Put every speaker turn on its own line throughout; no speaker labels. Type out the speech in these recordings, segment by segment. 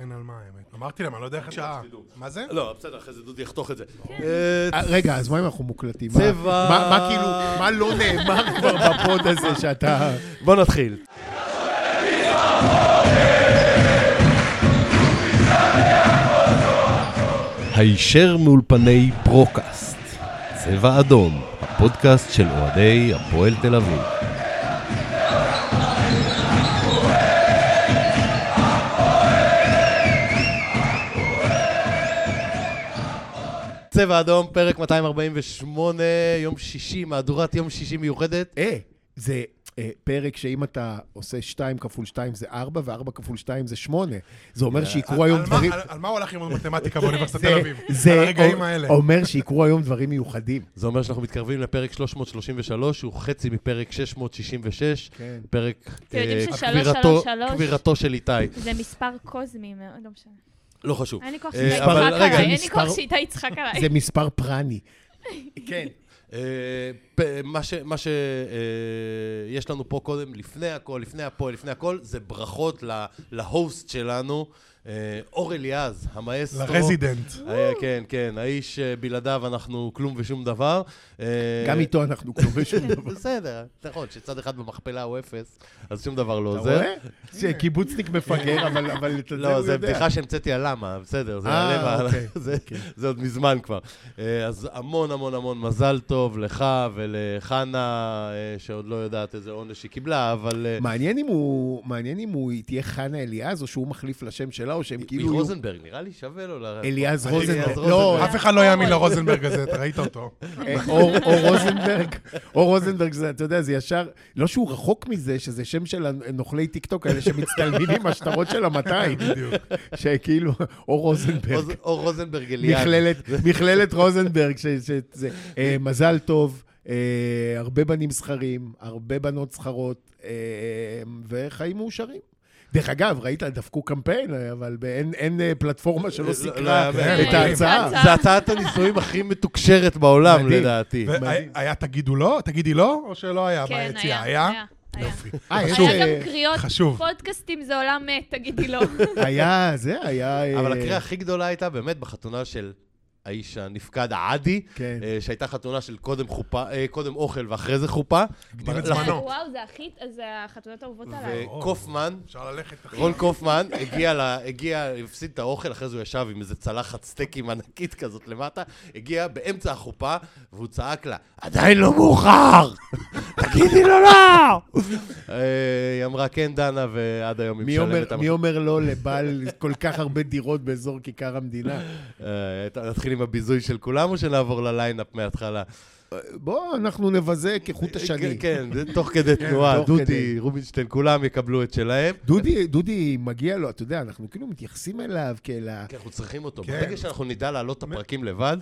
אין על מה, האמת. אמרתי להם, אני לא יודע איך השעה.
שתדעו.
מה זה?
לא, בסדר, אחרי זה דודי יחתוך את זה.
אה, רגע, אז מה אם אנחנו מוקלטים? מה-
צבע.
מה מה כאילו, מה לא נאמר כבר בפוד הזה שאתה...
בוא נתחיל.
הישר מאולפני פרוקאסט, צבע אדום, הפודקאסט של אוהדי הפועל תל אביב.
צבע אדום, פרק 248, יום שישי, מהדורת יום שישי מיוחדת.
אה, זה אה, פרק שאם אתה עושה 2 כפול 2 זה 4, ו-4 כפול 2 זה 8. זה אומר שיקרו היום
על מה-
דברים...
על- על מה הוא הולך ללמוד מתמטיקה באוניברסיטת
זה-
תל אביב?
זה
על הרגעים
אומר-
האלה.
אומר שיקרו היום דברים מיוחדים.
זה אומר שאנחנו מתקרבים לפרק 333, הוא חצי מפרק 666,
כן.
פרק
אתם יודעים
אה,
ששלוש,
כבירתו-
שלוש, שלוש?
כבירתו של איתי.
זה מספר קוזמי מאוד, לא משנה.
לא חשוב.
אין לי כוח
אה,
שאיתי
אבל
יצחק
רגע,
עליי, אין לי
מספר-
כוח שאיתי יצחק עליי.
זה מספר פרני.
כן. אה, מה ש- מה שיש לנו פה קודם, לפני הכל, לפני הפועל, לפני הכל, זה ברכות ל- להוסט שלנו, אה, אור אליעז, המאסטרו.
לרזידנט.
אה, כן, כן, האיש אה, בלעדיו אנחנו כלום ושום דבר. אה,
גם איתו אנחנו כלום ושום דבר.
בסדר, נכון, שצד אחד במכפלה הוא אפס, אז שום דבר לא
אתה
עוזר.
רואה? זה קיבוצניק מפגר, אבל אבל את זה הוא יודע.
לא, זו בדיחה שהמצאתי על למה, בסדר, זה
אה,
הלב, ה-
אוקיי,
זה- זה עוד מזמן כבר. אה, אז המון המון המון מזל טוב לך ולחנה, אה, שעוד לא יודעת איזה עונש היא קיבלה, אבל... אה,
מעניין אם הוא, מעניין אם הוא תהיה חנה אליעז, או שהוא מחליף לשם שלה, או שהם
היא
כאילו... יהיו-
רוזנברג, נראה לי שווה לו ל...
אליעז רוזנברג.
רוזנברג.
לא,
אף אחד לא יאמין לרוזנברג הזה, אתה ראית אותו.
אה, או או רוזנברג, או רוזנברג, זה, אתה יודע, זה ישר, לא שהוא רחוק מזה, שזה שם של הנוכלי טיקטוק האלה שמצטלמים עם השטרות של המאתיים,
בדיוק.
שכאילו, או רוזנברג.
רוז- או רוזנברג אליעד.
מכללת, מכללת רוזנברג, ש, ש, זה, אה, מזל טוב, אה, הרבה בנים זכרים, הרבה בנות זכרות, אה, וחיים מאושרים. דרך אגב, ראית, דפקו קמפיין, אבל באין, אין אה, פלטפורמה שלא
לא,
סיקרה
לא, לא,
את
לא,
ההצעה.
לא,
זה הצעת הנישואים הכי מתוקשרת בעולם,
מדהים.
לדעתי.
מדהים.
והיה תגידו לא? תגידי לא? או שלא היה
כן,
ביציאה?
היה,
היה?
היה. היה.
יופי.
אה, יש,
חשוב.
היה
אה,
גם קריאות,
חשוב.
פודקאסטים זה עולם מת, תגידי לא.
היה, זה היה... אה,
אבל הקריאה הכי גדולה הייתה באמת בחתונה של האיש הנפקד עדי,
כן.
אה, שהייתה חתונה של קודם חופה, אה, קודם אוכל ואחרי זה חופה.
הקדים את
לח-
זמנו.
וואו, זה הכי, זה החתונות האהובות עליי.
וקופמן,
אפשר ללכת. אחי.
רון קופמן, הגיע, ל- הגיע, הפסיד את האוכל, אחרי זה הוא ישב עם איזה צלחת סטייקים ענקית כזאת למטה, הגיע באמצע החופה, והוא צעק לה, עדיין לא מאוחר! תגידי לו לא! אה, היא אמרה, כן, דנה, ועד היום היא
מי אומר-
משלמת... המח-
מי אומר לא לבעל כל כך הרבה דירות באזור כיכר המדינה?
אה, אתה- נתחיל עם הביזוי של כולם, או שנעבור לליינאפ מההתחלה?
בוא, אנחנו נבזה כחוט השני.
כן, זה תוך כדי תנועה,
תוך כדי.
דודי, רובינשטיין, כולם יקבלו את שלהם.
דודי, דודי, מגיע לו, אתה יודע, אנחנו כאילו מתייחסים אליו כאל ה...
כי אנחנו צריכים אותו.
כן.
ברגע שאנחנו נדע להעלות את הפרקים לבד,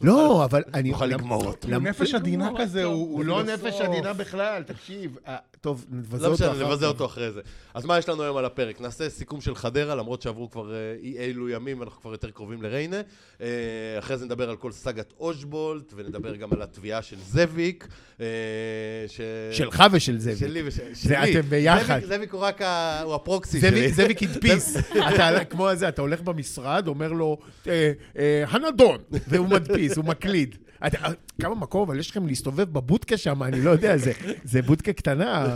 לא, אבל אני...
נוכל לגמור אותו.
הוא נפש עדינה כזה, הוא
הוא לא
פילוסוף.
נפש עדינה בכלל, תקשיב. אה, טוב, נבזה
לא
אותו
משנה,
אחר
נבזה
כך.
אותו אחרי זה. אז מה יש לנו היום על הפרק? נעשה סיכום של חדרה, למרות שעברו כבר אה, אי אילו ימים, אנחנו כבר יותר קרובים לריינה. אה, אחרי זה נדבר על כל סאגת אושבולט, ונדבר גם על התביעה של זאביק. אה, ש-
שלך ושל זאביק.
שלי וש...
זה
שלי.
אתם ביחד.
זאביק- זאביק הוא רק ה- הוא הפרוקסי שלי.
זאביק- זאביק הדפיס. אתה על- כמו הזה, אתה הולך במשרד, אומר לו, אה, אה, הנדון, והוא מדפיס, הוא מקליד. אתה- אה, כמה מקום, אבל יש לכם להסתובב בבודקה שם, אני לא יודע, זה- זה בודקה קטנה.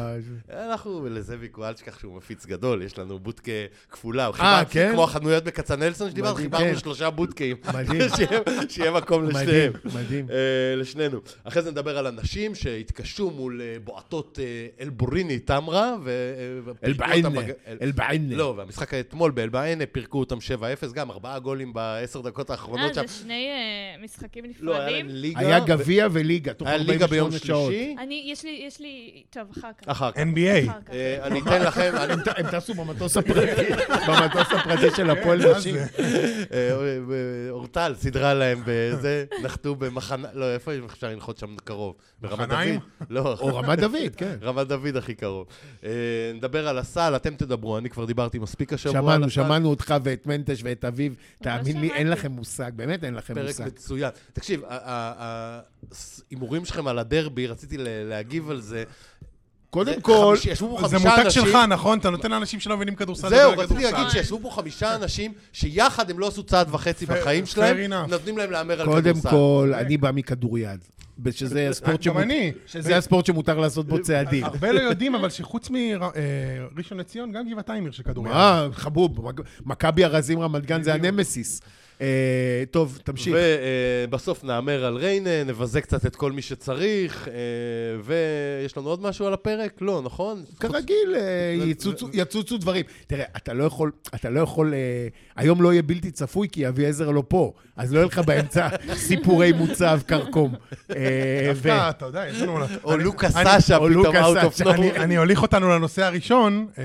אנחנו לזאביק, הוא אל תשכח שהוא מפיץ גדול, יש לנו בודקה כפולה. הוא
אה,
חיבר-
כן?
כמו החנויות בכצנלסון שדיברנו,
מדהים,
חיברנו
כן.
שלושה בודקאים.
מדהים.
שיהיה- שיהיה מקום
מדהים,
לשניהם.
מדהים.
אה, לשנינו. אחרי זה נדבר על הנשים שהתקשו מול אה, בועטות אה, אלבוריני טמרה. ו- אה, ופרקו
אלבעיינה,
אותם בג- אל-
אלבעיינה.
לא, והמשחק אתמול באלבעיינה פירקו אותם 7-0, גם ארבעה גולים בעשר דקות
אה,
האחרונות שם.
זה שני אה, משחקים
לא, היה להם
נפרדים.
ליגה.
היה
ו-
גביע וליגה, תוך
היה ליגה ביום
48 שעות.
שלישי.
אני, יש לי, יש לי, טוב, אחר כך.
אחר כך.
NBA.
אחר כך.
אה, אני אתן לכם, אני-
הם ט- הם טסו במטוס הפרטי, במטוס הפרטי של הפועל
מה
נשים.
זה?
אה, אה, אורטל סידרה להם בזה, נחתו במחנה, לא, איפה אפשר לנחות שם קרוב? ברמת
מחניים?
דוד? לא,
או רמת דוד, כן.
רמת דוד הכי קרוב. אה, נדבר על הסל, אתם תדברו, אני כבר דיברתי מספיק השבוע. על
שמענו,
הסל.
שמענו אותך ואת מנטש ואת אביו. תאמין לי,
שמעתי.
אין לכם מושג, באמת אין לכם
פרק
מושג.
מצוין. תקשיב, ה- ה- ה- ההימורים שלכם על הדרבי, רציתי ל- להגיב על זה.
קודם כל,
חמיש- ישבו פה
זה
חמישה
מותג
אנשים.
שלך, נכון? אתה נותן לאנשים שלא מבינים כדורסל.
זהו,
לדבר
רציתי
כדורסל.
להגיד שישבו פה חמישה אנשים שיחד הם לא עשו צעד וחצי בחיים
fair
שלהם,
enough.
נותנים להם להמר על כדורסל.
קודם כל, אני בא מכדוריד. שזה הספורט
גם
שמות-
אני.
שזה הספורט שמותר לעשות בו צעדים.
הרבה לא יודעים, אבל שחוץ מראשון לציון, גם גבעתיים עיר של כדוריד.
מה, חבוב, מק- מכבי ארזים רמת גן זה הנמסיס. אה, טוב, תמשיך.
ובסוף נהמר על ריינה, נבזה קצת את כל מי שצריך, אה, ויש לנו עוד משהו על הפרק? לא, נכון?
כרגיל, אה, יצוצו- יצוצו דברים. תראה, אתה לא יכול, אתה לא יכול, אה, היום לא יהיה בלתי צפוי כי אביעזר לא פה, אז לא יהיה לך באמצע סיפורי מוצב קרקום. אה, ו- לא.
דווקא, אתה יודע, יש לנו...
או
אני-
לוקה
אני-
סאשה
או
פתאום
לוקה
out of
סאשה,
אני-
nowhere.
אני הוליך אותנו לנושא הראשון, אה,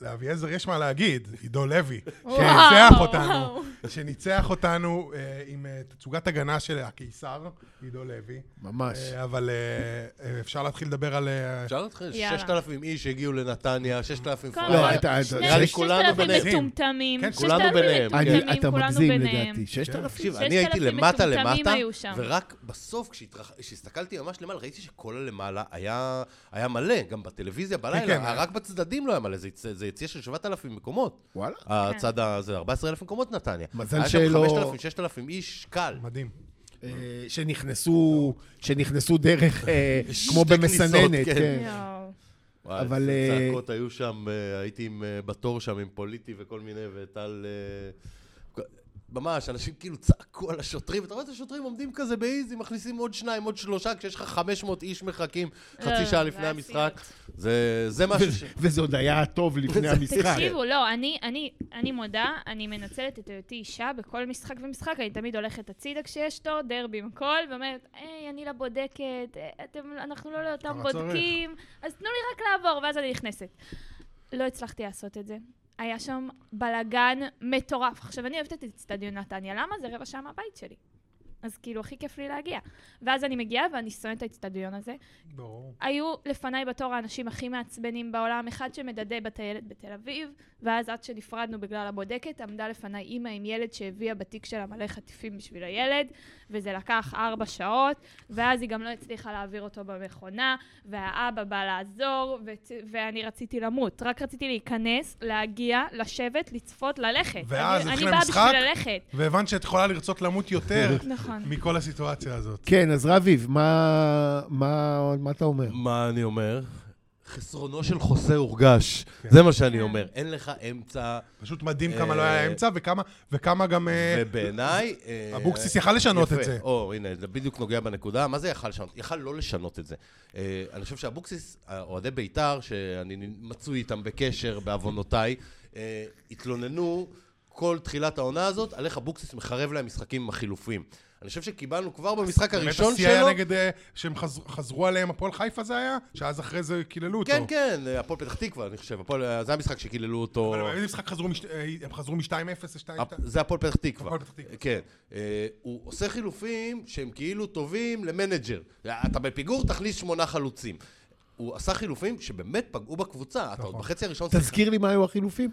לאביעזר יש מה להגיד, עידו לוי, שניצח
וואו.
אותנו, שניצח אותנו אה, עם אה, תצוגת הגנה של הקיסר, עידו לוי.
ממש.
אה, אבל אה, אה, אפשר להתחיל לדבר על... אה,
אפשר להתחיל?
יאללה.
6,000 איש הגיעו לנתניה, 6,000
כל
לא,
הזמן
פראיירים.
אתה-
שני-
נראה לי
ששת
כולנו
אלפים
ביניהם.
מטומטמים.
כן,
ששת
כולנו
אלפים
ביניהם, כן.
אני-
מטומטמים,
אתה
כולנו
מגזים
ביניהם.
לדעתי, 6,000?
תקשיב,
6,000
אני הייתי למטה
מטומטמים
למטה,
היו שם.
ורק בסוף, כשהתרח- כשהסתכלתי ממש למעלה, ראיתי שכל הלמעלה היה היה מלא, גם בטלוויזיה
כן,
אה.
בלילה,
היה.
רק בצדדים לא היה מלא, זה יצא- זה יציאה של 7,000 מקומות.
וואלה.
הצד הזה, 14,000 מקומות נתניה.
מזל
היה שם
שלא-
5,000, 6,000 איש, קל.
מדהים.
אה, שנכנסו, שנכנסו דרך, אה,
שתי
כמו
כניסות,
במסננת,
כן.
כן.
יואו.
וואי,
אבל,
אבל...
אה,
צעקות היו שם, אה, הייתי עם, אה, בתור שם עם פוליטי וכל מיני, וטל... אה, כ- ממש, אנשים כאילו צעקו על השוטרים, אתה רואה את השוטרים עומדים כזה באיזי, מכניסים עוד שניים, עוד שלושה, כשיש לך 500 איש מחכים חצי
לא,
שעה
לא,
לפני
זה
המשחק. זה זה משהו ש...
כן. וזה עוד היה טוב לפני המשחק.
תקשיבו, לא, אני, אני, אני מודה, אני מנצלת את היותי אישה בכל משחק ומשחק, אני תמיד הולכת הצידה כשיש תור, דרבים הכל, ואומרת, היי, אני לא בודקת, אה, אתם, אנחנו לא לאותם
כמה
בודקים, אז תנו לי רק לעבור, ואז אני נכנסת. לא הצלחתי לעשות את זה. היה שם בלאגן מטורף. עכשיו, אני אוהבת את אצטדיון נתניה, למה? זה רבע שעה מהבית שלי. אז כאילו, הכי כיף לי להגיע. ואז אני מגיעה ואני שונאת את האצטדיון הזה,
ברור.
היו לפניי בתור האנשים הכי מעצבנים בעולם, אחד שמדדה בטיילת בתל אביב, ואז עד שנפרדנו בגלל הבודקת, עמדה לפניי אימא עם ילד שהביאה בתיק שלה מלא חטיפים בשביל הילד, וזה לקח ארבע שעות, ואז היא גם לא הצליחה להעביר אותו במכונה, והאבא בא לעזור, וצ... ואני רציתי למות. רק רציתי להיכנס, להגיע, לשבת, לצפות, ללכת.
ואז
אני,
התחיל
אני באה
המשחק? כן.
בשביל ללכת.
והבנת שאת יכולה לרצות למות יותר
נכון.
מכל הסיטואציה הזאת.
כן, אז רביב, מה, מה, מה אתה אומר?
מה אני אומר? חסרונו של חוסה הורגש. זה מה שאני אומר. אין לך אמצע,
פשוט מדהים כמה
אה,
לא היה אמצע וכמה- וכמה גם... אה,
ובעיניי... אה,
אבוקסיס יכל לשנות
יפה.
את זה.
או, הנה, זה בדיוק נוגע בנקודה. מה זה יכל לשנות? יכל לא לשנות את זה. אה, אני חושב שאבוקסיס, אוהדי בית"ר, שאני מצוי איתם בקשר בעוונותיי, אה, התלוננו כל תחילת העונה הזאת על איך אבוקסיס מחרב להם משחקים עם החילופים. אני חושב שקיבלנו כבר במשחק
באמת
הראשון
השיא היה
שלו...
נגד, אה, שהם חזר- חזרו עליהם, הפועל חיפה זה היה? שאז אחרי זה קיללו אותו.
כן, כן, אה, הפועל פתח תקווה, אני חושב. הפועל- אה, זה המשחק שקיללו אותו.
אבל באיזה משחק חזרו מש- אה, הם חזרו מ-2-0 ל-2-2?
הפ- זה הפועל פתח תקווה.
הפועל פתח תקווה.
כן. אה, הוא עושה חילופים שהם כאילו טובים למנג'ר. אה, אתה בפיגור, תכניס שמונה חלוצים. הוא עשה חילופים שבאמת פגעו בקבוצה. אתה עוד בחצי הראשון...
תזכיר לי מה היו החילופים.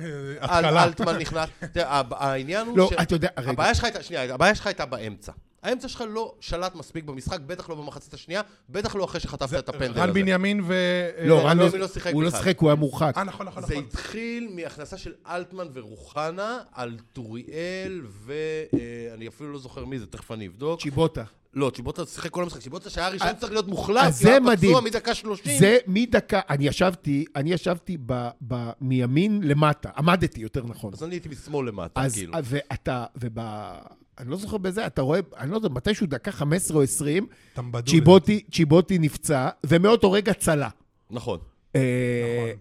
אה,
אל-
התקלה.
אלטמן נכנס. תראה, הב- העניין הוא
לא,
ש-
אתה יודע, רגע.
הבעיה שלך הייתה, שנייה, הבעיה שלך הייתה באמצע. האמצע שלך לא שלט מספיק במשחק, בטח לא במחצית השנייה, בטח לא אחרי שחטפת את הפנדל
רן
הזה.
בנימין ו...
לא,
אה,
רן
לא שיחק
הוא לא
בכלל.
שיחק, הוא היה מורחק.
אה, נכון, נכון,
זה
נכון.
התחיל מהכנסה של אלטמן ורוחנה על טוריאל ואני אפילו לא זוכר מי זה, תכף אני אבדוק.
צ'יבוטה.
לא, צ'יבוטה שיחק כל המשחק. צ'יבוטה שהיה הראשון צריך להיות מוחלט.
אז
כי הוא
זה
היה פצוע
מדהים.
מדקה 30.
זה מדקה, אני ישבתי, אני ישבתי ב- ב- מימין למטה, עמדתי יותר נכון.
אז אני הייתי משמאל למטה,
אז,
כאילו.
ואתה, וב... אני לא זוכר בזה, אתה רואה, אני לא יודע, מתישהו דקה 15 או 20,
טמבדו.
צ'יבוטי, צ'יבוטי נפצע, ומאותו רגע צלה.
נכון.
אה,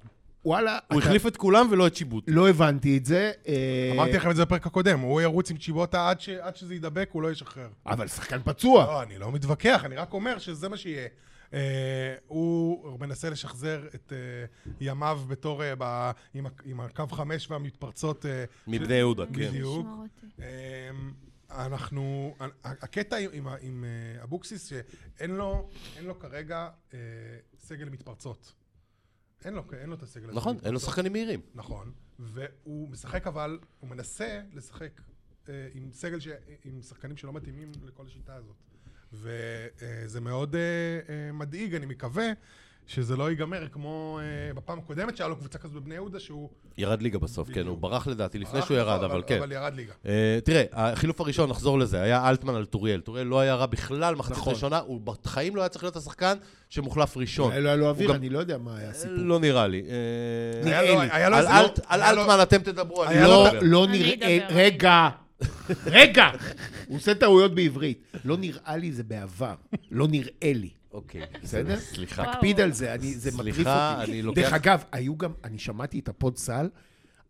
וואלה,
הוא
אתה-
החליף את כולם ולא את שיבוט.
לא הבנתי את זה. אה,
אמרתי לכם את זה בפרק הקודם, הוא ירוץ עם צ'יבוטה עד ש- עד שזה יידבק, הוא לא ישחרר.
אבל שחקן פצוע.
לא, אני לא מתווכח, אני רק אומר שזה מה שיהיה. אה, הוא מנסה לשחזר את אה, ימיו בתור, אה, ב- עם ה- עם הקו חמש והמתפרצות. אה,
מבני יהודה, כן.
בדיוק.
שמור אותי.
אמ, אנחנו, ה- הקטע עם- עם, ה- עם אה, אבוקסיס, שאין לו, אין לו כרגע אה, סגל מתפרצות. אין לו, אין לו את הסגל הזה.
נכון, אין לו שחקנים מהירים.
נכון, והוא משחק אבל, הוא מנסה לשחק אה, עם סגל, ש, עם שחקנים שלא מתאימים לכל השיטה הזאת. וזה מאוד אה, אה, מדאיג, אה, אני מקווה שזה לא ייגמר כמו אה, בפעם הקודמת שהיה לו קבוצה כזו בבני יהודה, שהוא...
ירד ליגה בסוף, כן, הוא
בדיוק.
ברח לדעתי לפני
ברח
שהוא ירד,
לו,
אבל כן.
אבל ירד ליגה.
אה, תראה, החילוף הראשון, נחזור לזה, היה אלטמן על טוריאל. טוריאל לא היה רע בכלל מחצית
נכון.
ראשונה, הוא בחיים לא היה צריך להיות השחקן שמוחלף ראשון.
אולי לא היה לו
גם-
אוויר, אני לא יודע מה היה הסיפור.
לא נראה לי.
היה
אה,
לו- היה לו
על
איזה-
אלט-
לא-
על
היה לו-
אלטמן אתם תדברו, אני
היה
לא
לו-
מדבר.
לא
אני
נראה...
אדבר.
רגע, רגע. הוא עושה טעויות בעברית. לא נראה לי זה בעבר. לא נראה לי.
אוקיי,
בסדר?
סליחה.
תקפיד על זה, אני- זה מטריף אותי.
סליחה, אני לוקח-
דרך אגב, היו גם, אני שמעתי את הפוד סל,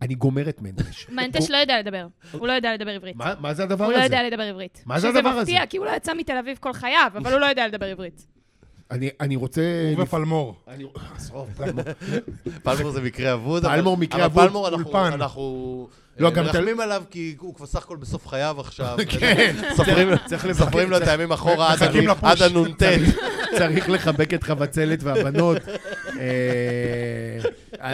אני גומר את מנטש.
מנטש לא יודע לדבר. הוא לא יודע לדבר עברית.
מה מה זה הדבר
הוא לא
הזה?
יודע לדבר עברית.
מה זה הדבר
שזה
הזה?
מפתיע, כי הוא לא יצא מתל אביב כל חייו, אבל הוא לא יודע לדבר עברית.
אני- אני
אה,
רוצה...
הוא ופלמור.
אני- עזוב,
פלמור זה מקרה אבוד, אבל-
פלמור
אבל
מקרה אבוד,
פלמור אנחנו-
אולפן.
אנחנו
לא,
אה,
גם אתה-
מרחמים עליו כי הוא כבר סך הכל בסוף חייו עכשיו.
כן.
סופרים-
צריך לבקר-
סופרים לו את
צריך-
הימים אחורה עד ה-
מחכים לפוש.
עד הנ"ט.
צריך לחבק את חבצלת והבנות. אה,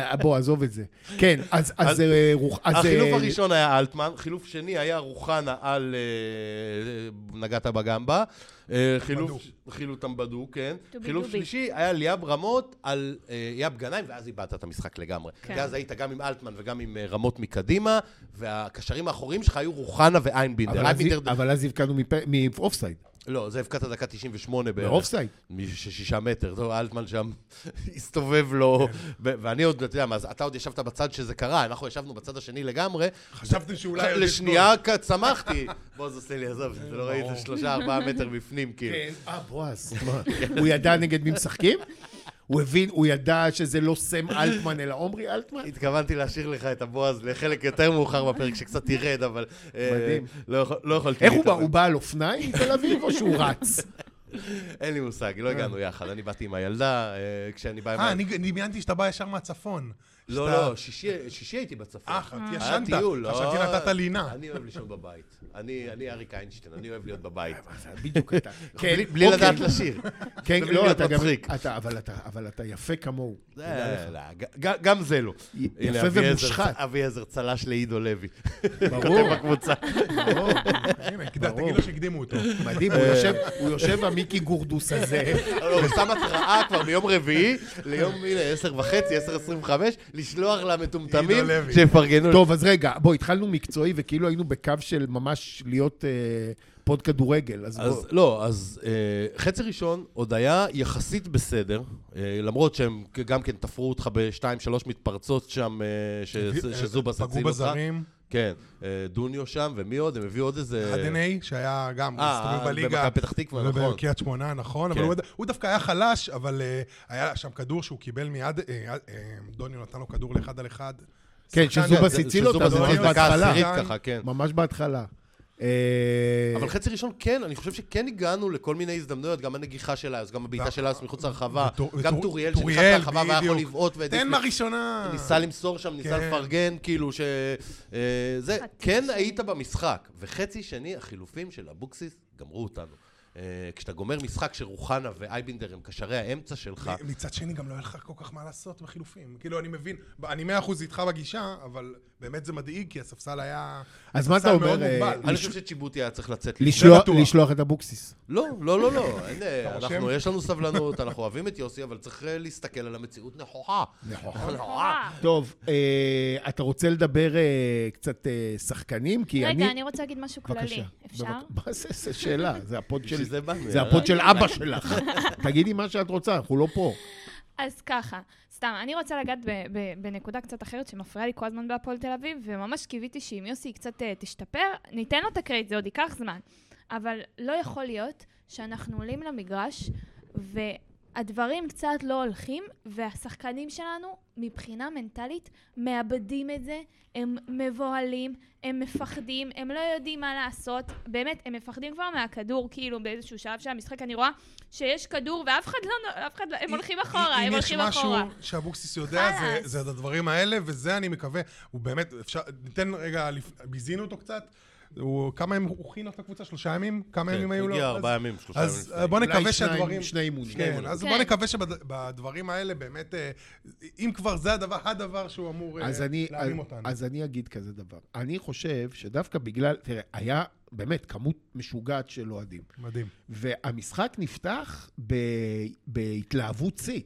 אה, בוא, עזוב את זה. כן, אז אז, אה, רוח... אז,
החילוף
אה,
הראשון היה אלטמן, חילוף שני היה רוחנה על אה, נגעת בגמבה, אה, חילוף- חילוף טמבדו, כן.
טובי
חילוף
דובי.
שלישי היה ליאב רמות על אה, יאב גנאים, ואז איבדת את המשחק לגמרי.
כן.
כי אז היית גם עם אלטמן וגם עם אה, רמות מקדימה, והקשרים האחוריים שלך היו רוחנה ואיינבינדר.
אבל אז-
איינבינדר-
אבל אז הבקענו מפ- מאופסייד.
לא, זה הבקעת דקה 98 בערך.
מאופסייד.
משישה מטר, טוב, אלטמן שם הסתובב לו, ו- ואני עוד, אתה יודע, מה, אז אתה עוד ישבת בצד שזה קרה, אנחנו ישבנו בצד השני לגמרי.
חשבתם שאולי... עוד יש
לשנייה כ- צמחתי. בועז עושה לי, עזוב, אתה לא ראית שלושה, ארבעה מטר בפנים, כאילו.
כן.
אה, בועז. מה? הוא ידע נגד מי משחקים? הוא הבין, הוא ידע שזה לא סם אלטמן, אלא עומרי אלטמן?
התכוונתי להשאיר לך את הבועז לחלק יותר מאוחר בפרק שקצת ירד, אבל... אה,
מדהים.
לא יכול- לא יכולתי...
איך הוא בא?
להתאפק.
הוא בא על אופניים מתל אביב או שהוא רץ?
אין לי מושג,
אה.
לא הגענו יחד. אני באתי עם הילדה, אה, כשאני בא עם...
אה,
ה-
אני דמיינתי שאתה בא ישר מהצפון.
לא,
שאתה-
לא, שישי שישי הייתי בצפון.
אה, חשבתי
היה
ישנת.
טיול, לא.
חשבתי נתת לינה.
אני אוהב לישון בבית. אני אני אריק איינשטיין, אני אוהב להיות בבית.
אה,
בדיוק אתה.
לא-
בלי- בלי
אוקיי.
לדעת לשיר.
כן,
בלי
לא,
להיות
אתה גם...
מצחיק.
אתה- אבל אתה- אבל אתה יפה כמוהו.
אה, לא, ג- גם זה לא.
י-
הנה,
יפה
אביעזר-
ומושחת.
אביעזר צלש לעידו לוי.
ברור.
בקבוצה.
ברור.
הנה, כדאי,
ברור.
תגיד לו שהקדימו אותו.
מדהים, הוא יושב- הוא יושב המיקי גורדוס הזה.
לא, הוא שם התראה כבר מיום רביעי ליום, הנה, עשר וחצי, עשר עשרים וחמש, לשלוח למטומטמים
עידו לוי.
שיפרגנו.
טוב, אז רגע, בוא, התחלנו מקצועי וכאילו היינו בקו של ממש להיות אה, פוד כדורגל, אז בוא.
אז לא, אז אה, חצי ראשון עוד היה יחסית בסדר, אה, למרות שהם גם כן תפרו אותך בשתיים, שלוש מתפרצות שם, אה, ש- שזובס הציל אותך.
פגעו בזרים.
כן, אה, דוניו שם, ומי עוד? הם הביאו עוד איזה...
עדני, שהיה גם, הוא
אה,
הסתובב בליגה.
במכבי פתח תקווה, נכון.
ובקריית שמונה, נכון. אבל
כן.
הוא- הוא דווקא היה חלש, אבל אה, היה שם כדור שהוא קיבל מיד, אה, אה, דוניו נתן לו כדור לאחד על אחד.
כן,
שחקן-
שזובס
זה-
הציל
שזובס
אותה, זה
הציל
ממש
אותה.
בהתחלה.
עשירית ככה, כן.
ממש בהתחלה. אה,
אבל חצי ראשון כן, אני חושב שכן הגענו לכל מיני הזדמנויות, גם הנגיחה של איוס, גם הבעיטה של איוס מחוץ לרחבה,
לא. וטור-
גם
וטור-
טוריאל שנכנס
טוריאל,
לרחבה והיה יכול
בדיוק.
לבעוט, והעדיף
תן
ל-
מה ראשונה.
ניסה למסור שם, ניסה
כן.
לפרגן, כאילו ש... אה, זה,
חצי
כן
שני.
היית במשחק. וחצי שני, החילופים של אבוקסיס גמרו אותנו. אה, כשאתה גומר משחק שרוחנה ואייבינדר הם קשרי האמצע שלך,
מצד שני, גם לא היה לך כל כך מה לעשות בחילופים. כאילו, אני מבין, ב- אני מאה אחוז איתך בגישה, אבל באמת זה מדאיג, כי הספסל היה...
אז מה אתה
הספסל מאוד
אומר, אה,
מוגבל.
אני חושב שצ'יבוטי היה צריך לצאת.
לשלוח-
בטוח.
לשלוח את אבוקסיס.
לא, לא, לא, לא. אין, אה,
לא- אתה
אנחנו,
רושם?
יש לנו סבלנות, אנחנו אוהבים את יוסי, אבל צריך אה, להסתכל על המציאות נכוחה. נכוחה.
טוב, אה, אתה רוצה לדבר אה, קצת אה, שחקנים? כי אני...
רגע, אני רוצה להגיד משהו כללי.
בבק-
אפשר?
מה זה, זה שאלה? זה הפוד של...
בשביל זה באנו, אה,
זה
יאללה.
הפוד של אבא שלך. תגידי מה שאת רוצה, אנחנו לא פה.
אז ככה, סתם, אני רוצה לגעת ב- ב- בנקודה קצת אחרת שמפריעה לי כל הזמן בהפועל תל אביב, וממש קיוויתי שאם יוסי קצת אה, תשתפר, ניתן לו את הקרדיט, זה עוד ייקח זמן. אבל לא יכול להיות שאנחנו עולים למגרש, והדברים קצת לא הולכים, והשחקנים שלנו, מבחינה מנטלית, מאבדים את זה, הם מבוהלים, הם מפחדים, הם לא יודעים מה לעשות, באמת, הם מפחדים כבר מהכדור, כאילו באיזשהו שלב של המשחק, אני רואה שיש כדור ואף אחד לא, אף אחד לא, הם הולכים אחורה,
אם-
הם
אם
הולכים אחורה.
יש משהו שאבוקסיס יודע, זה-
חלאס.
זה את הדברים האלה, וזה אני מקווה. הוא באמת, אפשר, ניתן רגע, לפ- ביזינו אותו קצת. הוא, כמה ימים, הוא הכין את הקבוצה? שלושה ימים? כמה
כן,
ימים היו לו?
הגיע
אז-
ארבעה ימים, שלושה ימים
אז אה,
לפני.
בוא
אולי
נקווה
שניים-
שהדברים...
שני אימונים.
כן, אז בוא
כן.
נקווה שבדברים האלה באמת, אה, אם כבר זה הדבר, הדבר שהוא אמור אה,
אז אני,
להרים
אז-
אותנו.
אז אני אגיד כזה דבר. אני חושב שדווקא בגלל, תראה, היה באמת כמות משוגעת של אוהדים.
מדהים.
והמשחק נפתח ב, בהתלהבות שיא.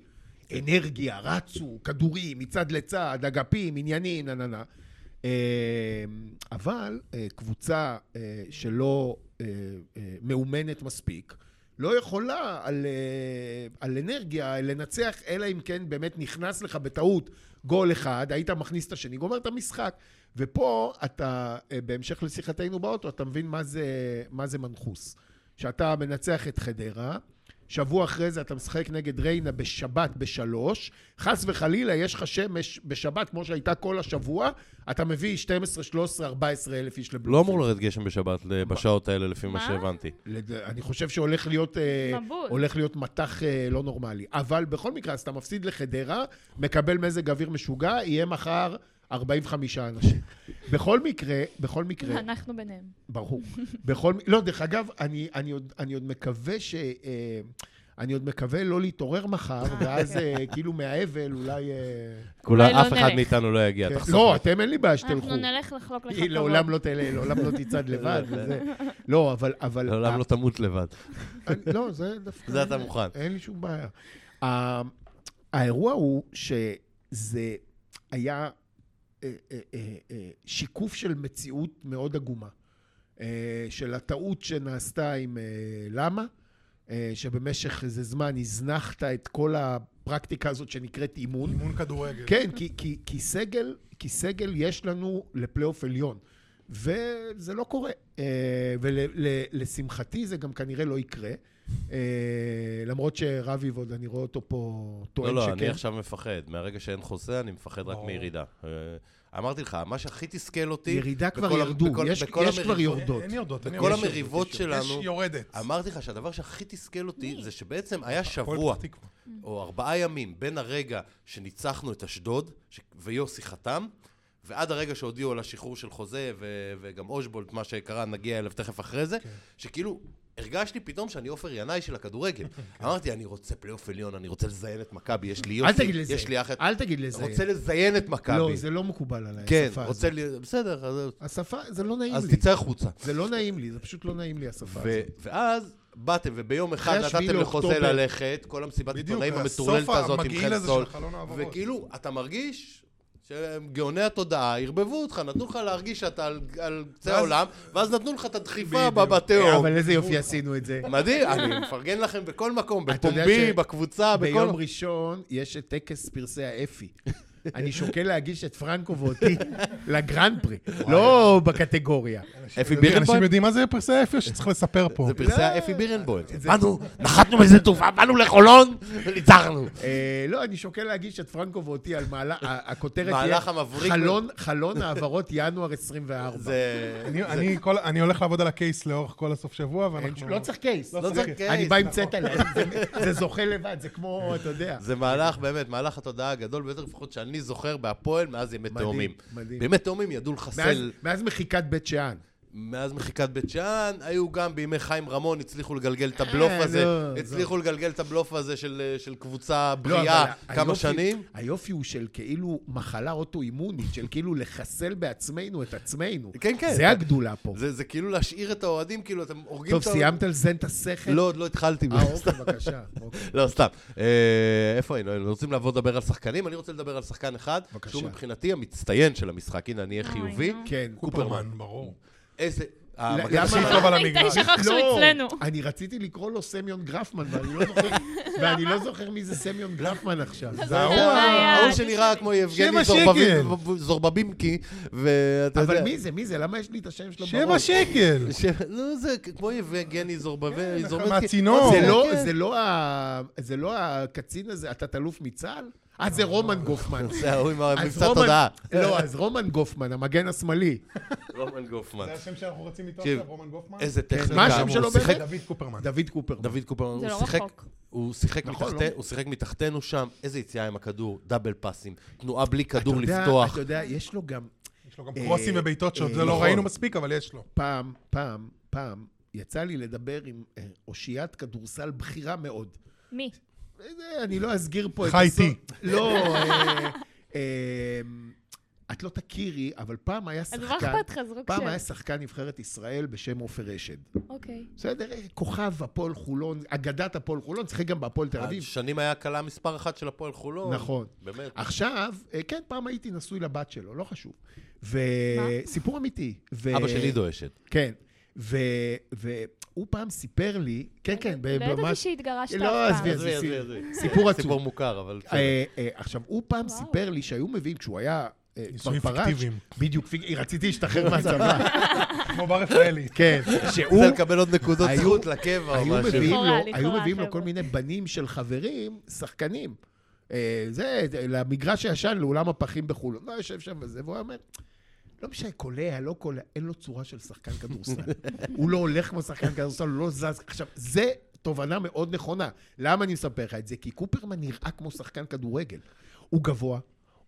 אנרגיה, רצו, כדורים, מצד לצד, אגפים, עניינים, נה נה נה. אה, אבל אה, קבוצה אה, שלא אה, אה, מאומנת מספיק, לא יכולה על, אה, על אנרגיה לנצח, אלא אם כן באמת נכנס לך בטעות גול אחד, היית מכניס את השני, גומר את המשחק. ופה אתה, אה, בהמשך לשיחתנו באוטו, אתה מבין מה זה, מה זה מנחוס. שאתה מנצח את חדרה, שבוע אחרי זה אתה משחק נגד ריינה בשבת בשלוש, חס וחלילה יש לך שמש בשבת כמו שהייתה כל השבוע, אתה מביא 12, 13, 14 אלף איש לבלומפילד.
לא אמור לרדת גשם בשבת ל- בשעות האלה, לפי מה
מה?
שהבנתי.
לד- אני חושב שהולך להיות, אה,
מבול.
הולך להיות מטח אה, לא נורמלי. אבל בכל מקרה, אז אתה מפסיד לחדרה, מקבל מזג אוויר משוגע, יהיה מחר 45 אנשים. בכל מקרה, בכל מקרה,
אנחנו ביניהם.
ברור. בכל... מ- לא, דרך אגב, אני, אני, עוד, אני עוד מקווה ש... אה, אני עוד מקווה לא להתעורר מחר, ואז אה, כאילו מהאבל אולי... אה,
כולה,
אולי לא
אף אחד
נלך.
מאיתנו לא יגיע,
כן.
תחסוך.
לא, אתם אין לי בעיה שתלכו.
אנחנו נלך לחלוק לך
היא
כבוד.
לעולם לא תלך, לעולם לא תצעד לבד. וזה- לא, אבל... אבל-
לעולם לא תמות לבד.
אני- לא, זה דווקא...
זה אתה מוכן.
אין לי שום בעיה. ה- אמ, האירוע הוא שזה היה אה, אה, אה, אה, שיקוף של מציאות מאוד עגומה. אה, של הטעות שנעשתה עם אה, למה, אה, שבמשך איזה זמן הזנחת את כל הפרקטיקה הזאת שנקראת אימון.
אימון כדורגל.
כן, כי, כי, כי, סגל, כי סגל יש לנו לפלייאוף עליון, וזה לא קורה. ולשמחתי זה גם כנראה לא יקרה, אה, למרות שרביב עוד, אני רואה אותו פה טוען
לא, לא,
שכן.
אני עכשיו מפחד. מהרגע שאין חוזה, אני מפחד רק
ברור.
מירידה. אה, אמרתי לך, מה שהכי תסכל אותי...
ירידה כבר
בכל ה-
ירדו,
בכל-
יש,
בכל
יש כבר
המריבות-
יורדות.
אה, אין יורדות. אין
בכל
יורדות.
המריבות
יש-
שלנו-
יש יורדת.
אמרתי לך שהדבר שהכי תסכל אותי זה שבעצם היה
הפועל
שבוע
פתח תקווה.
או ארבעה ימים בין הרגע שניצחנו את אשדוד ש... ויוסי חתם ועד הרגע שהודיעו על השחרור של חוזה ו... וגם אושבולט, מה שקרה, נגיע אליו תכף אחרי זה,
כן.
כן. שכאילו הרגשתי פתאום שאני עופר ינאי של הכדורגל.
כן.
אמרתי, אני רוצה פלייאוף עליון, אני רוצה לזיין את מכבי, יש לי יוסי,
אל תגיד לזה,
יש לי אח...
אל תגיד לזה.
רוצה לזיין את מכבי.
לא, זה לא מקובל עליי,
כן,
השפה
רוצה
הזאת.
ל... בסדר, אז,
השפה, זה לא נעים
אז
לי.
תצא החוצה.
זה לא נעים לי, זה פשוט לא נעים לי, השפה
ו-
הזאת.
ואז באתם, וביום אחד
אחרי השביעי
נתתם לחוזה
לאוקטובר.
ללכת, כל המסיבת
בדיוק,
עיתונאים
הסוף
המטורללת הזאת עם
המגעיל
חן
הזה
סול,
של חלון העברות.
וכאילו, אתה מרגיש שגאוני התודעה ערבבו אותך, נתנו לך להרגיש שאתה על- על קצה
ואז-
העולם, ואז נתנו לך את הדחיפה
בדיוק.
בתהום.
אה, אבל איזה יופי עשינו את זה.
מדהים, אני מפרגן לכם בכל מקום,
אתה יודע
בפומבי,
ש-
בקבוצה, אה, בכל...
ביום ראשון יש את טקס פרסי האפי. אני שוקל להגיש את פרנקו ואותי לגרנד פרי, לא בקטגוריה.
אפי
אנשים
בירנבוים?
יודעים מה זה פרסי האפי או שצריך לספר פה?
זה פרסי
לא.
האפי בירנבוים.
באנו, נחתנו באיזה תעופה, באנו לחולון וניצחנו.
אה, לא, אני שוקל להגיש את פרנקו ואותי על מהלך, ה- הכותרת תהיה
מהלך המבריק.
חלון- חלון העברות ינואר 24.
זה...
אני- אני כל- אני הולך לעבוד על הקייס לאורך כל הסוף שבוע,
אין-
ואנחנו...
לא צריך קייס.
לא
לא
צריך.
צריך
אני
קייס,
בא עם צטע, זה- זה זוכה לבד, זה כמו, אתה יודע.
זה מהלך, באמת, מהלך התודעה הגדול ביותר, לפחות שאני זוכר, בהפועל מאז ימי
מדהים,
תאומים.
מדהים.
באמת, תאומים ידעו
מאז-
לחסל.
מאז מחיקת בית שאן.
מאז מחיקת בית שאן, היו גם בימי חיים רמון, הצליחו לגלגל את הבלוף
אה,
הזה,
לא, זה-
הצליחו לגלגל את הבלוף הזה של אה, של קבוצה
לא,
בריאה
אבל
כמה
היופי-
שנים.
היופי הוא של כאילו מחלה אוטואימונית, של כאילו לחסל בעצמנו את עצמנו.
כן, כן.
זה הגדולה פה.
זה זה כאילו להשאיר את האוהדים, כאילו, אתם הורגים
טוב,
את האוהדים.
סיימת על זה את השכל?
לא, עוד לא התחלתי.
אה, אוקיי, בבקשה. אוקיי.
לא, סתם. אה, איפה היינו? היינו רוצים לעבור לדבר על שחקנים? אני רוצה לדבר על שחקן אחד,
בבקשה.
שהוא מבחינתי המצטיין של המשחק. הנה, אני אהיה
אוי,
חיובי.
נו.
כן.
קופרמן, ברור.
איזה... אה,
למה-
המגן
הכי
השני
טוב על המגרש.
תשע לא, שכח שהוא
לא,
אצלנו.
אני רציתי לקרוא לו סמיון גרפמן, ואני לא זוכר- ואני לא זוכר מי זה סמיון גרפמן עכשיו.
זה ההוא
זה לא
ה-
הבעיה.
ההוא שנראה כמו יבגני
שבע
זורבבין-
שקל.
זורב- זורבבימקי, ואתה יודע...
אבל מי זה? מי זה? למה יש לי את השם שלו
שבע
בראש?
שקל!
ש- לא, זה כמו יבגני זורבבי-
כן,
זורבבימקי.
מהצינור.
זה
כן,
לא-
כן.
זה לא ה- זה לא הקצין הזה, התת-אלוף מצה"ל? אה, זה רומן גופמן.
זה ההוא עם
אז
המבצע
רומן-
תודעה. אה.
לא, אז רומן גופמן, המגן השמאלי.
רומן גופמן.
זה השם שאנחנו רצים איתו
תקשיב,
עכשיו, רומן גופמן?
איזה
כן. מה
טכניקה.
השם
הוא
שלו
שיחק-
באמת?
דוד קופרמן.
דוד קופרמן.
דוד קופרמן,
זה
הוא
לא
שיחק...
רחוק.
הוא שיחק,
נכון,
מתחת...
לא?
הוא שיחק מתחתנו שם, איזה יציאה עם הכדור, דאבל פאסים, תנועה בלי
אתה
כדור
יודע-
לפתוח.
אתה יודע, יש לו גם
יש לו גם
אה,
קרוסים ובעיטות שעוד
אה,
זה
נכון.
לא ראינו מספיק, אבל יש לו.
פעם, פעם, פעם, יצא לי לדבר עם אה, אושיית כדורסל בכירה מאוד.
מי?
אה, אני לא אסגיר פה את...
חי
הסוד-
איתי.
לא, אה, אה, את לא תכירי, אבל פעם היה
אז מה
שחקן,
אכפת לך, כן. זרוק
פעם היה
שם.
שחקן נבחרת ישראל בשם עופר אשד.
אוקיי.
בסדר, אה, כוכב הפועל חולון, אגדת הפועל חולון, שיחק גם בהפועל תל
אה,
אביב.
שנים היה הקלה מספר אחת של הפועל חולון.
נכון.
באמת.
עכשיו, אה, כן, פעם הייתי נשוי לבת שלו, לא חשוב. וסיפור אמיתי. ו-
אבא של עידו אשת.
כן. ו- והוא פעם סיפר לי, כן, כן,
לא ידעתי
ממש...
שהתגרשת אף פעם.
לא, עזבי,
עזבי,
סיפור-
עזבי, עזבי.
סיפור עצוב.
אה, סיפור מוכר, אבל... בסדר.
אה, אה, עכשיו, הוא פעם
וואו.
סיפר לי שהיו מביאים, כשהוא היה אה, כבר
נישואים
פרש,
פיקטיביים,
בדיוק, פיק- רציתי להשתחרר מהצבא,
כמו בר רפאלי.
כן, שהוא,
רוצה לקבל עוד נקודות
היו-
זכות לקבע או
היו
משהו.
מביאים
לכאורה,
לו, היו
לכאורה,
מביאים לו כל
חבר'ה.
מיני בנים של חברים, שחקנים. אה, זה, זה, למגרש הישן, לאולם הפחים בחולון. לא, יושב שם וזה, והוא היה אומר, לא משנה, קולע, לא קולע, אין לו צורה של שחקן כדורסל. הוא לא הולך כמו שחקן כדורסל, הוא לא זז. עכשיו, זה תובנה מאוד נכונה. למה אני מספר לך את זה? כי קופרמן נראה כמו שחקן כדורגל. הוא גבוה,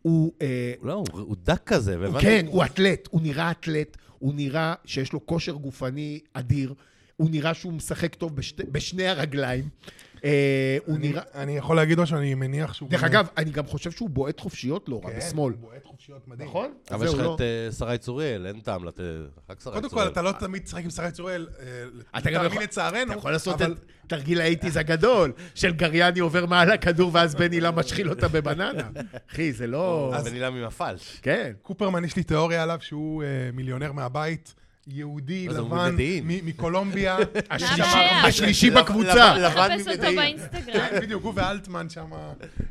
הוא... אה,
לא, הוא- הוא דק כזה, והבנתי-
כן, הוא אתלט, הוא נראה אתלט, הוא נראה שיש לו כושר גופני אדיר, הוא נראה שהוא משחק טוב בשתי, בשני הרגליים. אה, הוא
אני-
נראה...
אני יכול להגיד לו שאני מניח שהוא...
דרך
גם-
אגב, אני גם חושב שהוא בועט חופשיות לא רע,
כן,
בשמאל.
הוא בועט חופשיות מדהים.
נכון?
אבל
זהו,
יש לך
לא.
את אה, שרי צוריאל, אין טעם לתת... רק שרי צוריאל.
קודם כל, אתה לא תמיד תשחק עם שרי צוראל,
אתה גם
תאמין
יכול-
לצערנו,
אתה יכול לעשות
אבל-
את תרגיל האייטיז הגדול, של גריאני עובר מעל הכדור ואז בן הילה משחיל אותה בבננה. אחי, זה לא...
אז... בנילה ממפלש.
כן.
קופרמן, יש לי תיאוריה עליו שהוא אה, מיליונר מהבית, יהודי,
אז הוא
לבן,
מדעי.
מ- מקולומביה.
השלישי-
הבעיה?
השלישי
לב-
בקבוצה.
לב- לבן
חפש אותו
ממדעים.
באינסטגרם.
כן, בדיוק, הוא ואלטמן שם.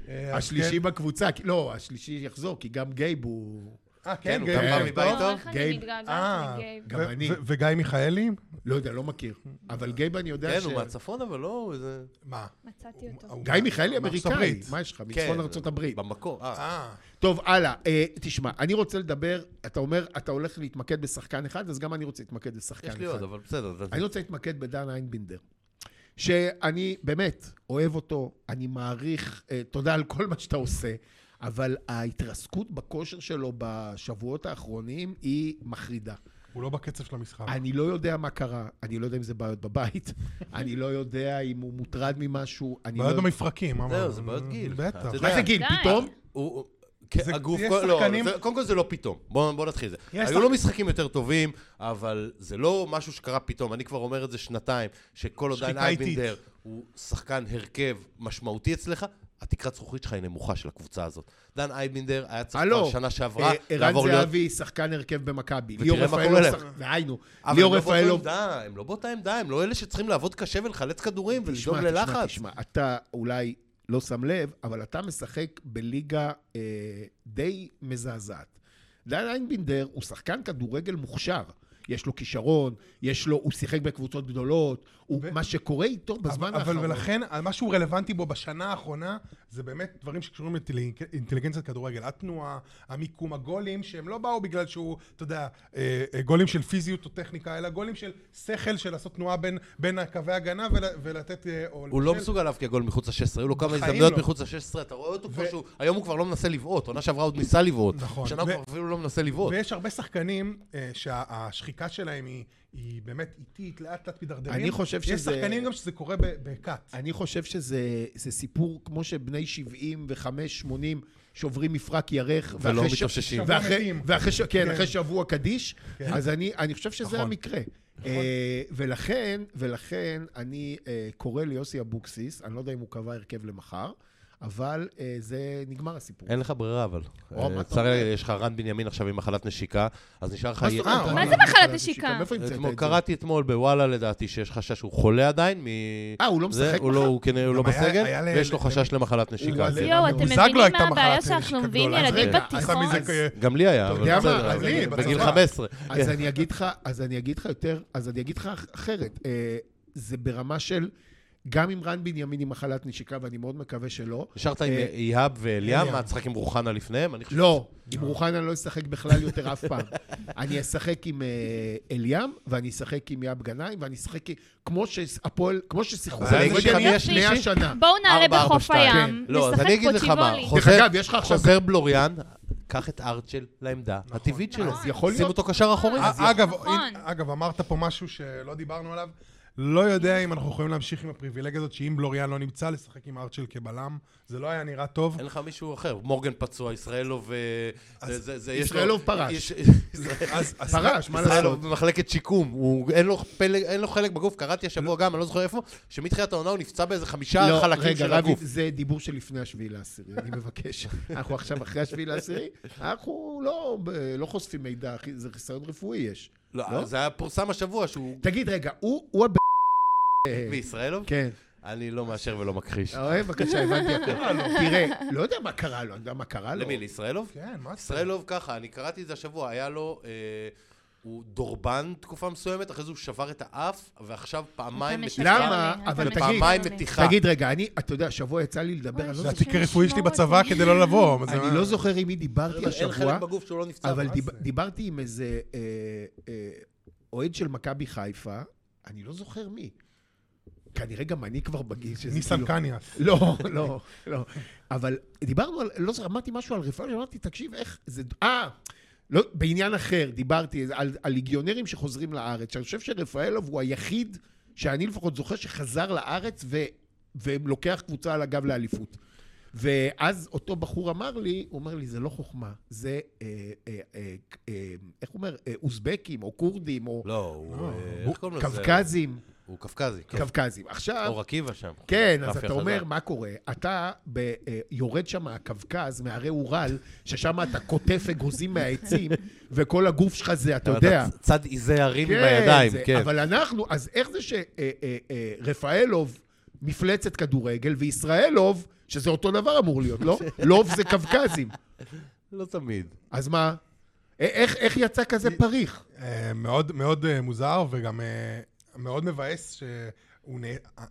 אה,
השלישי בקבוצה, כי- לא, השלישי יחזור, כי גם גייב הוא...
אה,
כן,
כן,
הוא
גיא.
גם בא
כן.
מבית טוב.
איך אני
גייב.
אה,
מתגעגעת לגייב.
גם
ו-
אני.
ו- וגיא מיכאלי?
לא יודע, לא מכיר. אבל גייב אני יודע
כן,
ש...
הוא מהצפון, אבל לא, הוא איזה...
מה?
מצאתי אותו.
הוא
גיא
מה-
מיכאלי
מארצות
אמריקאי,
הברית.
מה יש לך?
אה, כן.
מצפון ארצות הברית.
במקור. אה,
אה,
טוב, הלאה. אה, תשמע, אני רוצה לדבר, אתה אומר, אתה הולך להתמקד בשחקן אחד, אז גם אני רוצה להתמקד בשחקן
יש
אחד.
לי עוד, אבל בסדר. זה-
כן, אני רוצה להתמקד בדן איינבינדר. שאני באמת אוהב אותו, אני מעריך, אה, תודה על כל מה שאתה עושה, אבל ההתרסקות בכושר שלו בשבועות האחרונים היא מחרידה.
הוא לא בקצב של המשחק.
אני לא יודע מה קרה, אני לא יודע אם זה בעיות בבית, אני לא יודע אם הוא מוטרד ממשהו, אני לא...
בעיות במפרקים, אמרנו.
זהו, זה בעיות גיל.
בטח.
אתה יודע.
מה זה גיל?
די.
פתאום?
הוא... הוא- כן,
זה-
הגוף,
יש
כל- לא,
שחקנים-
זה- קודם כל זה לא פתאום, בואו בוא נתחיל את זה.
יש
היו לו
שחק-
משחקים יותר טובים, אבל זה לא משהו שקרה פתאום, אני כבר אומר את זה שנתיים, שכל עוד דן
שחיקה איטית.
אייבנדר הוא שחקן הרכב משמעותי אצלך, התקרת זכוכית שלך היא נמוכה של הקבוצה הזאת. דן אייבנדר היה צריך
הלו,
כבר שנה שעברה
אה, ערן
לעבור להיות...
זהבי, שחקן הרכב במכבי.
ותראה
ליאור
מה
רפאלוב,
קורה להם.
שחק- דהיינו,
אבל הם
ליאור
לא באותה
רפאלוב...
עמדה, הם לא באותה עמדה, הם לא אלה שצריכים לעבוד קשה ולחלץ כדורים ולדאוג
תשמע, תשמע,
ללחץ.
תשמע, אתה אולי לא שם לב, אבל אתה משחק בליגה אה, די מזעזעת. דן איינבינדר הוא שחקן כדורגל מוכשר. יש לו כישרון, יש לו, הוא שיחק בקבוצות גדולות, הוא,
ו-
מה שקורה איתו בזמן
אבל-
האחרון...
אבל ולכן, מה שהוא רלוונטי בו בשנה האחרונה, זה באמת דברים שקשורים לאינטליג- לאינטליגנציית כדורגל. התנועה, המיקום, הגולים, שהם לא באו בגלל שהוא, אתה יודע, אה, אה, גולים של פיזיות או טכניקה, אלא גולים של שכל, של לעשות תנועה בין- בין קווי הגנה ול- ולתת... אה, או
הוא לא
לבשל.
מסוגל להבקיע גול מחוץ ל-16, היו לו כמה
בחיים
הזדמנויות
לא.
מחוץ ל-16, אתה רואה אותו
ו-
כמו שהוא, היום הוא כבר לא מנסה לבעוט, עונה שעברה עוד ניסה לבעוט,
נכון.
שנה הוא
ו-
כבר אפילו לא מנסה לבעוט.
ויש הרבה שחקנים אה, שהשחיקה שלהם היא, היא באמת איטית, לאט לאט מידרדרים.
אני חושב
יש
שזה-
שחקנים גם שזה קורה ב- בכת.
אני חושב שזה זה סיפור כמו שבני 75-80 שוברים מפרק ירך.
ולא
ואחרי ש-
מתאוששים.
שבוע
ואחרי,
מתים.
ואחרי, ש... כן,
כן.
אחרי שבוע קדיש,
כן.
אז אני, אני חושב שזה
נכון.
המקרה. אה, ולכן, ולכן אני אה, קורא ליוסי אבוקסיס, אני לא יודע אם הוא קבע הרכב למחר, אבל אה, זה נגמר הסיפור.
אין לך ברירה אבל.
או,
אה,
מה אתה
צר לי,
אומר?
יש לך רן בנימין עכשיו עם מחלת נשיקה, אז נשאר לך... אה,
מה זאת אומרת? אה,
אה,
מה
אני-
זה מחלת
אני-
נשיקה?
מאיפה המצאת
אתמול-
את זה?
קראתי אתמול בוואלה לדעתי שיש חשש שהוא חולה עדיין, מ...
אה, הוא לא
זה,
משחק
הוא לא,
מחר?
הוא כנראה הוא לא
גם היה-
בסגל,
היה ל-
ויש לו
ל-
חשש למחלת נשיקה.
הוא-
יואו,
גם
אתם
לבוזגלו
מבינים
הייתה
מה הבעיה
מחלת
שאנחנו
נשיקה
מביאים
גדולה.
ילדים
רגע,
אה, עשה
בתיכון?
מזה כ-
גם לי היה, אבל
יודע מה,
בסדר,
אז
אבל
לי,
בגיל
בצבא.
15.
אז אני אגיד לך, אז אני אגיד לך יותר, אז אני אגיד לך אח- אחרת. אה, זה ברמה של, גם אם רן בנימין עם מחלת נשיקה, ואני מאוד מקווה שלא,
נשארת עם
אה,
איהאב ואליאם,
אליאם.
מה, תשחק עם רוחנה לפניהם? אני חושב-
לא, עם
אה.
רוחנה אני לא אשחק בכלל יותר אף פעם. אני אשחק עם אה, אליאם, ואני אשחק עם יאב גנאים, ואני אשחק עם- כמו שהפועל, כמו ששיחקו.
אבל
אני אגיד לך,
בכדורגל
מי השלישי?
100 שנה.
בואו נעלה
ארבע, ארבע,
בחוף
שתיים.
הים,
כן. לא, אז אני
נשחק
אגיד לך מה,
בוצ'יבולי.
חוזר-
דרך אגב, יש לך עכשיו... נכון.
חוזר בלוריאן, קח את ארצ'ל לעמדה הטבעית שלו.
אז יכול
שים
להיות.
אותו קשר אחורי.
אה,
אז
אגב,
נכון.
הנה, אגב, אמרת פה משהו שלא דיברנו עליו. לא יודע אם אנחנו יכולים להמשיך עם הפריבילגיה הזאת, שאם בלוריאן לא נמצא, לשחק עם ארצ'ל כבלם. זה לא היה נראה טוב.
אין לך מישהו אחר, מורגן פצוע, ישראלוב... אה, זה- זה- זה- יש לו-
ישראלוב פרש.
יש-
אז אז-
פרש, מה
ישראל
לעשות?
הוא במחלקת שיקום, הוא- אין לו פלג- אין לו חלק בגוף, קראתי השבוע גם, אני לא זוכר איפה, שמתחילת העונה הוא נפצע באיזה חמישה חלקים
לא, רגע,
של
רבי,
הגוף.
זה דיבור של לפני השביעי לעשירי, אני מבקש. אנחנו עכשיו אחרי השביעי לעשירי, אנחנו לא, לא חושפים מידע, אחי, זה חיסיון רפואי יש.
לא, זה היה פורסם השבוע שהוא...
תגיד, רגע, הוא, הוא הב...
וישראלוב?
כן.
אני לא מאשר ולא מכחיש.
אה, בבקשה, הבנתי הכל. תראה, לא יודע מה קרה לו, אני יודע מה קרה לו.
למי, לישראלוב?
כן, מה זה?
ישראלוב ככה, אני קראתי את זה השבוע, היה לו... אה, הוא דורבן תקופה מסוימת, אחרי זה הוא שבר את האף, ועכשיו פעמיים...
אתה
בתיחה-
משקר
למה?
לי, אתה
אבל
משקר
פעמיים
לי.
בתיחה.
תגיד, רגע, אני, אתה יודע, השבוע יצא לי לדבר, אני לא
זה
זוכר-
התיק הרפואי שלי
שמור
בצבא
אותי.
כדי לא לבוא. אבל זה
אני
מה-
לא זוכר עם מי דיברתי
אין
השבוע,
חלק בגוף שהוא לא נפצע.
אבל
מה
דיב-
זה?
דיברתי עם איזה אה, אה, אוהד של מכבי חיפה, אני לא זוכר מי. כנראה גם אני כבר בגיל שזה
ניסן קניאס.
לא, לא, לא. אבל דיברנו על, לא זוכר, אמרתי משהו על רפואה, אמרתי, תקשיב, איך זה... אה, לא, בעניין אחר, דיברתי על, על ליגיונרים שחוזרים לארץ, שאני חושב שרפאלוב הוא היחיד שאני לפחות זוכר שחזר לארץ ו, ולוקח קבוצה על הגב לאליפות. ואז אותו בחור אמר לי, הוא אומר לי, זה לא חוכמה, זה, אה, אה, אה, אה, איך הוא אומר, אה, אוזבקים או כורדים או
לא, הוא... אה, איך קוראים לזה?
קווקזים,
הוא קווקזי. כן.
קווקזים. עכשיו...
אור עקיבא שם.
כן, אז
רפי
אתה
החזק.
אומר, מה קורה? אתה ב- אה, יורד שם מהקווקז, מהרי אורל, ששם אתה קוטף אגוזים מהעצים, וכל הגוף שלך זה, אתה יודע.
צ- צד עיזי הרים
כן,
בידיים,
זה-
כן.
אבל אנחנו, אז איך זה אה, שרפאלוב מפלצת כדורגל, וישראלוב, שזה אותו דבר אמור להיות, לא? לוב זה קווקזים.
לא תמיד.
אז מה? א- איך איך יצא כזה פריך?
אה, מאוד מאוד אה, מוזר וגם אה, מאוד מבאס שהוא נ...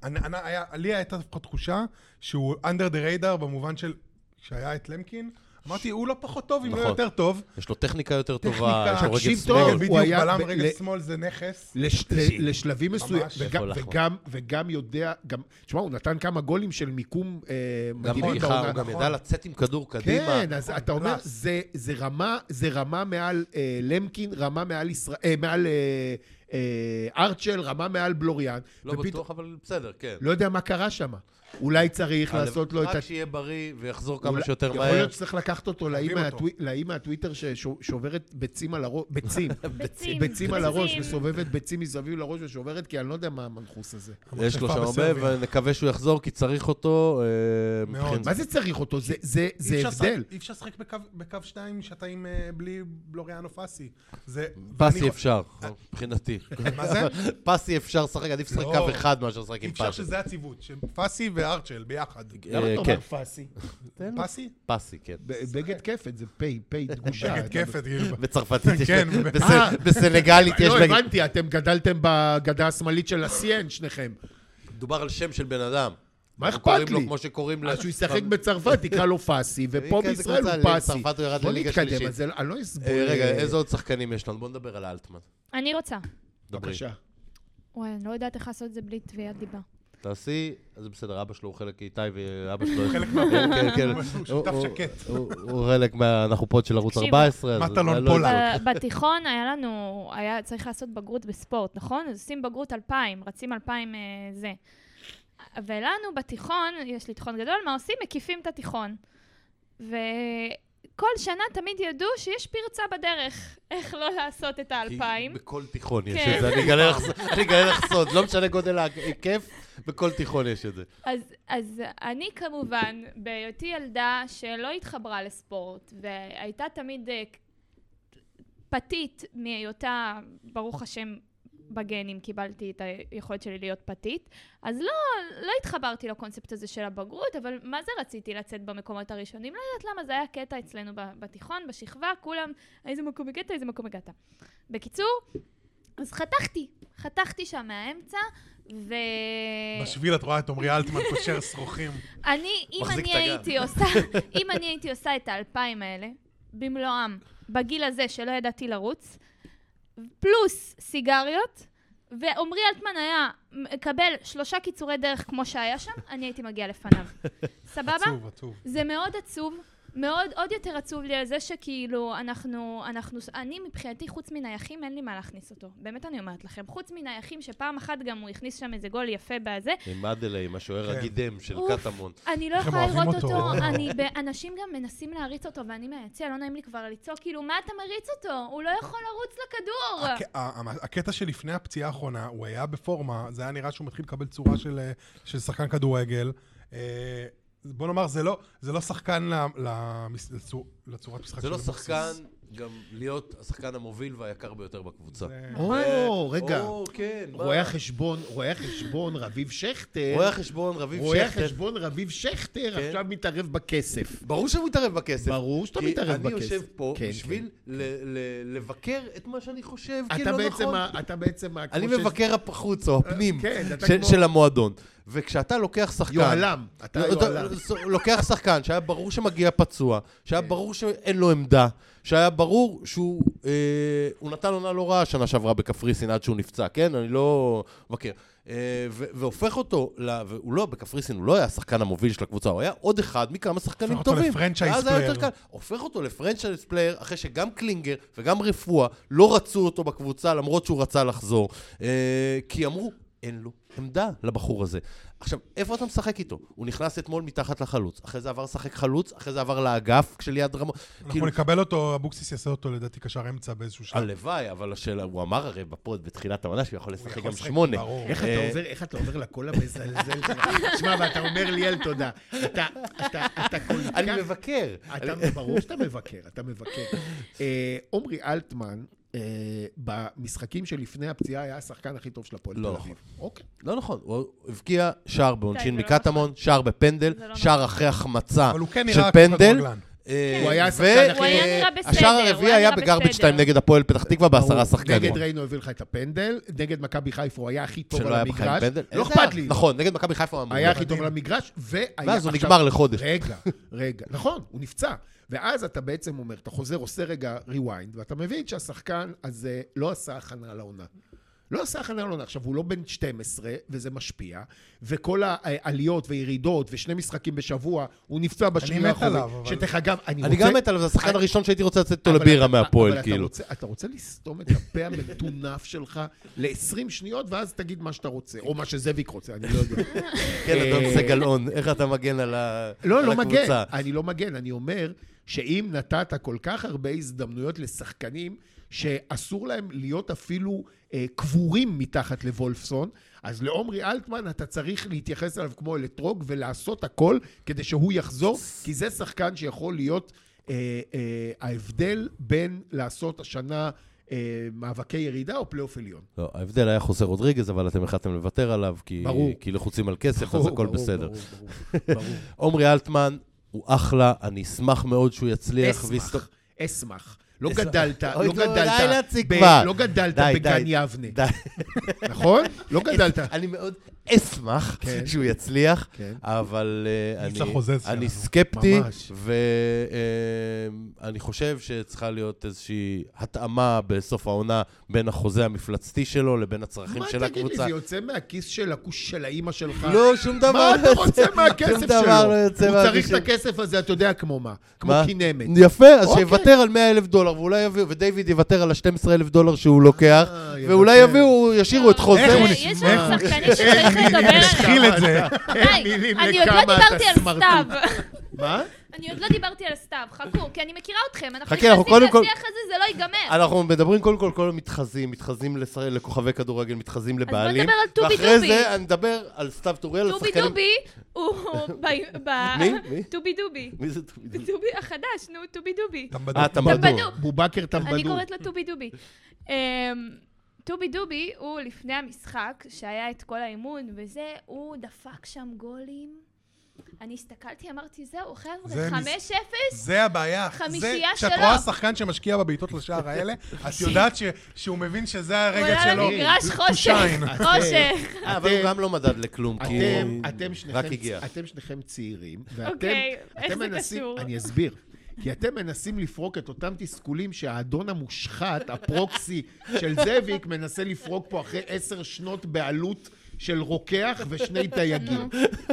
אני- אני- היה- לי הייתה לפחות תחושה שהוא under the radar במובן של שהיה את למקין. אמרתי, הוא לא פחות טוב, אם לא
נכון. לא,
יותר טוב.
יש לו טכניקה יותר
טכניקה,
טובה, יש לו רגל
תקשיב
שמאל.
טוב.
רגל
הוא
בדיוק,
היה
בלם
ב-
רגל
ל-
שמאל זה נכס.
לש,
שלישי.
ל, לשלבים מסוימים, וגם,
איפה אנחנו?
וגם, וגם יודע, גם, תשמע, הוא נתן כמה גולים של מיקום אה,
גם
מדהימים
בדיחה, הוא גם
נכון.
ידע לצאת עם כדור קדימה.
כן, אז אתה אומר,
פלאס.
זה, זה, רמה, זה רמה מעל אה, למקין, רמה מעל, ישראל, אה, מעל אה, אה, ארצ'ל, רמה מעל בלוריאן.
לא
ופתאום-
בטוח, אבל בסדר, כן.
לא יודע מה קרה שם. אולי צריך
אבל
לעשות לו את ה...
רק שיהיה בריא ויחזור כמה
אולי-
שיותר
יכול
מהר.
להיות שצריך לקחת אותו לאי
אוהבים
מהטווי- לאי מהטוויטר ששוברת ביצים על הראש, ביצים,
ביצים.
ביצים על
ביצים.
הראש, מסובבת ביצים מסביב לראש ושוברת, כי אני לא יודע מה המנחוס הזה.
יש לו
המחשפה
שם הרבה,
בסרביה.
ונקווה שהוא יחזור, כי צריך אותו. אה,
מאוד.
מבחינת-
מה זה צריך אותו? זה, זה, זה
אי אפשר
הבדל.
לשחק- אי אפשר לשחק בקו- בקו שתיים שאתה עם אה, בלי בלוריאנו פאסי. זה...
פסי
ואני-
אפשר, מבחינתי.
אה, מה זה?
פסי אפשר לשחק, עדיף לשחק
לא.
קו אחד מאשר לשחק עם
אפשר
פסי.
שזה הציוות, שפאסי וארצ'ל ביחד.
למה אתה אה, אומר כן.
פאסי?
פאסי?
פסי, כן.
ב- בגד כפת, זה פ', פ'
אה,
דגושה.
נגד כיפת, כאילו.
בצרפתית יש...
כן,
להם-
ב-
בס-
אה.
בסנגלית יש...
לא,
להם-
הבנתי, אתם גדלתם בגדה השמאלית של הסיין, שניכם.
דובר על שם של בן אדם.
מה
אנחנו
אכפת
קוראים לו
לי?
כמו שקוראים
אה,
אה, לו.
אז שהוא ישחק בצרפת, תקרא לו פאסי, ופה
כן, זה
בישראל הוא
קבוצה,
פאסי.
לצרפת הוא ירד
בוא
לליגה
נתקדם,
שלישית.
אז אני- אני לא אסבור.
אה, רגע,
אה,
איזה עוד שחקנים יש לנו? בואו נדבר על אלטמן.
אני רוצה.
דברי.
בבקשה.
וואי, אני לא יודעת איך לעשות את זה בלי תביעת דיבה.
תעשי, אז זה בסדר, אבא שלו הוא חלק איתי, ואבא שלו... הוא
חלק
כן,
מה-
כן, כן.
הוא שותף
הוא-
שקט.
הוא- הוא חלק מה... אנחנו פה של ערוץ
תקשיבו.
14. אז
מטלון
אולי לא
פולק.
ידעו.
ב- בתיכון היה לנו, היה צריך לעשות בגרות בספורט, נכון? אז עושים בגרות 2,000, רצים 2,000 אה, זה. ולנו בתיכון, יש לי תיכון גדול, מה עושים? מקיפים את התיכון. וכל שנה תמיד ידעו שיש פרצה בדרך, איך לא לעשות את
כי
האלפיים.
בכל תיכון יש
כן.
את זה, אני אגלה לך- אני אגלה לך סוד, לא משנה גודל ההיקף, בכל תיכון יש את זה.
אז, אז אני כמובן, בהיותי ילדה שלא התחברה לספורט, והייתה תמיד אה, פתית מהיותה, ברוך השם, בגנים קיבלתי את היכולת שלי להיות פתית, אז לא, לא התחברתי לקונספט הזה של הבגרות, אבל מה זה רציתי לצאת במקומות הראשונים? לא יודעת למה, זה היה קטע אצלנו ב- בתיכון, בשכבה, כולם, איזה מקום הגעת, איזה מקום הגעת. בקיצור, אז חתכתי, חתכתי שם מהאמצע, ו... אה,
בשביל את רואה את עמרי אלטמן קושר שרוכים.
אני, אם
מחזיק
אני
את הגב.
הייתי עושה, אם אני הייתי עושה את האלפיים האלה, במלואם, בגיל הזה שלא ידעתי לרוץ, פלוס סיגריות, ועמרי אלטמן היה מקבל שלושה קיצורי דרך כמו שהיה שם, אני הייתי מגיעה לפניו. סבבה?
עצוב, עצוב.
זה מאוד עצוב. מאוד, עוד יותר עצוב לי על זה שכאילו אנחנו, אנחנו, אני מבחינתי חוץ מנייחים אין לי מה להכניס אותו. באמת אני אומרת לכם. חוץ מנייחים שפעם אחת גם הוא הכניס שם איזה גול יפה בזה,
עם אדלה, עם השוער
כן.
הגידם של
אוף.
קטמון.
אני לא
איך הם
יכולה
אוהבים
לראות
אותו.
אותו, אני, ב- אנשים גם מנסים להריץ אותו ואני מהיציע, לא נעים לי כבר לצעוק, כאילו מה אתה מריץ אותו? הוא לא יכול לרוץ לכדור!
אה,
הק- ה- ה- הקטע שלפני הפציעה האחרונה, הוא היה בפורמה, זה היה נראה שהוא מתחיל לקבל צורה של, אה, של שחקן כדורגל. אה, בוא נאמר, זה לא, זה לא שחקן ל, למס- לצור, לצורת משחק
זה לא
של אבוקסיס.
שחקן, גם להיות השחקן המוביל והיקר ביותר בקבוצה.
זה-
או, רגע.
או, כן, מה?
רואה החשבון, רואה החשבון רביב שכטר,
רואה חשבון, רביב
רואה
שכטר.
החשבון רביב שכטר
כן.
עכשיו מתערב בכסף.
ברור שהוא מתערב בכסף.
ברור שאתה
כי
מתערב
אני
בכסף.
יושב פה
כן,
בשביל ל- ל- לבקר את מה שאני חושב
אתה
כלא
בעצם
נכון.
ה- אתה בעצם ה-
אני
כמו שיש-
מבקר החוץ או הפנים
כן, אתה
של-
כמו-
של המועדון. וכשאתה לוקח שחקן...
יוהל"ם, אתה
לא,
יוהל"ם.
אתה- לוקח שחקן שהיה ברור שמגיע פצוע, שהיה ברור שאין לו עמדה, שהיה ברור שהוא אה, הוא נתן עונה לא רעה שנה שעברה בקפריסין עד שהוא נפצע, כן? אני לא מבקר. אה, ו- והופך אותו, ל- והוא לא, בקפריסין הוא לא היה השחקן המוביל של הקבוצה, הוא היה עוד אחד מכמה שחקנים
הופך אותו
טובים.
לפרנצ'ייז
ואז היה
פלייר.
יותר קל. הופך אותו לפרנצ'ייז פלייר, אחרי שגם קלינגר וגם רפואה לא רצו אותו בקבוצה, למרות שהוא רצה לחזור. אה, כי אמרו, אין לו עמדה לבחור הזה. עכשיו, איפה אתה משחק איתו? הוא נכנס אתמול מתחת לחלוץ, אחרי זה עבר לשחק חלוץ, אחרי זה עבר לאגף כשליד רמון.
אנחנו
כאילו,
נקבל אותו, אבוקסיס יעשה אותו לדעתי קשר אמצע באיזשהו שלב.
הלוואי, אבל השאלה, הוא אמר הרי בפוד בתחילת העונה שהוא יכול
הוא
לשחק
יכול
גם
לשחק,
שמונה.
ברור.
איך
אה,
אתה עובר, איך אתה עובר לקול המזלזל שלך? תשמע, ואתה אומר ליאל תודה. אתה, אתה, אתה כל כך...
אני מבקר.
אתה, ברור שאתה מבקר, אתה מבקר. אה, עומרי אלטמן, אה, במשחקים שלפני הפציעה, היה השחקן הכי טוב של הפועל
לא
תל
נכון.
אביב. אוקיי.
לא נכון, הוא הבקיע שער בעונשין
די, זה לא
מקטמון, שער בפנדל,
זה לא
שער אחרי החמצה
אבל הוא כן
של
נראה
פנדל.
כדורגלן.
אה,
הוא היה
ו-
השחקן הכי- הוא היה
נראה בסדר,
השער
הוא היה
הרביעי היה
נראה
בגרבג'
בסדר.
2 נגד הפועל פתח תקווה בעשרה
ברור.
שחקנים.
נגד ריינו הביא לך את הפנדל, נגד מכבי חיפה הוא היה הכי טוב
שלא
על
היה בחיים
המגרש.
פנדל.
לא
איזה
אכפת
היה?
לי.
נכון, נגד מכבי חיפה הוא אמור.
היה הכי טוב על המגרש, והיה עכשיו... אה,
ואז הוא נגמר לחודש.
רגע, רגע. נכון, הוא נפצע. ואז אתה בעצם אומר, אתה חוזר, עושה רגע rewind, ואתה מבין שהשחקן הזה לא עשה הכנה לעונה. לא עשה הכנה לעונה. עכשיו, הוא לא בן 12, וזה משפיע, וכל העליות וירידות, ושני משחקים בשבוע, הוא נפצע בשני
מת
האחורי.
עליו, אבל-
שדרך אגב, אני רוצה...
אני גם מת עליו, זה השחקן
אני-
הראשון שהייתי רוצה לצאת איתו
אבל
לבירה
אתה- אבל
מהפועל,
אתה
כאילו.
רוצה- אתה רוצה לסתום את הפה המטונף שלך ל-20 שניות, ואז תגיד מה שאתה רוצה, או מה שזאביק רוצה, אני לא יודע.
כן, אדון
אה,
סגלון, איך אתה מגן על ה-
לא,
על
לא מגן.
הקבוצה?
אני לא מגן, אני אומר שאם נתת כל כך הרבה הזדמנויות לשחקנים שאסור להם להיות אפילו אה, קבורים מתחת לוולפסון, אז לעומרי אלטמן אתה צריך להתייחס אליו כמו אלטרוג ולעשות הכל כדי שהוא יחזור, כי זה שחקן שיכול להיות אה, אה, ההבדל בין לעשות השנה אה, מאבקי ירידה או פלייאוף עליון.
לא, ההבדל היה חוסר רודריגז, אבל אתם החלטתם לוותר עליו, כי-
ברור.
כי לחוצים על כסף, אז
ברור,
הכל
ברור,
בסדר.
ברור, ברור, ברור.
עומרי אלטמן הוא אחלה, אני אשמח מאוד שהוא יצליח. ויסתו-
אשמח, אשמח. לא
אשמח.
גדלת,
אוי,
לא
נו, די
גדלת,
להציג
ב-
כבר.
לא גדלת
די,
בגן
די.
יבנה,
די.
נכון? לא אה, גדלת.
אני מאוד אשמח
כן.
שהוא יצליח,
כן.
אבל אה,
ניצה
אני-
חוזז
אני
שלנו.
סקפטי,
ממש.
ואני חושב שצריכה להיות איזושהי התאמה בסוף העונה בין החוזה המפלצתי שלו לבין הצרכים
מה
של
תגיד לי,
הקבוצה.
זה יוצא מהכיס של הכוש של האימא שלך?
לא, שום דבר
מה
לא
אתה רוצה
יוצא- שום
מהכסף
דבר לא יוצא
שלו? הוא צריך
מהכיס
את הכסף הזה, אתה יודע כמו מה, כמו
מה?
כינמת.
יפה, אז
אוקיי.
שיוותר על 100 אלף דולר, ואולי יביאו, ודייוויד יוותר על ה-12 אלף דולר שהוא לוקח,
אה,
ואולי
יוותר.
יביאו, ישאירו את חוזה.
איך הוא
אה, יש יש לנו שחקנים שצריך לדבר עליהם.
התחיל את זה.
אין
די,
מילים
אני עוד לא
לכמה
דיברתי
אתה
על
סמרטוט.
סתיו.
מה?
אני עוד לא דיברתי על סתיו, חכו, כי אני מכירה אתכם. אנחנו
חכי, אנחנו
נכנסים
קודם אה,
לשיח הזה, זה לא ייגמר.
אנחנו מדברים קודם כל כל המתחזים, מתחזים לשר- לכוכבי כדורגל, מתחזים
בוא
לבעלים.
נדבר על טובי
ואחרי
דובי.
זה אני מדבר על סתיו טוריאל,
דובי
השחקנים-
דובי הוא... ב- ב-
מי? מי?
דובי דובי.
מי זה טובי דובי?
דובי החדש, נו, דובי דובי.
טמבדו.
אה, אתה
טמבדו.
מרדור.
בובקר
אני
טמבדור.
קוראת לו טובי דובי. אמ, טובי דובי הוא לפני המשחק, שהיה את כל האימון וזה, הוא דפק שם גולים. אני הסתכלתי, אמרתי, זהו, חבר'ה,
זה מס-
5-0?
זה הבעיה.
חמישייה
זה- כשאת
שלו.
רואה שחקן שמשקיע בבעיטות לשער האלה, את יודעת ש- שהוא מבין שזה
הוא
הרגע
עלה
שלו.
למגרש
to
חושך,
shine.
חושך.
אה, אבל הוא
אתם-
גם לא מדד לכלום, כי...
אתם, אתם,
רק
שניכם, אה,
הגיע.
אתם שניכם צעירים, ואתם
אוקיי,
אתם
איך זה
מנסים,
קשור?
אני אסביר. כי אתם מנסים לפרוק את אותם תסכולים שהאדון המושחת, הפרוקסי של זאביק, מנסה לפרוק פה אחרי עשר שנות בעלות של רוקח ושני דייגים.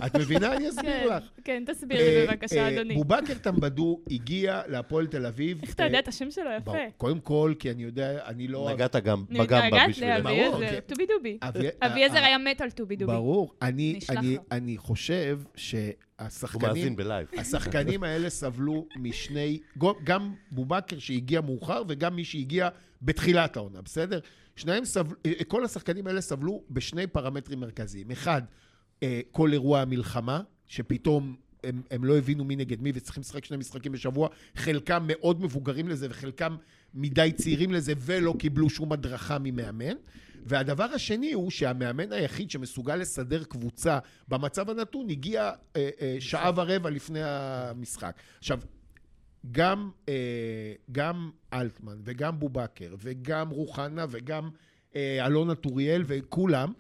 את מבינה? אני
כן,
אסביר לך.
כן, תסביר לי בבקשה,
אוקיי. אה, אה,
אדוני.
בובקר טמבדו הגיע להפועל תל אביב.
איך אתה
אה,
יודע את השם שלו
ברור.
יפה?
קודם כל, כי אני יודע, אני לא...
נגעת גם
אני
בגמבה
מתגעגעת
בשבילנו.
לאבי. ברור,
לאביעזר,
כן.
טובי דובי.
אבי-
אביעזר
אה,
היה מת על טובי דובי.
ברור. אני-
נשלח
אני-
לו.
אני חושב
הוא
שהשחקנים...
מאזין בלייב.
השחקנים האלה סבלו משני, גם בובקר שהגיע מאוחר וגם מי שהגיע בתחילת העונה, בסדר? שניהם סבלו, כל השחקנים האלה סבלו בשני פרמטרים מרכזיים. אחד, אה, כל אירוע המלחמה, שפתאום הם, הם לא הבינו מי נגד מי וצריכים לשחק שני משחקים בשבוע, חלקם מאוד מבוגרים לזה וחלקם מדי צעירים לזה ולא קיבלו שום הדרכה ממאמן. והדבר השני הוא שהמאמן היחיד שמסוגל לסדר קבוצה במצב הנתון הגיע אה, אה, שעה ורבע לפני המשחק. עכשיו, גם, אה, גם אלטמן וגם בובקר וגם רוחנה וגם אה, אלונה טוריאל וכולם,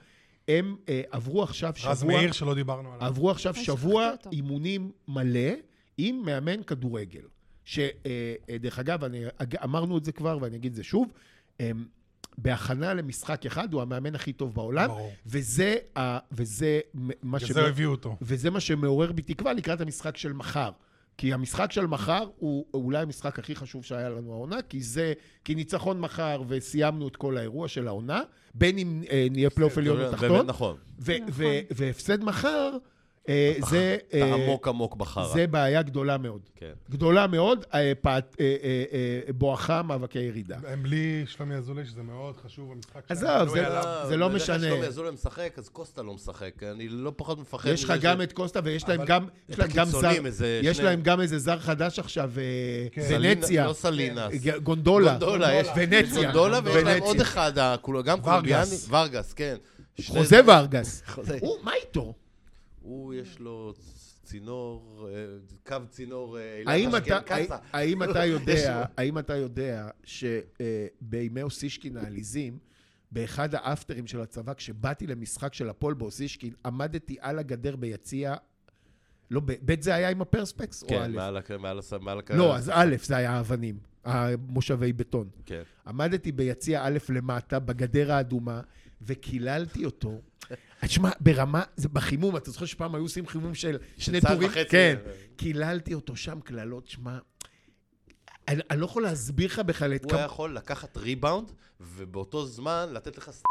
הם אה, עברו עכשיו שבוע...
רז מאיר שלא דיברנו עליו.
עברו עכשיו
אוי,
שבוע
שכחתי אותו.
אימונים מלא עם מאמן כדורגל. שדרך אגב, אני, אג- אמרנו את זה כבר ואני אגיד את זה שוב, אמ, בהכנה למשחק אחד הוא המאמן הכי טוב בעולם,
ברור.
וזה, ה- וזה מ- מה
בגלל זה הביאו אותו.
וזה מה שמעורר בי תקווה לקראת המשחק של מחר. כי המשחק של מחר הוא אולי המשחק הכי חשוב שהיה לנו העונה, כי זה, כי ניצחון מחר וסיימנו את כל האירוע של העונה, בין אם אה, נהיה פלייאוף עליון או
באמת
תחתון,
נכון.
ו-
נכון.
ו- והפסד מחר, אה, זה...
אתה
אה,
עמוק עמוק בחרא.
זה בעיה גדולה מאוד.
כן.
גדולה מאוד, אה, פעת- אה, אה, אה, בואכה מאבקי ירידה.
הם בלי שלומי אזולאי, שזה מאוד חשוב, המשחק
עזוב,
שלהם,
זה-
תלוי עליו.
זה לא
בדרך כלל
משנה.
שלומי אזולאי משחק, אז קוסטה לא משחק. אני לא פחות מפחד
יש לך
מזה
גם
ש-
את קוסטה ויש להם
אבל-
גם... יש להם גם זר...
הקיצונים, איזה
יש
שני-
להם גם איזה זר חדש עכשיו, אה,
כן.
סלינה-
ונציה.
לא סלינס.
ג- גונדולה.
גונדולה, יש
ונציה.
גונדולה, ויש להם
ונציה.
עוד אחד, ה- כולו- גם קולוביאני. ורגס, כן. שני-
חוזה וארגס.
חוזה.
הוא, מה איתו?
הוא, יש לו צינור, אה, קו צינור אה, אילת
האם אתה-
אשכנזי.
האם אתה
יש
יודע,
לו-
האם אתה יודע שבימי אוסישקין העליזים, באחד האפטרים של הצבא, כשבאתי למשחק של הפועל באוסישקין, עמדתי על הגדר ביציע, לא, ב- ב' זה היה עם הפרספקס או
כן, אה.
א'?
מעל הק- מעל הס- מעל הקו.
לא, אז א' זה היה האבנים, המושבי בטון.
כן.
עמדתי ביציע א' למטה, בגדר האדומה, וקיללתי אותו. תשמע, ברמה, זה בחימום, אתה זוכר שפעם היו עושים חימום של שני
צעד
טורים?
וחצי. אה.
כן. קיללתי אותו שם קללות, שמע, אני, אני לא יכול להסביר לך בכלל את
הוא היה
כמה...
יכול לקחת ריבאונד, ובאותו זמן לתת לך... ס-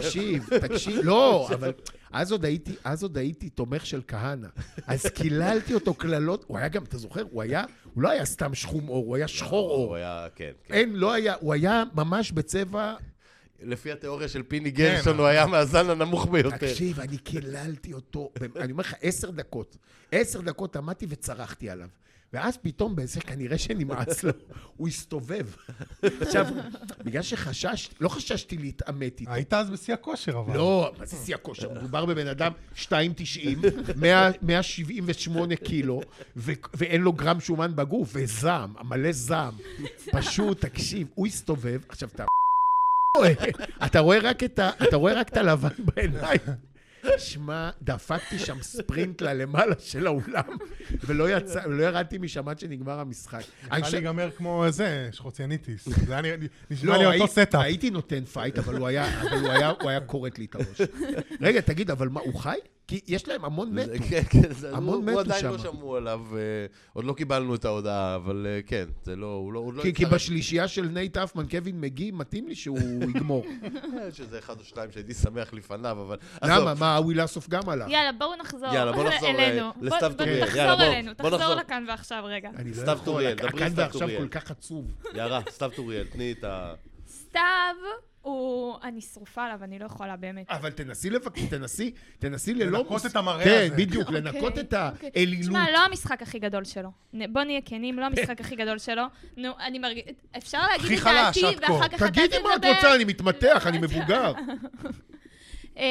תקשיב, תקשיב, לא, אבל אז עוד הייתי, אז עוד הייתי תומך של כהנא. אז קיללתי אותו קללות, הוא היה גם, אתה זוכר, הוא היה, הוא לא היה סתם שחום אור, הוא היה שחור
הוא
אור.
היה, כן. כן.
אין, לא היה, הוא היה ממש בצבע
לפי התיאוריה של פיני גרשון, הוא היה מהזן הנמוך ביותר.
כן. תקשיב, אני קיללתי אותו, אני אומר לך, עשר דקות. עשר דקות עמדתי וצרחתי עליו. ואז פתאום באיזה, כנראה שנמאס לו, הוא הסתובב. עכשיו, בגלל שחששתי, לא חששתי להתעמת איתו.
היית אז בשיא הכושר, אבל.
לא, מה זה שיא הכושר? מדובר בבן אדם 2.90, 100 178 קילו, ו- ואין לו גרם שומן בגוף, וזעם, מלא זעם. פשוט, תקשיב, הוא הסתובב, עכשיו אתה... רואה, אתה רואה רק את ה... אתה רואה רק את הלבן בעיניים. שמע, דפקתי שם ספרינט ללמעלה של האולם, ולא יצא, לא ירדתי משם עד שנגמר המשחק. אני
היה
חושב-
להיגמר כמו זה, שחוציאניטיס. זה היה נראה לי- נשמע
לא,
לי
הי-
אותו סטאפ.
הייתי נותן פייט, אבל הוא היה, אבל הוא היה, הוא היה כורת לי את הראש. רגע, תגיד, אבל מה, הוא חי? כי יש להם המון מתו.
זה- כן, כן, זה-
המון
הוא-
מתו
הוא עדיין לא
שמה.
שמעו עליו, אה, עוד לא קיבלנו את ההודעה, אבל אה, כן, זה לא, הוא לא, הוא לא
כי, כי
הצטרף,
בשלישייה של נייט אפמן, קווין מגי, מתאים לי שהוא יגמור.
אה, שזה אחד או שניים שהייתי שמח לפניו, אבל... עזוב,
למה? מה, אווי לאסוף גם עלה.
יאללה, בואו נחזור
יאללה, בואו נחזור,
אלינו.
אה,
בוא-
לסתיו
בוא-
טוריאל. יאללה,
תחזור
בואו,
אלינו,
בואו
תחזור
נחזור.
לכאן ועכשיו רגע.
אני לא
סתיו
יכול,
טוריאל,
הכ-
דברי
הכאן
סתיו
ועכשיו
טוריאל.
כל כך עצוב.
יערה, סתיו טוריאל, תני את ה...
סתיו הוא... אני שרופה עליו, אני לא יכולה באמת.
אה,
אבל תנסי לבק... תנסי, תנסי ללא...
לנקות
מוס-
את המראה
כן,
הזה.
בדיוק, לנקות
אוקיי,
את
אוקיי.
האלילות.
תשמע, לא המשחק הכי גדול שלו. נ- בוא נהיה כנים, לא המשחק הכי גדול שלו. נו, אני מרגיש... אפשר להגיד
הכי
את
חלש
דעתי,
עד כה.
ואחר כך אתה
תגידי מה את
תדבר.
רוצה, אני מתמתח, אני מבוגר.
אמ,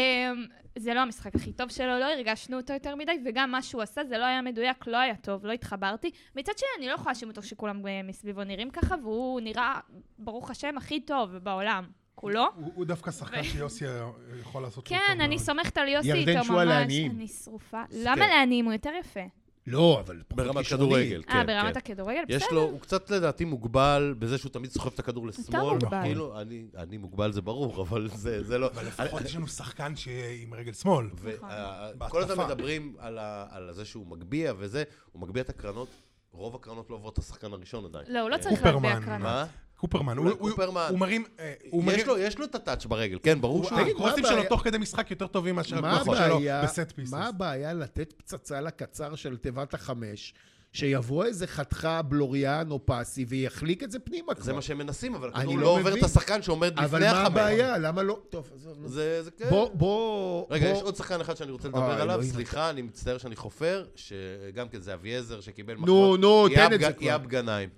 זה לא המשחק הכי טוב שלו, לא הרגשנו אותו יותר מדי, וגם מה שהוא עשה זה לא היה מדויק, לא היה טוב, לא התחברתי. מצד שני, אני לא יכולה להאשים אותו שכולם אה, מסביבו נראים ככה, והוא נראה, ברוך השם, הכי טוב בעולם. כולו.
הוא הוא דווקא שחקן שיוסי היה- יכול לעשות לו טוב
כן, אני
מאוד.
סומכת על יוסי
ירדן
איתו
שועה
ממש.
לעניים.
אני שרופה. למה לעניים? הוא יותר יפה.
לא, אבל פחות
ברמת
כישרוני.
כדורגל, כן,
אה,
כן.
ברמת הכדורגל? בסדר.
יש לו, הוא קצת לדעתי מוגבל בזה שהוא תמיד סוחב את הכדור לשמאל.
מוגבל.
כאילו, אני, אני מוגבל זה ברור, אבל זה, זה לא...
אבל לפחות יש לנו שחקן שעם רגל שמאל.
נכון.
אה, כל הזמן
בהתקפה.
מדברים על, ה, על זה שהוא מגביה וזה, הוא מגביה את הקרנות, רוב הקרנות לא עוברות את השחקן הראשון עדיין.
לא, הוא לא צריך
קופרמן,
להגביה קרנות.
מה?
קופרמן. הוא- הוא-
קופרמן.
הוא מרים... אה, הוא
יש
מרים...
לו, יש לו את הטאץ' ברגל, כן, ברור שהוא...
תגיד, מה
הקרוסים
הבעיה?
שלו תוך כדי משחק יותר טובים מאשר
מה
הקרוסים שלו
הבעיה,
בסט פיסס.
מה הבעיה לתת פצצה לקצר של תיבת החמש, שיבוא איזה חתיכה בלוריאן או פסי ויחליק את זה פנימה כבר?
זה מה שהם מנסים, אבל
אני
הכדור
לא
לא עובר
מבין.
את השחקן שעומד לפני החמש.
אבל מה הבעיה? למה לא? טוב, עזוב. נו.
זה, זה כן.
בוא, בוא...
רגע,
בוא-
יש עוד שחקן אחד שאני רוצה
אה,
לדבר עליו,
אלוהים.
סליחה, אני מצטער שאני חופר, שגם כן זה אביעזר שקיבל
נו, נו, תן את זה
יאב ג-
כבר.
יאב גנאים.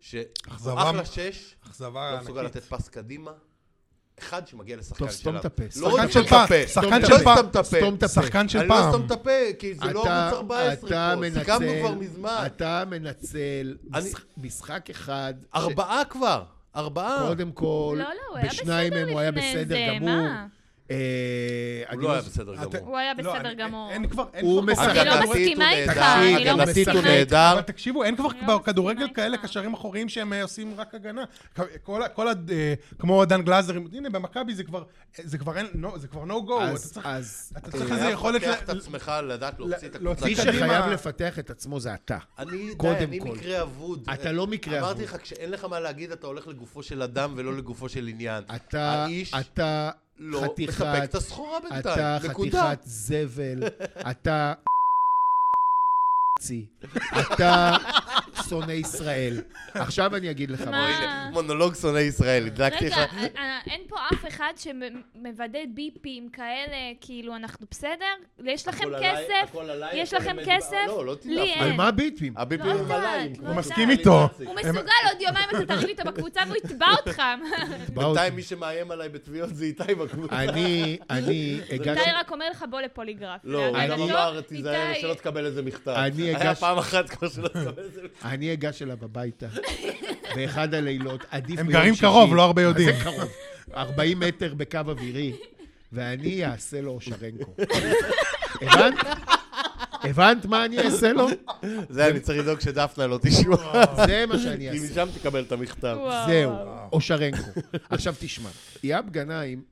שהוא
אכזבה.
אחלה שש,
אכזבה
לא מסוגל
ענקית.
לתת פס קדימה. אחד שמגיע לשחקן שלנו.
טוב, סתום את הפה.
לא
שחקן
רק
של
סתום את
פעם.
הפה.
שחקן
לא
של פעם.
סתום את הפה.
סתום את הפה.
שחקן של
אני לא
פעם.
אסתום את הפה, כי זה לא
אתה-
ערוץ 14
אתה
פה.
מנצל-
סיכמנו כבר מזמן.
אתה מנצל
אני-
מש- משחק אחד. ש-
ארבעה כבר. ארבעה.
קודם כל,
לא, לא, הוא היה
בשניים
בסדר
מהם הוא היה
לפני
בסדר
זה,
גמור.
מה?
אה, אני
הוא לא היה בסדר
אתה-
גמור.
הוא היה
לא,
בסדר
אני-
גמור.
אין כבר... אין
הוא
כבר-
משחק.
אני לא
הגנתית הוא
מסכימה
נהדר.
איתך,
תקשיב,
אני לא
הגנתית הוא
מסכימה.
נהדר.
אבל תקשיבו, אין כבר
אני לא
בכדורגל
מסכימה
כאלה
איתך.
קשרים אחוריים שהם אה, עושים רק הגנה. כל ה... כל ה... אה, כמו דן גלאזר, הנה, במכבי זה כבר... אה, זה כבר אין... נו- זה כבר no go. אתה
אז,
צריך...
אז
אתה
אה,
צריך איזה יכולת...
לפתח את
ל-
עצמך לדעת להוציא את
ל-
הקבוצה.
להוציא
מי
קדימה.
שחייב לפתח את עצמו זה אתה.
אני, די,
קודם
אני
כל.
מקרה אבוד.
אתה לא מקרה
אמרתי
אבוד.
לך, כשאין לך מה להגיד, אתה הולך לגופו של אדם ולא לגופו של עניין.
אתה,
האיש
אתה
לא מספק
חתיכת,
את הסחורה
אתה
בינתיים. נקודה.
חתיכת זבל, אתה צי, אתה שונא ישראל. עכשיו אני אגיד לך
מה?
מה.
הנה, מונולוג שונא ישראל, הדלקתי לך.
אה. רגע, אה, אה, אין פה אף אחד שמוודא ביפים כאלה, כאילו, אנחנו בסדר? יש לכם
הכל עליי-
כסף?
הכל עליי,
יש
אתה
לכם
באמת-
כסף?
לא, לא תדע.
לי אין.
על מה ביטים?
הביפים
לא
הם
יודעת,
עליי.
לא
הם
הוא
יודעת.
כבר-
מסכים איתו.
הוא מסוגל עוד יומיים אתה תריב איתו בקבוצה והוא יתבע אותך.
בינתיים מי שמאיים עליי בתביעות זה איתי בקבוצה.
אני, אני הגשתי...
איתי רק אומר לך, בוא לפוליגרף.
לא, הוא גם
להגנתו,
אמר, תיזהר
איתי-
שלא תקבל איזה מכתב.
אני
היה
הגש-
פעם אחת כבר שלא תקבל איזה מכתב.
אני אגש אליו הביתה, באחד הלילות, עדיף
הם
ביום
גרים
שישי.
קרוב, לא הרבה יודעים.
מה זה קרוב? 40 מטר בקו אווירי, ואני אעשה לו אושרנקו. הבנת? הבנת מה אני אעשה לו?
זה אני צריך לדאוג שדפנה לא תשמע.
זה מה
כי
שאני אעשה.
משם תקבל את המכתב.
וואו.
זהו, אושרנקו. עכשיו תשמע, יאב גנאים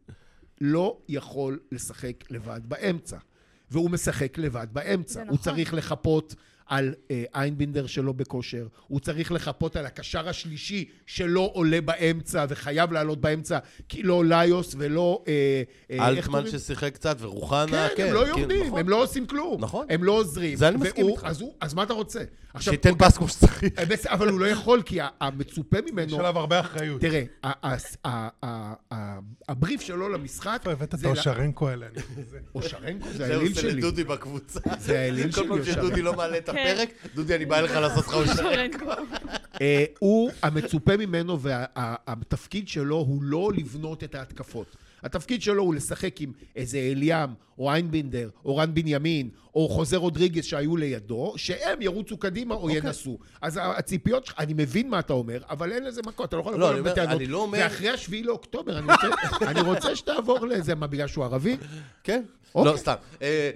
לא יכול לשחק לבד באמצע, והוא משחק לבד באמצע.
זה
הוא
נכון.
צריך לחפות על אה, איינבינדר שלא בכושר, הוא צריך לחפות על הקשר השלישי שלא עולה באמצע וחייב לעלות באמצע, כי לא ליוס ולא... אה, אה, איך
אלטמן
קוראים?
ששיחק קצת, ורוחנה,
כן,
כן.
הם לא
כן,
יורדים,
נכון.
הם לא עושים כלום.
נכון.
הם לא עוזרים.
זה אני מסכים
והוא-
איתך.
אז הוא- אז מה אתה רוצה? עכשיו,
שייתן פס כמו שצריך.
בסדר, אבל הוא לא יכול, כי ה- המצופה
יש
ממנו...
עליו הרבה אחריות.
תראה, ה- ה- ה- ה- ה- הבריף שלו למשחק...
איפה הבאת את
זה לא- ל-
האושרנקו האלה? אני- זה-
אושרנקו זה
זהו,
האליל
זה
שלי.
לדודי בקבוצה.
זה
כל
האליל שלי,
פעם שדודי
אושרנקו.
לא מעלה את
כן.
הפרק, דודי, אני בא אליך לעשות לך אושרנקו.
אה, הוא, המצופה ממנו והתפקיד שלו הוא לא לבנות את ההתקפות. התפקיד שלו הוא לשחק עם איזה אליאם, או איינבינדר, או רן בנימין, או חוזה רודריגז שהיו לידו, שהם ירוצו קדימה
אוקיי.
או ינסו. אז ה- הציפיות שלך, אני מבין מה אתה אומר, אבל אין לזה מקום, אתה לא יכול
לא,
לבוא
אני
אליו
אומר,
בטענות.
אני לא אומר-
זה אחרי השביעי לאוקטובר, אני רוצה- אני רוצה שתעבור לאיזה, מה, בגלל שהוא ערבי?
כן? לא,
אוקיי.
סתם. אה,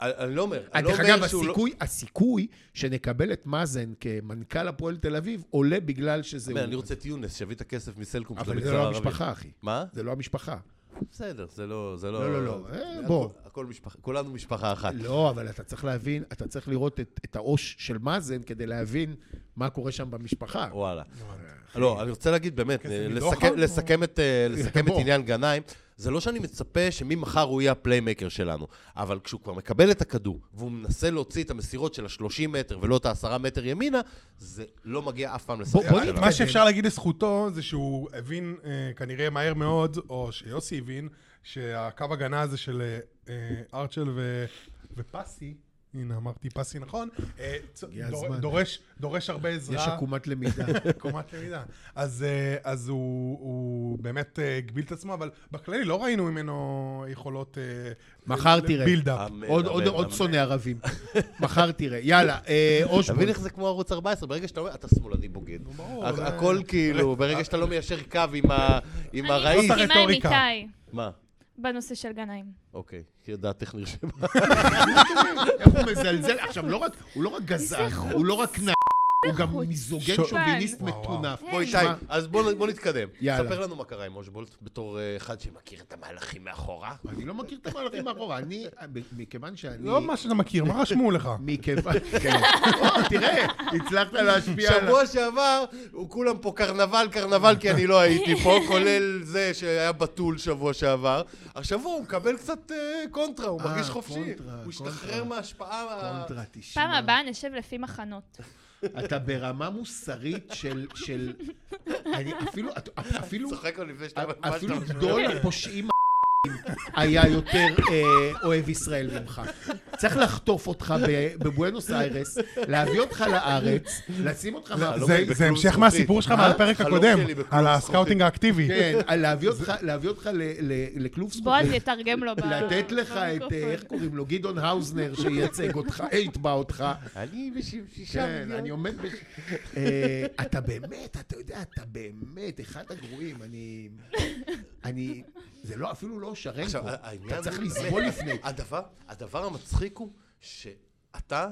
אני אני לא אומר. אני לא
אה, דרך
אומר
אגב,
שהוא לא-
הסיכוי, הסיכוי שנקבל את מאזן כמנכ"ל הפועל תל אביב עולה בגלל שזה
אבל
הוא.
אני רוצה את יונס, שיביא את הכסף מסלקום של
אבל
המגזר
זה לא
הערבי.
המשפחה, אחי.
מה?
זה לא המשפחה.
בסדר, זה לא... זה לא,
לא, לא, לא. אה, בוא.
הכל- הכל משפחה, כולנו משפחה אחת.
לא, אבל אתה צריך להבין, אתה צריך לראות את, את העו"ש של מאזן כדי להבין מה קורה שם במשפחה.
וואלה. לא, אני רוצה להגיד באמת, אה,
מדוחן?
לסכם- לסכם את, אה, לסכם את
בוא.
עניין גנאים, זה לא שאני מצפה שממחר הוא יהיה הפליימקר שלנו, אבל כשהוא כבר מקבל את הכדור, והוא מנסה להוציא את המסירות של ה-30 מטר ולא את ה-10 מטר ימינה, זה לא מגיע אף פעם לשחקן
בוא
שלנו.
נתמקד.
מה שאפשר להגיד לזכותו זה שהוא הבין אה, כנראה מהר מאוד, או שיוסי הבין, שהקו הגנה הזה של אה, אה, ארצ'ל ו- ופסי, הנה אמרתי פסי נכון, אה, צ-
הגיע
דור-
הזמן.
דורש- דורש הרבה עזרה.
יש עקומת למידה.
קומת למידה. אז, אה, אז הוא, הוא באמת אה, הגביל את עצמו, אבל בכללי לא ראינו ממנו יכולות... אה,
מחר
ל-
תראה. אה,
בילדאפ.
אמן,
עוד-
אמן,
עוד- עוד
אמן.
שונא ערבים. מחר תראה. יאללה, אה,
אתה
אושבולט.
מבין איך זה כמו ערוץ 14, ברגע שאתה אומר, אתה שמאלני בוגד.
ברור,
הכ-
זה-
הכל כאילו, ברגע שאתה לא מיישר קו עם ה- עם הרהיט.
אני מסכימה עם
הרטוריקה.
איתי.
מה?
בנושא של גנאים.
אוקיי, כי דעתך נרשמה.
איך הוא מזלזל? עכשיו, לא רק, הוא לא רק גזען, הוא לא רק נע... הוא גם מיזוגן
שו-
שוביניסט
וואו, וואו.
מטונף.
בוא איתי,
תשמע,
אז בוא בוא נתקדם.
יאללה.
ספר לנו מה קרה עם אושבולט, בתור אה, אחד שמכיר את המהלכים מאחורה.
אני לא מכיר את המהלכים מאחורה. אני, מכיוון שאני...
לא מה שאתה מכיר, מה רשמו לך?
מכיוון... כן. או, תראה, הצלחת להשפיע על...
שבוע שעבר, הוא כולם פה קרנבל, קרנבל, כי אני לא הייתי פה, כולל זה שהיה בתול שבוע שעבר. השבוע הוא מקבל קצת אה, קונטרה, הוא
אה,
מרגיש חופשי.
קונטרה,
הוא
קונטרה.
השתחרר מההשפעה... ה-
קונטרה,
פעם
תשמע.
הבאה נשב לפי מחנות.
אתה ברמה מוסרית של... של... אני אפילו... אפילו...
צוחק עוד לפני שאתה... מה
אה, אפילו
שאתה-
גדול הפושעים היה יותר אה, אוהב ישראל ממך. צריך לחטוף אותך ב- בבואנוס איירס, להביא אותך לארץ, לשים אותך...
זה-
מאחורי-
חלום
זה-
שלי
זה
בכלוב
המשך
זכוכית.
מהסיפור שלך
אה?
מהפרק
חלום
הקודם,
שלי בכלוב
על
זכוכית.
הסקאוטינג האקטיבי.
כן, אה, להביא אותך- להביא אותך ל- ל- לכלוב זכוכית.
בועז יתרגם לו ב...
לתת לך את, אה,
במיקרופון.
איך קוראים לו, גדעון האוזנר שייצג אותך, יתבע אותך.
אני בשישה
כן,
מיליון.
אני עומד בש... אה, אתה באמת, אתה יודע, אתה באמת אחד הגרועים. אני... אני... זה לא, אפילו לא שרנקו.
עכשיו, אה, העניין...
אתה צריך
הוא-
לסבול לפני.
הדבר, הדבר המצחיק הוא שאתה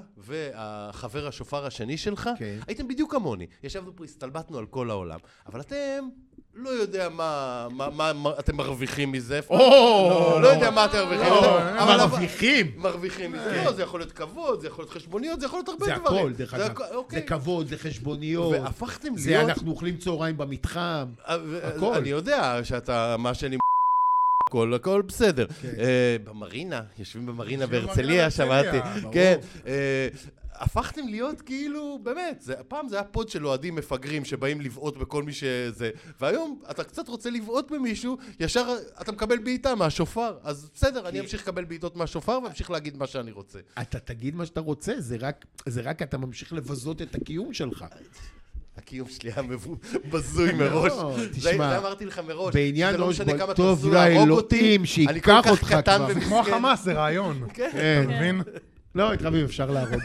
והחבר השופר השני שלך,
כן.
הייתם בדיוק כמוני. ישבנו פה, הסתלבטנו על כל העולם, אבל אתם... לא יודע מה, מה, מה, מה אתם מרוויחים מזה.
או,
לא, לא יודע מה אתם מרוויחים.
לא,
אבל-
אבל
אבל-
מרוויחים. כן.
מרוויחים מזה. לא, זה יכול להיות כבוד, זה יכול להיות חשבוניות, זה יכול להיות הרבה
זה
דברים.
הכל, דרך אגב.
הכ- אוקיי.
זה כבוד, זה חשבוניות.
והפכתם להיות...
זה אנחנו אוכלים צהריים במתחם. הכל.
אני יודע שאתה, מה שאני... הכל, הכל בסדר. אה, במרינה, יושבים במרינה
יושבים
בהרצליה,
במרינה
שמעתי.
בהרצליה,
כן. אה, הפכתם להיות כאילו, באמת, זה, פעם זה היה פוד של אוהדים מפגרים שבאים לבעוט בכל מי שזה, והיום אתה קצת רוצה לבעוט במישהו, ישר אתה מקבל בעיטה מהשופר. אז בסדר, אני אמשיך לקבל בעיטות מהשופר ואמשיך להגיד מה שאני רוצה.
אתה תגיד מה שאתה רוצה, זה רק- זה רק אתה ממשיך לבזות את הקיום שלך.
הקיום שלי היה מבו- בזוי אה, מראש.
לא,
זה-
תשמע,
זה אמרתי לך מראש.
בעניין
זה לא משנה
אושבולט,
כמה
טוב
תנסו להרוג
לאלוהים
אותי,
שייקח
אני כל כך
אותך
קטן
כבר. זה
כמו
ומסכן.
החמאס, זה רעיון. אתה
כן.
מבין?
לא, את רביב אפשר להרוג.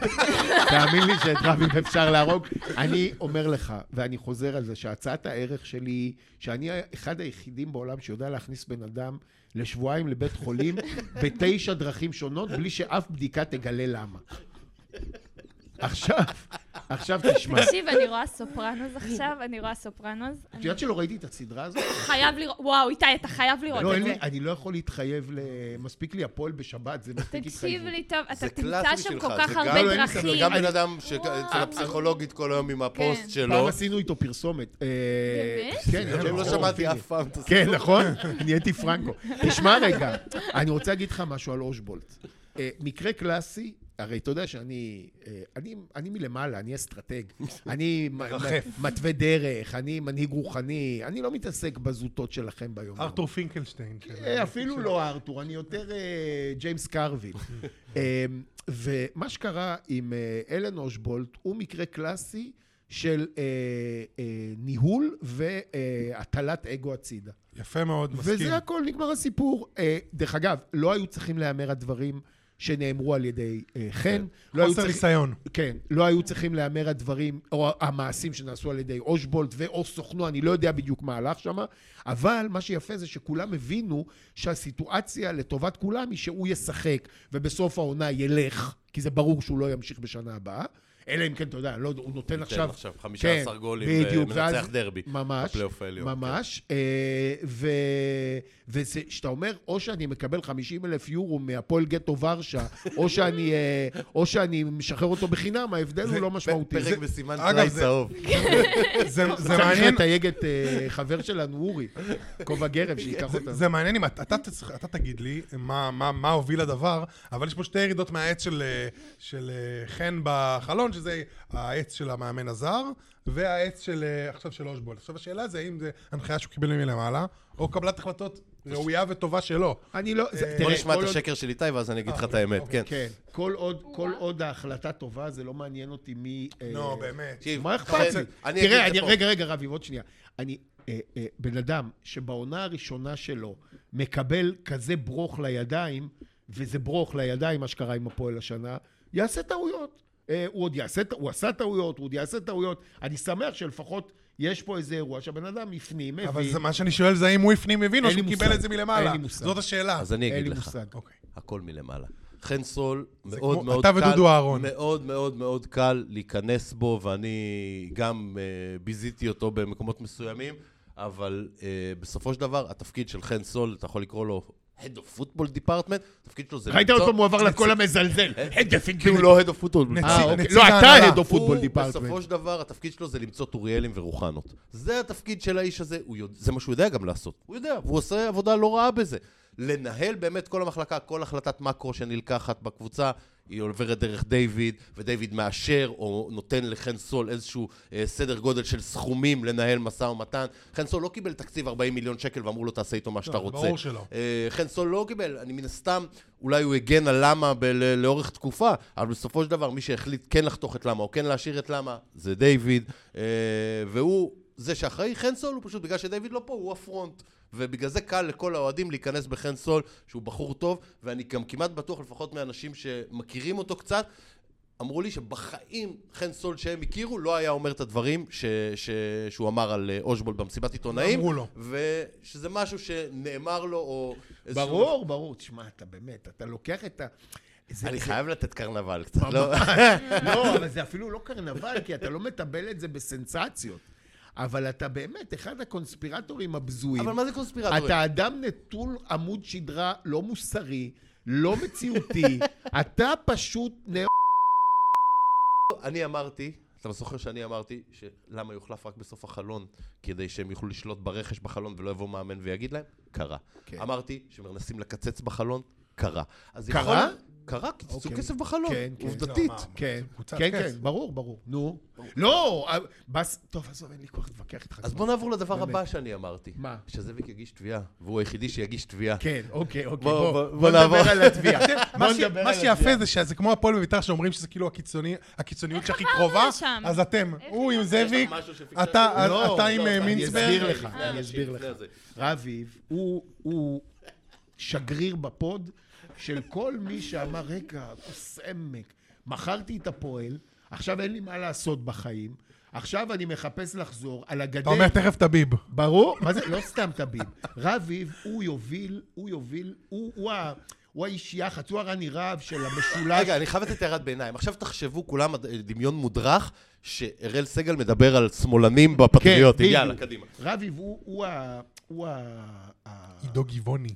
תאמין לי שאת רביב אפשר להרוג. אני אומר לך, ואני חוזר על זה, שהצעת הערך שלי היא שאני אחד היחידים בעולם שיודע להכניס בן אדם לשבועיים לבית חולים בתשע דרכים שונות, בלי שאף בדיקה תגלה למה. עכשיו, עכשיו תשמע.
תקשיב, אני רואה סופרנוס עכשיו, אני רואה סופרנוס.
את
אני
יודעת שלא ראיתי את הסדרה הזאת?
חייב לראות, וואו, איתי, אתה חייב
לא,
לראות
אין
את
לי,
זה.
אני לא יכול להתחייב ל... מספיק לי הפועל בשבת, זה מספיק
תקשיב
התחייבות.
לי טוב,
זה
אתה
קלאסי
תמצא שם
שלך,
כל
זה
כך
גם-
הרבה
לא, אין לי
זה
דרכים. אה,
גם בן אדם שאצל הפסיכולוגית כל היום עם הפוסט
פעם
כן.
שלו.
עשינו איתו פרסומת. אה,
באמת?
כן,
לא. אני לא
ברור.
שמעתי אף פעם את הסיפור.
כן, נכון? נהייתי פרנקו. תשמע רגע, אני רוצה להגיד לך משהו על אושבולט. אה, מקרה קלאסי, הרי אתה יודע שאני... אה, אני, אני מלמעלה, אני אסטרטג. אני מ-
מרחף.
מ- מתווה דרך, אני מנהיג רוחני, אני לא מתעסק בזוטות שלכם ביום.
ארתור פינקלשטיין. של-
אה, אפילו לא ארתור, אני יותר אה, ג'יימס קרוויל. אה, ומה שקרה עם אה, אלן אושבולט הוא מקרה קלאסי של אה, אה, ניהול והטלת אגו הצידה.
יפה מאוד, מסכים.
וזה הכל, נגמר הסיפור. אה, דרך אגב, לא היו צריכים להיאמר הדברים שנאמרו על ידי אה,
כן.
חן. לא היו
חוסר
צריכים-
ניסיון.
כן, לא היו צריכים להיאמר הדברים, או המעשים שנעשו על ידי אושבולט ואו סוכנו, אני לא יודע בדיוק מה הלך שם, אבל מה שיפה זה שכולם הבינו שהסיטואציה לטובת כולם היא שהוא ישחק, ובסוף העונה ילך, כי זה ברור שהוא לא ימשיך בשנה הבאה. אלא אם כן, אתה יודע, לא, יודע, הוא נותן עכשיו... כן,
עכשיו 15 גולים
בדיוק,
ומנצח
ואז-
דרבי
ממש,
בפלייאוף העליון, כן.
ממש. אה, ו- וכשאתה אומר, או שאני מקבל 50 אלף יורו מהפועל גטו ורשה, או שאני, אה, או שאני משחרר אותו בחינם, ההבדל הוא לא משמעותי.
פרק בסימן
אגב,
טלאי
זה-
צהוב.
כן.
זה זה
צריך
מעניין,
לתייג את אה, חבר שלנו, אורי, כובע גרב, שייקח
זה-
אותנו.
זה מעניין אם אתה- אתה תצ- אתה תגיד לי מה- מה מה הוביל לדבר, אבל יש פה שתי ירידות מהעץ של, אה, של אה, חן בחלון, שזה העץ של המאמן הזר, והעץ של אה, עכשיו של אושבולט. עכשיו השאלה זה האם זה הנחיה שהוא קיבל מלמעלה, או קבלת החלטות ראויה וטובה שלו.
אני לא... זה-
אה, בוא
תראה,
נשמע
כל
את
עוד-
השקר של איתי ואז אני אגיד לך את האמת, כן.
כן, כל עוד- כל עוד ההחלטה טובה, זה לא מעניין אותי מי... אה,
נו, באמת.
לא, תקשיב,
מה אכפת
זה-
לי?
אני
תראה,
אגיד
אני,
את זה פה.
רגע, רגע, רביב, עוד שנייה. אני, אה, אה, בן אדם שבעונה הראשונה שלו מקבל כזה ברוך לידיים, וזה ברוך לידיים, מה שקרה עם הפועל השנה, יעשה טעויות. אה, הוא עוד יעשה, טע- הוא עשה טעויות, הוא עוד יעשה טעויות. אני שמח שלפחות יש פה איזה אירוע שהבן אדם הפנים, מבין.
אבל זה מה שאני שואל זה האם הוא הפנים הבין או
אין לי
שהוא קיבל
מושג.
את זה מלמעלה.
אין לי מושג.
זאת השאלה.
אז אני
אין
אגיד
לי
לך,
מושג.
אוקיי.
הכל מלמעלה. חן סול, מאוד
כמו
מאוד
אתה
קל,
ודודו אהרון.
מאוד מאוד מאוד קל להיכנס בו, ואני גם אה, ביזיתי אותו במקומות מסוימים, אבל אה, בסופו של דבר, התפקיד של חן סול, אתה יכול לקרוא לו Head of Football Department, התפקיד שלו זה... אה,
ראית
למצוא-
אותו מועבר לקול המזלזל. הדפינג.
כי הוא לא Head of Football Department.
נציג-
אה, אוקיי.
נציג
לא, אתה
ההנהלה.
הד אוף פוטבול
הוא,
דיפרטמנט.
בסופו של דבר, התפקיד שלו זה למצוא טוריאלים ורוחנות. זה התפקיד של האיש הזה, הוא יודע, זה מה שהוא יודע גם לעשות. הוא יודע, והוא עושה עבודה לא רעה בזה. לנהל באמת כל המחלקה, כל החלטת מקרו שנלקחת בקבוצה, היא עוברת דרך דיוויד, ודיוויד מאשר או נותן לחן סול איזשהו אה, סדר גודל של סכומים לנהל משא ומתן. חן סול לא קיבל תקציב 40 מיליון שקל ואמרו לו תעשה איתו מה שאתה רוצה.
לא, ברור שלא.
אה, חן סול לא קיבל, אני מן הסתם, אולי הוא הגן על למה ב- ל- לאורך תקופה, אבל בסופו של דבר מי שהחליט כן לחתוך את למה או כן להשאיר את למה, זה דיוויד, אה, והוא זה שאחראי, חן סול הוא פשוט, בגלל שדיוויד לא פה, הוא הפרונט. ובגלל זה קל לכל האוהדים להיכנס בחן סול, שהוא בחור טוב, ואני גם כמעט בטוח, לפחות מאנשים שמכירים אותו קצת, אמרו לי שבחיים חן סול שהם הכירו לא היה אומר את הדברים ש, ש, שהוא אמר על אה, אושבולד במסיבת עיתונאים.
אמרו לו.
ושזה משהו שנאמר לו, או... איזשהו-
ברור, ברור. תשמע, אתה באמת, אתה לוקח את ה... זה-
אני
זה-
חייב לתת קרנבל קצת, לא?
לא, אבל זה אפילו לא קרנבל, כי אתה לא מטבל את זה בסנסציות. אבל אתה באמת אחד הקונספירטורים הבזויים.
אבל מה זה קונספירטורים?
אתה אדם נטול עמוד שדרה לא מוסרי, לא מציאותי. אתה פשוט
לא,
נאו...
אני אמרתי, אתה זוכר שאני אמרתי, שלמה יוחלף רק בסוף החלון, כדי שהם יוכלו לשלוט ברכש בחלון ולא יבוא מאמן ויגיד להם? קרה.
כן.
אמרתי שמנסים לקצץ בחלון, קרה. אז
קרה?
יכול- קרה, קיצצו
אוקיי.
כסף בחלון,
כן, כן.
עובדתית.
לא, מה,
כן,
קבוצת
כן,
כס.
כן, ברור, ברור. נו. לא, אה, בס... טוב, עזוב, אין לי כוח להתווכח איתך.
אז בוא נעבור לדבר
באמת.
הבא שאני אמרתי.
מה?
שזאביק יגיש תביעה, והוא היחידי שיגיש תביעה.
כן, אוקיי, אוקיי.
בוא,
בוא,
בוא,
בוא
בוא נעבור.
נדבר על התביעה.
מה
בוא
ש-
לא נדבר
מה
על
שיפה
התביעה.
זה שזה כמו הפועל בביתר שאומרים שזה כאילו הקיצוני- הקיצוניות שהכי
עברנו
קרובה,
לשם?
אז אתם.
איך
הוא עם
הגענו?
זאביק,
יש לך משהו שפיקששתי?
אתה
לא,
אתה עם
לא,
אה,
אני
אני
מינסברג.
אסביר לך,
לפני
אני
אנשים,
אסביר
אה, לפני
לך.
זה.
רביב, הוא- הוא שגריר בפוד של כל מי שאמר, רגע, כוס עמק, מכרתי את הפועל, עכשיו אין לי מה לעשות בחיים, עכשיו אני מחפש לחזור על הגדר.
אתה אומר תכף תביב.
ברור, מה זה, לא סתם תביב. רביב, הוא יוביל, הוא יוביל, הוא- הוא ה- הוא האיש יח"צ, הוא הרני רהב של המשולש.
רגע, אני חייב לתת הערת ביניים. עכשיו תחשבו כולם, אה, דמיון מודרך, שאראל סגל מדבר על שמאלנים בפטריוטים.
כן, בדיוק.
יאללה, קדימה.
רביב, הוא- הוא ה... הוא ה... ה-
עידו גבעוני.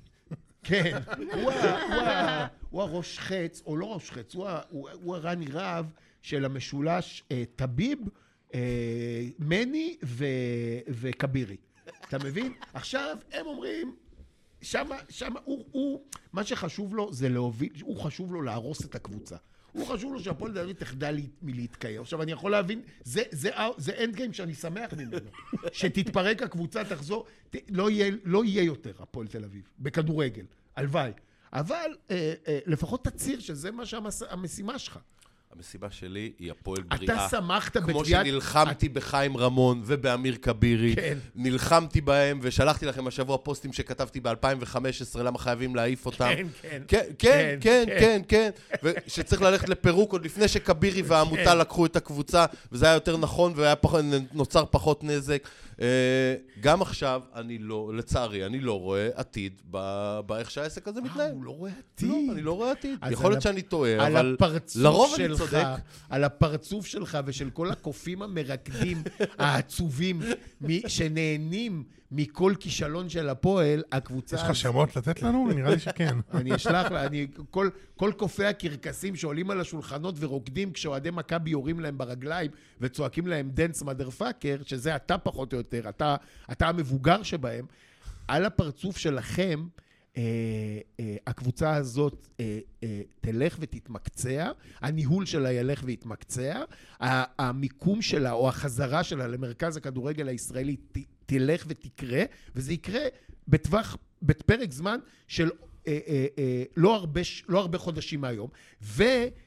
כן, הוא ה- הוא ה- הוא הראש חץ, או לא ראש חץ, הוא ה- הוא ה- הוא הרני רהב של המשולש אה, טביב, אה, מני ו- וכבירי. אתה מבין? עכשיו, הם אומרים, שמה, שמה, הוא, הוא, מה שחשוב לו זה להוביל, הוא חשוב לו להרוס את הקבוצה. הוא חשוב לו שהפועל תל אביב תחדל לה- מלהתקיים. עכשיו, אני יכול להבין, זה, זה, זה, אנד גיים שאני שמח ממנו. שתתפרק הקבוצה, תחזור, ת, לא, יהיה, לא יהיה יותר הפועל תל אביב, בכדורגל, הלוואי. אבל אה, אה, לפחות תצהיר שזה מה שהמשימה שלך.
המסיבה שלי היא הפועל בריאה.
אתה שמחת בתביעת...
כמו שנלחמתי בחיים רמון ובאמיר כבירי,
כן.
נלחמתי בהם ושלחתי לכם השבוע פוסטים שכתבתי ב-2015 למה חייבים להעיף אותם.
כן, כן.
כן, כן, כן,
כן, כן.
כן, כן. ושצריך ללכת לפירוק עוד לפני שכבירי והעמותה לקחו את הקבוצה, וזה היה יותר נכון ונוצר פחות נזק. אה, גם עכשיו, אני לא, לצערי, אני לא רואה עתיד ב- באיך שהעסק הזה מתנהל.
הוא לא רואה עתיד.
לא, אני לא רואה עתיד.
אז
יכול
על
להיות
הפ-
שאני טועה,
על
אבל
הפרצוף
לרוב
שלך,
אני צודק.
על הפרצוף שלך ושל כל הקופים המרקדים העצובים מ- שנהנים מכל כישלון של הפועל, הקבוצה...
יש לך שמות לתת לנו? נראה לי שכן.
אני אשלח לה, אני, כל, כל קופי הקרקסים שעולים על השולחנות ורוקדים כשאוהדי מכבי יורים להם ברגליים וצועקים להם דנס מדר פאקר, שזה אתה פחות או יותר, אתה, אתה המבוגר שבהם, על הפרצוף שלכם, אה, אה, הקבוצה הזאת אה, אה, תלך ותתמקצע, הניהול שלה ילך ויתמקצע, ה- המיקום שלה או החזרה שלה למרכז הכדורגל הישראלי ת, תלך ותקרה, וזה יקרה בטווח, בפרק זמן של אה, אה, אה, לא, הרבה, ש- לא הרבה חודשים מהיום.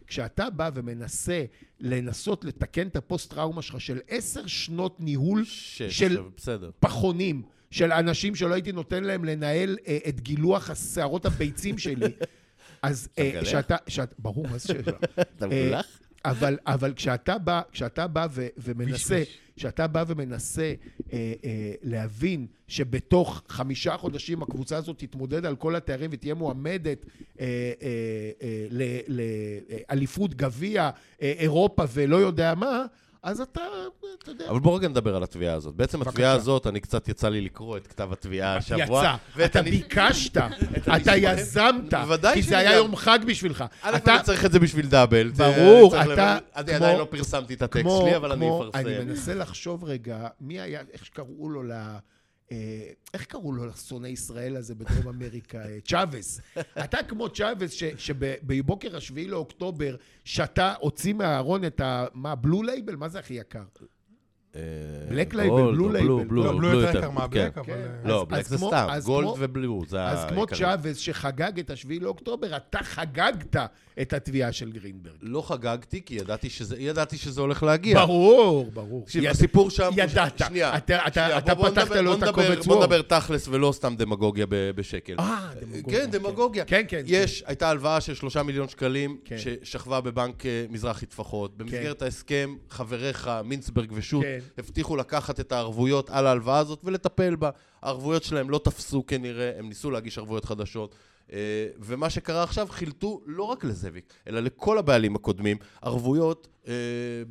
וכשאתה בא ומנסה לנסות לתקן את הפוסט-טראומה שלך של עשר שנות ניהול
שש,
של
בסדר.
פחונים של אנשים שלא הייתי נותן להם לנהל אה, את גילוח השערות הביצים שלי. אז אה,
מגלח?
שאתה, שאת, ברור, מה זה שאלה.
אה, אתה מגולח?
אבל, אבל כשאתה בא, כשאתה בא ו, ומנסה,
ויש,
כשאתה בא ומנסה אה, אה, להבין שבתוך חמישה חודשים הקבוצה הזאת תתמודד על כל התארים ותהיה מועמדת אה, אה, אה, לאליפות גביע, אה, אירופה ולא יודע מה, אז אתה, אתה יודע,
אבל בואו רגע נדבר על התביעה הזאת. בעצם התביעה הזאת, אני קצת יצא לי לקרוא את כתב התביעה השבוע.
יצא.
ואת
אתה
הנש-
ביקשת, אתה
הנשמעים.
יזמת,
בוודאי
כי זה
שאני
היה
גם.
יום חג בשבילך.
א',
אתה
אני צריך את זה בשביל דאבל. זה-
ברור,
צריך
אתה
לב- אני
כמו-
עדיין לא פרסמתי את הטקסט
כמו-
שלי, אבל אני
כמו-
אפרסם.
אני מנסה לחשוב רגע, מי היה, איך שקראו לו ל... אה, איך קראו לו לשונא ישראל הזה בדרום אמריקה? אה, צ'אבס. אתה כמו צ'אבס ש- שבבוקר השביעי לאוקטובר שתה, הוציא מהארון את ה... מה, בלו לייבל? מה זה הכי יקר? Black Label, Blue Label.
לא, בלו יותר יקר
כן.
מהבלק, אבל...
כן.
אה,
לא,
אז-
בלק
אז
זה
כמו-
סתם,
אז
גולד
כמו-
ובלו, זה
אז כמו
העיקרי.
צ'אבס שחגג את השביעי לאוקטובר, אתה חגגת את התביעה של גרינברג.
לא חגגתי, כי ידעתי שזה- ידעתי שזה הולך להגיע.
ברור, ברור.
תקשיב,
יד-
הסיפור שם...
ידעת.
שנייה.
אתה- אתה-
שנייה,
אתה
בוא- בוא
פתחת
נדבר-
לו
בוא
את
נדבר-
הקובץ
בוא
וור.
נדבר תכלס ולא סתם דמגוגיה ב- בשקל.
אה, דמגוגיה.
כן, דמגוגיה.
כן, כן.
יש, הייתה הלוואה של שלושה מיליון שקלים
כן.
ששכבה בבנק אה, מזרחי טפחות. במסגרת ההסכם, חבריך, מינסברג ושות'
כן.
הבטיחו לקחת את הערבויות על ההלוואה הזאת ולטפל בה. הערבויות שלהם לא תפסו כנראה, הם ניסו להגיש ערבויות חדשות. אה, ומה שקרה עכשיו, חילטו לא רק לזאביק, אלא לכל הבעלים הקודמים, ערבויות אה,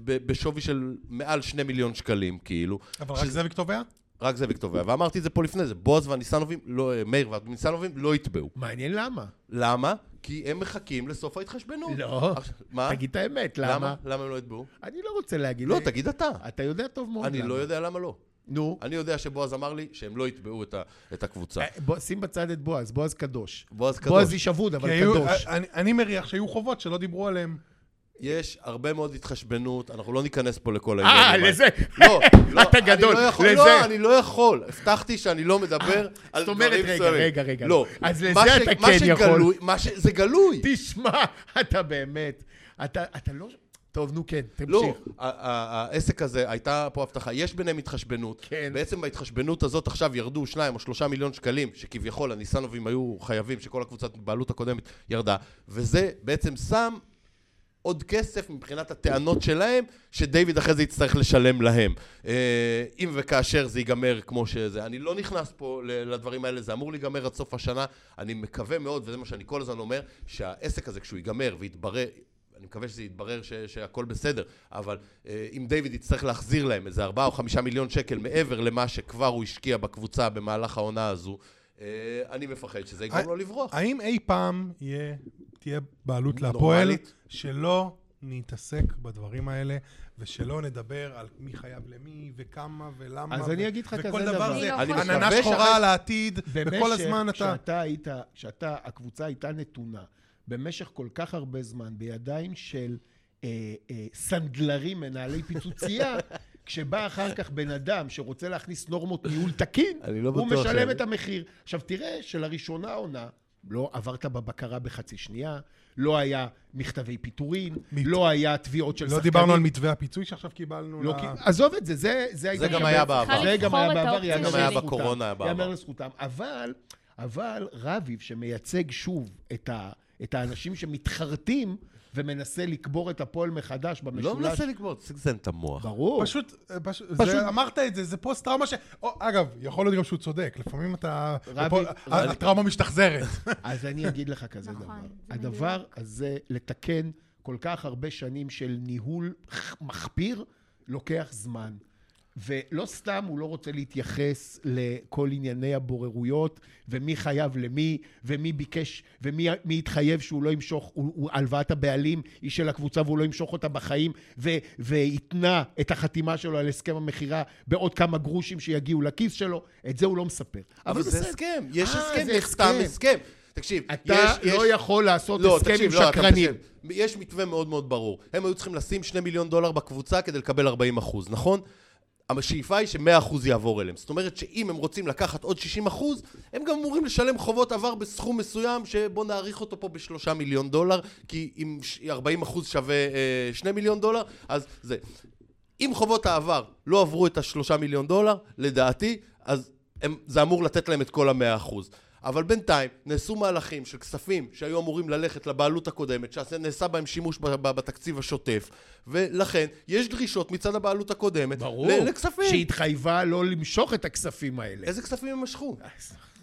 ב- בשווי של מעל שני מיליון שקלים, כאילו.
אבל רק זאביק תובע?
רק זאביק תובע. ואמרתי את זה פה לפני זה, בועז והניסנובים, לא, אה, מאיר והניסנובים לא יתבעו.
מעניין למה.
למה? כי הם מחכים לסוף ההתחשבנות.
לא.
עכשיו, מה?
תגיד את האמת,
אה? למה?
למה?
למה הם לא יתבעו?
אני לא רוצה להגיד.
לא, תגיד אתה.
אתה יודע טוב מאוד
אני
למה.
לא יודע למה לא.
נו,
אני יודע שבועז אמר לי שהם לא יתבעו את ה- את הקבוצה.
אה, בוא, שים בצד את בועז, בועז קדוש.
בועז
בועז
קדוש, אה,
איש אבוד, אבל
כי היו- אה,
קדוש.
אני- אני מריח שהיו חובות שלא דיברו עליהם.
יש הרבה מאוד התחשבנות, אנחנו לא ניכנס פה לכל
אה,
העניין.
לזה.
לא, לא,
אתה
אני
גדול,
לא יכול,
לזה. אה,
לא, אני לא יכול. הבטחתי שאני לא מדבר על
זאת
דברים
אומרת, רגע,
מסוימים.
רגע, רגע.
לא.
אז
מה
לזה
ש-
אתה
מה
כן יכול.
שגלוי- מה ש- זה גלוי.
תשמע, אתה באמת, אתה אתה לא... טוב, נו כן,
לא,
תמשיך.
ה- ה- העסק הזה, הייתה פה הבטחה, יש ביניהם התחשבנות.
כן.
בעצם בהתחשבנות הזאת עכשיו ירדו שניים או שלושה מיליון שקלים, שכביכול הניסנובים היו חייבים, שכל הקבוצת בעלות הקודמת ירדה, וזה בעצם שם עוד כסף מבחינת הטענות שלהם, שדיוויד אחרי זה יצטרך לשלם להם. אה, אם וכאשר זה ייגמר כמו שזה. אני לא נכנס פה ל- לדברים האלה, זה אמור להיגמר עד סוף השנה. אני מקווה מאוד, וזה מה שאני כל הזמן אומר, שהעסק הזה כשהוא ייגמר ויתברר... אני מקווה שזה יתברר ש- שהכל בסדר, אבל אה, אם דיוויד יצטרך להחזיר להם איזה ארבעה או חמישה מיליון שקל מעבר למה שכבר הוא השקיע בקבוצה במהלך העונה הזו, אה, אני מפחד שזה יגרום
אה,
לו לברוח.
האם אי פעם יהיה- תהיה בעלות להפועל
נורמלית.
שלא נתעסק בדברים האלה, ושלא נדבר על מי חייב למי, וכמה ולמה,
אז
ו-
אני אגיד לך
וכל
כזה
דבר
דבר.
זה
אני לא
עננה
מקווה שאחרי-
שחורה על העתיד, וכל הזמן אתה...
כשאתה היית, כשאתה, הקבוצה הייתה נתונה במשך כל כך הרבה זמן בידיים של אה, אה, סנדלרים, מנהלי פיצוצייה, כשבא אחר כך בן אדם שרוצה להכניס נורמות ניהול תקין,
אני לא
הוא
בטוח
משלם
שאני-
את המחיר. עכשיו תראה שלראשונה עונה, לא עברת בבקרה בחצי שנייה, לא היה מכתבי פיטורין,
מת-
לא היה תביעות של
לא
שחקנים.
דיברנו על מתווה הפיצוי שעכשיו קיבלנו.
לא,
ל-
כי- עזוב את זה, זה, זה היית
זה גם
מקבל.
היה בעבר.
צריכה
זה גם היה
לבחור את
בעבר,
האופציה
יאמר
שלי. גם היה
לזכותם.
בקורונה, היה בעבר.
יאמר לזכותם. אבל, אבל רביב, שמייצג שוב את, ה, את האנשים שמתחרטים ומנסה לקבור את הפועל מחדש במשולש.
לא מנסה לקבור, תסגזן את המוח.
ברור.
פשוט, פשוט, זה, אמרת את זה, זה פוסט טראומה ש... או, אגב, יכול להיות גם שהוא צודק, לפעמים אתה...
רבי-
הפועל-
רבי-
הטראומה משתחזרת.
אז אני אגיד לך כזה
נכון,
דבר.
זה
הדבר הזה, לתקן כל כך הרבה שנים של ניהול מחפיר, לוקח זמן. ולא סתם הוא לא רוצה להתייחס לכל ענייני הבוררויות, ומי חייב למי, ומי ביקש, ומי מי התחייב שהוא לא ימשוך, הוא- הוא- הלוואת הבעלים היא של הקבוצה והוא לא ימשוך אותה בחיים, ו- והתנה את החתימה שלו על הסכם המכירה בעוד כמה גרושים שיגיעו לכיס שלו, את זה הוא לא מספר.
אבל זה
בסדר.
הסכם, יש
אה,
הסכם,
זה
נחתם
הסכם.
הסכם. תקשיב,
אתה
יש-
לא
יש-
יכול לעשות
לא,
הסכם עם
תקשיב, לא, אתה
שקרנים.
תקשיב. יש מתווה מאוד מאוד ברור. הם היו צריכים לשים 2 מיליון דולר בקבוצה כדי לקבל 40 אחוז, נכון? השאיפה היא ש-100% יעבור אליהם. זאת אומרת שאם הם רוצים לקחת עוד 60%, הם גם אמורים לשלם חובות עבר בסכום מסוים, שבוא נעריך אותו פה בשלושה מיליון דולר, כי אם ש- 40% שווה אה, 2 מיליון דולר, אז זה. אם חובות העבר לא עברו את השלושה מיליון דולר, לדעתי, אז הם, זה אמור לתת להם את כל המאה אחוז. אבל בינתיים נעשו מהלכים של כספים שהיו אמורים ללכת לבעלות הקודמת, שנעשה בהם שימוש ב- ב- בתקציב השוטף, ולכן יש דרישות מצד הבעלות הקודמת
ברור.
ל- לכספים.
שהתחייבה לא למשוך את הכספים האלה.
איזה כספים הם משכו?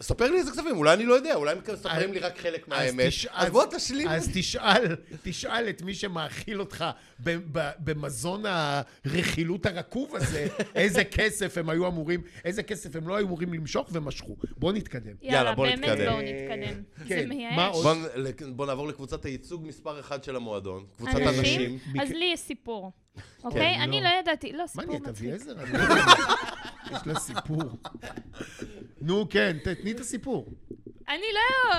ספר לי איזה כספים, אולי אני לא יודע, אולי הם מספרים לי רק חלק מהאמת. אז בוא תשלים.
אז תשאל, תשאל את מי שמאכיל אותך ב- ב- במזון הרכילות הרקוב הזה, איזה כסף הם היו אמורים, איזה כסף הם לא היו אמורים למשוך ומשכו. בואו נתקדם.
יאללה,
בוא
באמת
נתקדם.
בואו נתקדם. זה
כן, מה
מייאש.
עוד?
בוא נ- לק- בוא נעבור לקבוצת הייצוג מספר אחד של המועדון. קבוצת
אנשים?
הנשים.
אז לי יש סיפור.
כן.
אוקיי? אני לא ידעתי, לא,
כן, מה
סיפור
נהיית
מצחיק.
אביעזר? אני לא יודע. יש לה סיפור. נו, כן, ת- תני את הסיפור.
אני לא...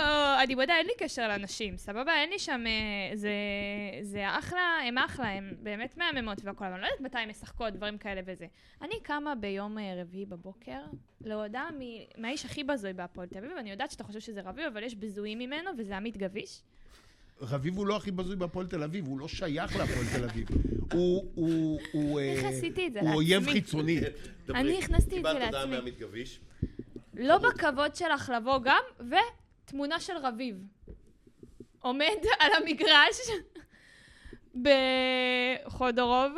אני בודה, אין לי קשר לאנשים, סבבה? אין לי שם... אה, זה... זה אחלה, הם אחלה, הם באמת מהממות והכל, אבל אני לא יודעת מתי הם משחקות, דברים כאלה וזה. אני קמה ביום אה, רביעי בבוקר להודעה מ- מהאיש הכי בזוי בהפועל תל אביב, אני יודעת שאתה חושב שזה רביב, אבל יש בזויים ממנו, וזה עמית גביש.
רביב הוא לא הכי בזוי בהפועל תל אביב, הוא לא שייך להפועל תל אביב. הוא, הוא, הוא, אה,
איך עשיתי את זה
הוא אויב
לעצמי?
חיצוני.
דברי.
אני הכנסתי את זה
קיבלת הודעה
לעצמי.
מעמית גביש.
לא בכבוד שלך לבוא גם, ותמונה של רביב. עומד על המגרש בחודורוב,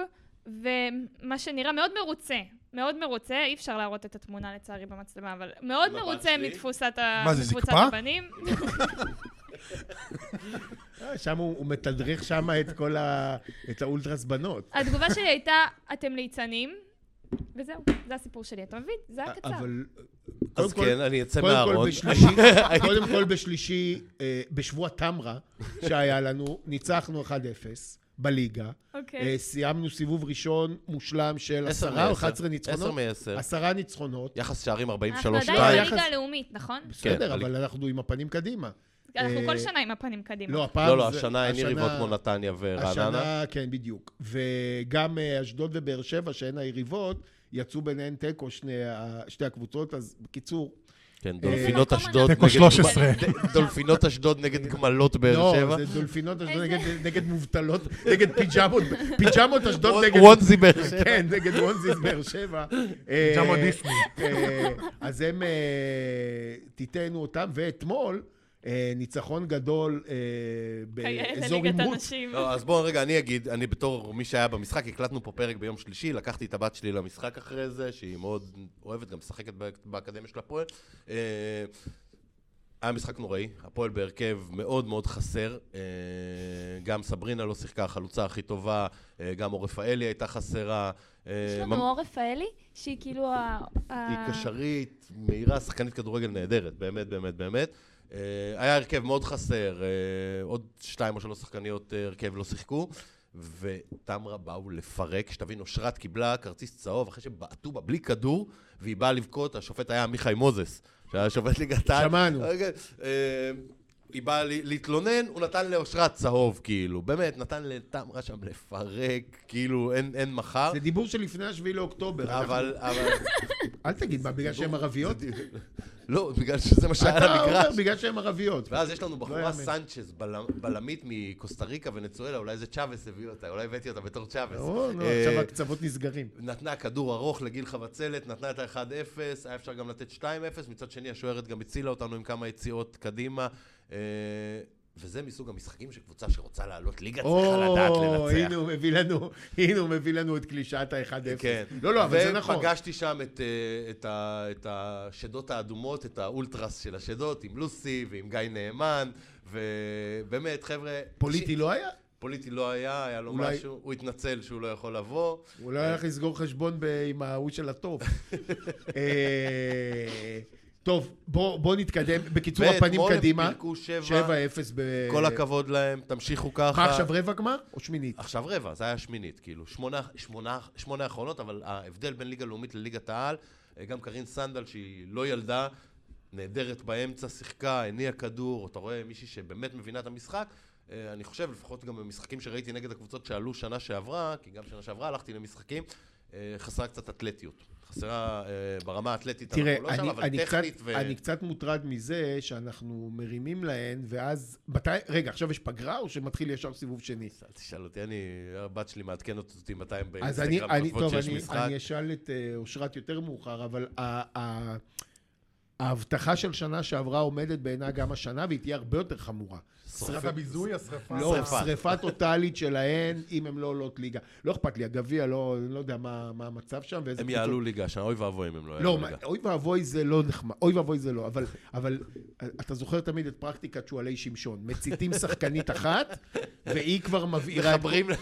ומה שנראה מאוד מרוצה. מאוד מרוצה, אי אפשר להראות את התמונה לצערי במצלמה, אבל מאוד
מבט
מרוצה
שלי.
מתפוסת ה-
מה, זה
מקבוצת
זקפה?
הבנים.
אה, שם הוא, הוא מתדרך שם את כל ה... את האולטרס בנות.
התגובה שלי הייתה, אתם ליצנים, וזהו, זה הסיפור שלי, אתה מבין? זה היה קצר.
אה, אבל...
אז
קודם כל-
כן, אני אצא
קודם כל
מהארון.
בשלישי, קודם כל בשלישי, אה, בשבוע תמרה שהיה לנו, ניצחנו 1-0 בליגה.
אוקיי.
אה, סיימנו סיבוב ראשון מושלם של
10
עשרה או
מ-
11
10
ניצחונות.
מ-
10 ניצחונות.
יחס שערים 43-2.
אנחנו עדיין
שתיים.
בליגה הלאומית, נכון?
בסדר,
בליגה.
אבל אנחנו עם הפנים קדימה.
אנחנו כל
אה,
שנה עם הפנים קדימה.
לא, הפעם
לא, לא,
זה-
השנה אין יריבות כמו נתניה ורעננה.
השנה, כן, בדיוק. וגם אה, אשדוד ובאר שבע, שהן היריבות, יצאו ביניהן תיקו שני ה- שתי הקבוצות, אז בקיצור. אה,
כן,
איזה
דולפינות
מקום
אשדוד
אנחנו
תיקו 13.
עכשיו?
דולפינות אשדוד נגד גמלות באר
לא,
שבע.
זה דולפינות אשדוד
איזה-
נגד- נגד מובטלות, נגד פיג'מות, פיג'מות אשדוד נגד...
וונזי באר שבע.
כן, נגד וונזיס באר שבע. אה,
ג'אמו דיסני.
אה, אז הם, אה, תיתנו אותם, ואתמול, אה, ניצחון גדול אה,
כאלה
באזור
ליגת
עימות.
הנשים.
לא, אז בואו רגע, אני אגיד, אני בתור מי שהיה במשחק, הקלטנו פה פרק ביום שלישי, לקחתי את הבת שלי למשחק אחרי זה, שהיא מאוד אוהבת, גם משחקת באק- באקדמיה של הפועל. אה, היה משחק נוראי, הפועל בהרכב מאוד מאוד חסר, אה, גם סברינה לא שיחקה, החלוצה הכי טובה, אה, גם אור רפאלי הייתה חסרה. אה,
יש
ממ-
לנו אור רפאלי, שהיא כאילו ה...
היא
ה-
קשרית, מהירה, שחקנית כדורגל נהדרת, באמת, באמת, באמת. אה, היה הרכב מאוד חסר, אה, עוד שתיים או שלוש שחקניות אה, הרכב לא שיחקו, וטמרה באו לפרק, שתבין, אושרת קיבלה כרטיס צהוב אחרי שבעטו בה בלי כדור, והיא באה לבכות, השופט היה עמיחי מוזס, שהיה שופט ליגת העל.
שמענו.
רגע, אה, היא באה ל- להתלונן, הוא נתן לאושרת צהוב, כאילו, באמת, נתן לטמרה שם לפרק, כאילו, אין, אין מחר.
זה דיבור של לפני השביעי לאוקטובר.
אבל, אבל,
אל תגיד, מה, בגלל שהן ערביות?
לא, בגלל שזה מה שהיה על
אתה אומר,
המגרש. אה,
בגלל שהן ערביות.
ואז יש לנו
לא
בחורה
יאמן.
סנצ'ס, בלם- בלמית מקוסטה ריקה ונצואלה, אולי זה צ'אבס הביא אותה, אולי הבאתי אותה בתור צ'אבס.
או, נו,
אה,
לא, עכשיו הקצוות נסגרים.
נתנה כדור ארוך לגיל חבצלת, נתנה את ה-1-0, היה אפשר גם לתת 2-0, מצד שני השוערת גם הצילה אותנו עם כמה יציאות קדימה. אה, וזה מסוג המשחקים שקבוצה שרוצה לעלות ליגה צריכה לדעת
או, הנה
לנצח.
הוא מביא לנו, הנה הוא מביא לנו את קלישאת ה-1-0.
כן.
לא, לא, אבל זה נכון.
ופגשתי שם את, אה, את, ה, את השדות האדומות, את האולטרס של השדות, עם לוסי ועם גיא נאמן, ובאמת, חבר'ה...
פוליטי
ש...
לא היה?
פוליטי לא היה, היה לו
אולי-
משהו, הוא התנצל שהוא לא יכול לבוא.
הוא לא הלך לסגור חשבון ב- עם ההוא של הטוב. אה, טוב, בוא בוא נתקדם. בקיצור, הפנים
ואתמול הם
קדימה.
פירקו שבע.
7-0 ב...
כל הכבוד להם, תמשיכו ככה.
מה עכשיו, רבע גמר או שמינית?
עכשיו רבע, זה היה שמינית, כאילו. שמונה, שמונה, שמונה האחרונות, אבל ההבדל בין ליגה לאומית לליגת העל, אה, גם קרין סנדל, שהיא לא ילדה, נהדרת באמצע, שיחקה, הניעה כדור, אתה רואה מישהי שבאמת מבינה את המשחק. אה, אני חושב, לפחות גם במשחקים שראיתי נגד הקבוצות שעלו שנה שעברה, כי גם שנה שעברה הלכתי למשחקים, אה, חסרה קצת אתלטיות. חסרה אה, ברמה האתלטית,
תראה,
אנחנו לא שם,
אני-
אבל
אני קצת-
טכנית ו...
אני קצת מוטרד מזה שאנחנו מרימים להן, ואז... מתי- רגע, עכשיו יש פגרה או שמתחיל ישר סיבוב שני?
אל תשאל אותי, אני, הבת שלי מעדכנת אותי מתי הם
אז אני,
באינסטגרם
אני,
כותבות
טוב,
שיש
אני,
משחק.
אני אשאל את אה, אושרת יותר מאוחר, אבל ה, ה, ההבטחה של שנה שעברה עומדת בעינה גם השנה, והיא תהיה הרבה יותר חמורה.
שרפת הביזוי, השרפה.
לא,
שרפה.
שריפה טוטאלית שלהן, אם הן לא עולות ליגה. לא אכפת לי, הגביע, לא, אני לא יודע מה, מה המצב שם ואיזה...
הם
קבוצות-
יעלו ליגה השנה, אוי ואבוי אם הם לא
לא,
יעלו
מה,
ליגה.
אוי ואבוי זה לא נחמד, אוי ואבוי זה לא, אבל, אבל אתה זוכר תמיד את פרקטיקת שועלי שמשון. מציתים שחקנית אחת, והיא כבר מבעירה... את-
מחברים, ל-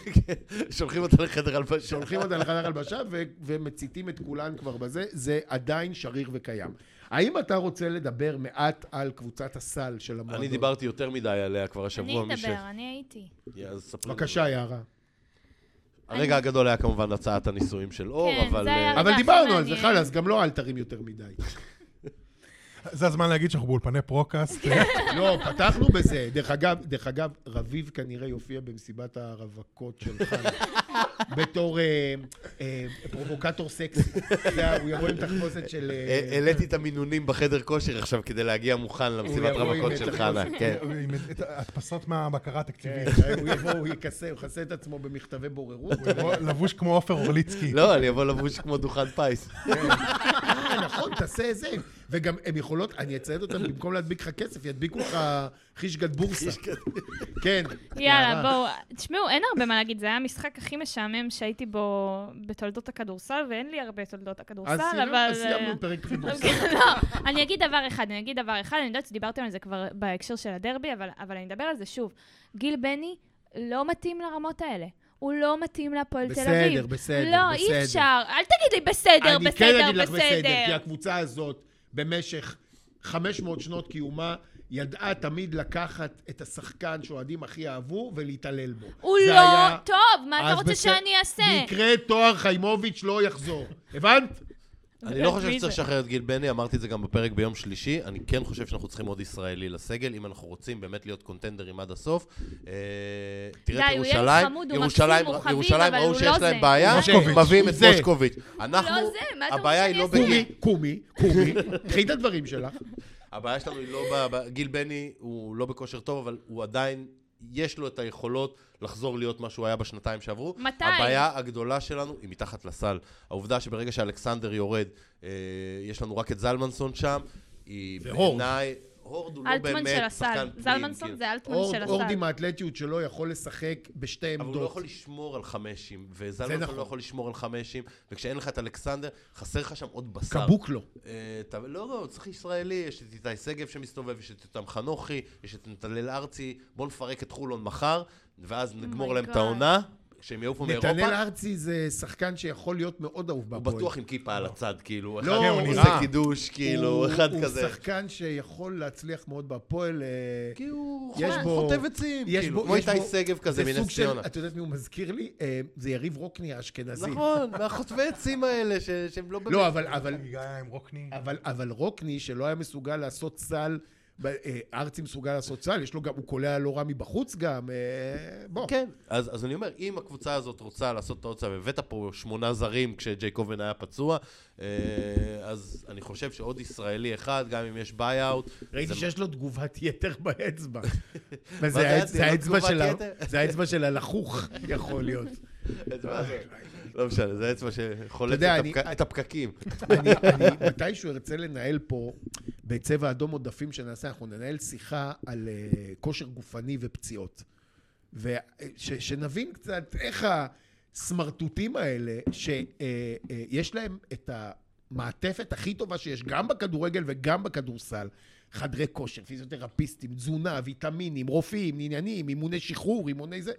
שולחים אותה לחדר הלבשה.
שולחים אותה לחדר הלבשה ו- ומציתים את כולן כבר בזה, זה עדיין שריר וקיים. האם אתה רוצה לדבר מעט על קבוצת הסל של המועדון?
אני דיברתי יותר מדי עליה כבר
אני
השבוע. מי ש-
אדבר, אני הייתי.
יא, אז ספרי לנו.
בבקשה, יערה.
הרגע הגדול היה כמובן הצעת הנישואים של אור,
כן,
אבל...
זה היה
אה,
רגע-
אבל
הכי
דיברנו על זה,
מעניין.
חלאס, גם לא אל תרים יותר מדי.
זה הזמן להגיד שאנחנו באולפני פרוקאסט.
לא, פתחנו בזה. דרך אגב, דרך אגב, רביב כנראה יופיע במסיבת הרווקות של חיים. בתור אה, אה, פרובוקטור סקסי. אתה יודע, הוא יבוא עם תחפושת של... אה,
העליתי את המינונים בחדר כושר עכשיו כדי להגיע מוכן למסיבת
יבוא עם
רווקות
את
של
הכוס.
חנה, כן.
עם את ההדפסות מהבקרה התקציבית.
כן, הוא יבוא, הוא יכסה, הוא יכסה את עצמו במכתבי בוררות. הוא יבוא-
הוא לבוש כמו עופר אורליצקי.
לא, אני אבוא לבוש כמו דוכן פיס.
אה, נכון, תעשה את זה. וגם הן יכולות, אני אצייד אותן, במקום להדביק לך כסף, ידביקו לך חישגת בורסה. כן.
יאללה, בואו. תשמעו, אין הרבה מה להגיד, זה היה המשחק הכי משעמם שהייתי בו בתולדות הכדורסל, ואין לי הרבה תולדות
אז
הכדורסל,
אה, סיימנו-
אבל...
אז סיימנו פרק חידוש.
אוקיי, לא, אני אגיד דבר אחד, אני אגיד דבר אחד, אני יודעת שדיברתם על זה כבר בהקשר של הדרבי, אבל, אבל אני אדבר על זה שוב. גיל בני לא מתאים לרמות האלה. הוא לא מתאים להפועל תל
בסדר,
אביב.
בסדר,
לא,
בסדר.
אי אפשר. אל תגיד לי בסדר,
אני כן
בסדר,
אגיד לך בסדר, כי
בסדר.
הקבוצה הזאת, במשך 500 שנות קיומה, ידעה תמיד לקחת את השחקן שאוהדים הכי אהבו ולהתעלל בו.
הוא
זה
לא
היה-
טוב, מה אתה
אז
רוצה
בס-
שאני אעשה?
מקרה תואר חיימוביץ' לא יחזור. הבנת?
כן.
אני לא חושב
מי
שצריך
זה?
לשחרר את גיל בני, אמרתי את זה גם בפרק ביום שלישי, אני כן חושב שאנחנו צריכים עוד ישראלי לסגל, אם אנחנו רוצים באמת להיות קונטנדרים עד הסוף. אה, תראה את
די, הוא ילד
ירושלים,
חמוד, הוא
ירושלים,
מקסים, הוא חביב,
ירושלים
אבל
ראו
הוא
שיש
לא
להם
זה.
בעיה,
מושקוביץ',
מביאים
הוא
את
זה.
מושקוביץ'. אנחנו,
לא זה, מה אתה
הבעיה
רוצה
היא
שאני
לא
אעשה?
בגיל,
קומי, קומי, קומי, קחי את הדברים שלך.
הבעיה שלנו היא לא... ב- ב- גיל בני הוא לא בכושר טוב, אבל הוא עדיין, יש לו את היכולות לחזור להיות מה שהוא היה בשנתיים שעברו.
מתי?
הבעיה הגדולה שלנו היא מתחת לסל. העובדה שברגע שאלכסנדר יורד, אה, יש לנו רק את זלמנסון שם, היא
והורד.
בעיניי... הורד הוא לא
אלטמן
באמת
של
שחקן
הסל.
פנים.
זלמנסון
כאילו.
זה אלטמן
אורד-
של
אורד
הסל.
עם האתלטיות שלו יכול לשחק בשתי
אבל הוא לא
עמדות.
יכול לשמור על חמשים, וזלמנסון
נכון.
לא יכול לשמור על חמשים, וכשאין לך את אלכסנדר, חסר לך שם עוד בשר.
קבוק לו.
אה, אתה- לא, לא, צריך ישראלי, יש את איתי שגב שמסתובב, יש את יותם חנוכי, יש את נתנאל ארצי, בואו נפרק את חולון מחר, ואז נגמור להם את
God.
העונה, כשהם יעופו
נתנאל
מאירופה,
ארצי זה שחקן שיכול להיות מאוד אהוב
הוא
בהפועל.
בטוח עם כיפה על הצד, כאילו, אחד
לא,
כן, הוא
הוא עושה
נראה.
קידוש, כאילו,
הוא-
אחד
הוא
כזה.
שחקן שיכול להצליח מאוד בהפועל. אה,
כי הוא
יש
חוט-
בו-
חוטב עצים,
יש
כאילו,
בו-
כמו
יש
איתי
בו-
שגב כזה
זה
מנס
סוג של-
ציונה.
את יודעת מי הוא מזכיר לי? אה, זה יריב רוקני האשכנזי.
נכון, מהחוטבי עצים האלה, ש- שהם לא באמת...
לא, אבל- אבל
היא היה עם רוקני.
אבל, אבל רוקני, שלא היה מסוגל לעשות סל, ב- אה, ארצי מסוגל לעשות סל, יש לו גם, הוא קולע לא רע מבחוץ גם, אה, בוא.
כן, אז, אז אני אומר, אם הקבוצה הזאת רוצה לעשות את העוד צעד, הבאת פה שמונה זרים כשג'ייקובן היה פצוע, אה, אז אני חושב שעוד ישראלי אחד, גם אם יש ביי-אאוט,
ראיתי
זה-
שיש לו תגובת יתר באצבע. וזה
זה
האצ-
היה?
זה
לא
האצבע
תגובת
של ה-
יתר?
זה האצבע של הלחוך, יכול להיות.
אצבע זה- לא משנה, זה אצבע שחולצת
אתה יודע,
את
אני-
הפק- את הפקקים.
אני, אני מתישהו ארצה לנהל פה, בצבע אדום עודפים שנעשה, אנחנו ננהל שיחה על אה, כושר גופני ופציעות. ושנבין קצת איך הסמרטוטים האלה, שיש אה, אה, יש להם את המעטפת הכי טובה שיש, גם בכדורגל וגם בכדורסל. חדרי כושר, פיזיותרפיסטים, תזונה, ויטמינים, רופאים, עניינים, אימוני שחרור, אימוני זה.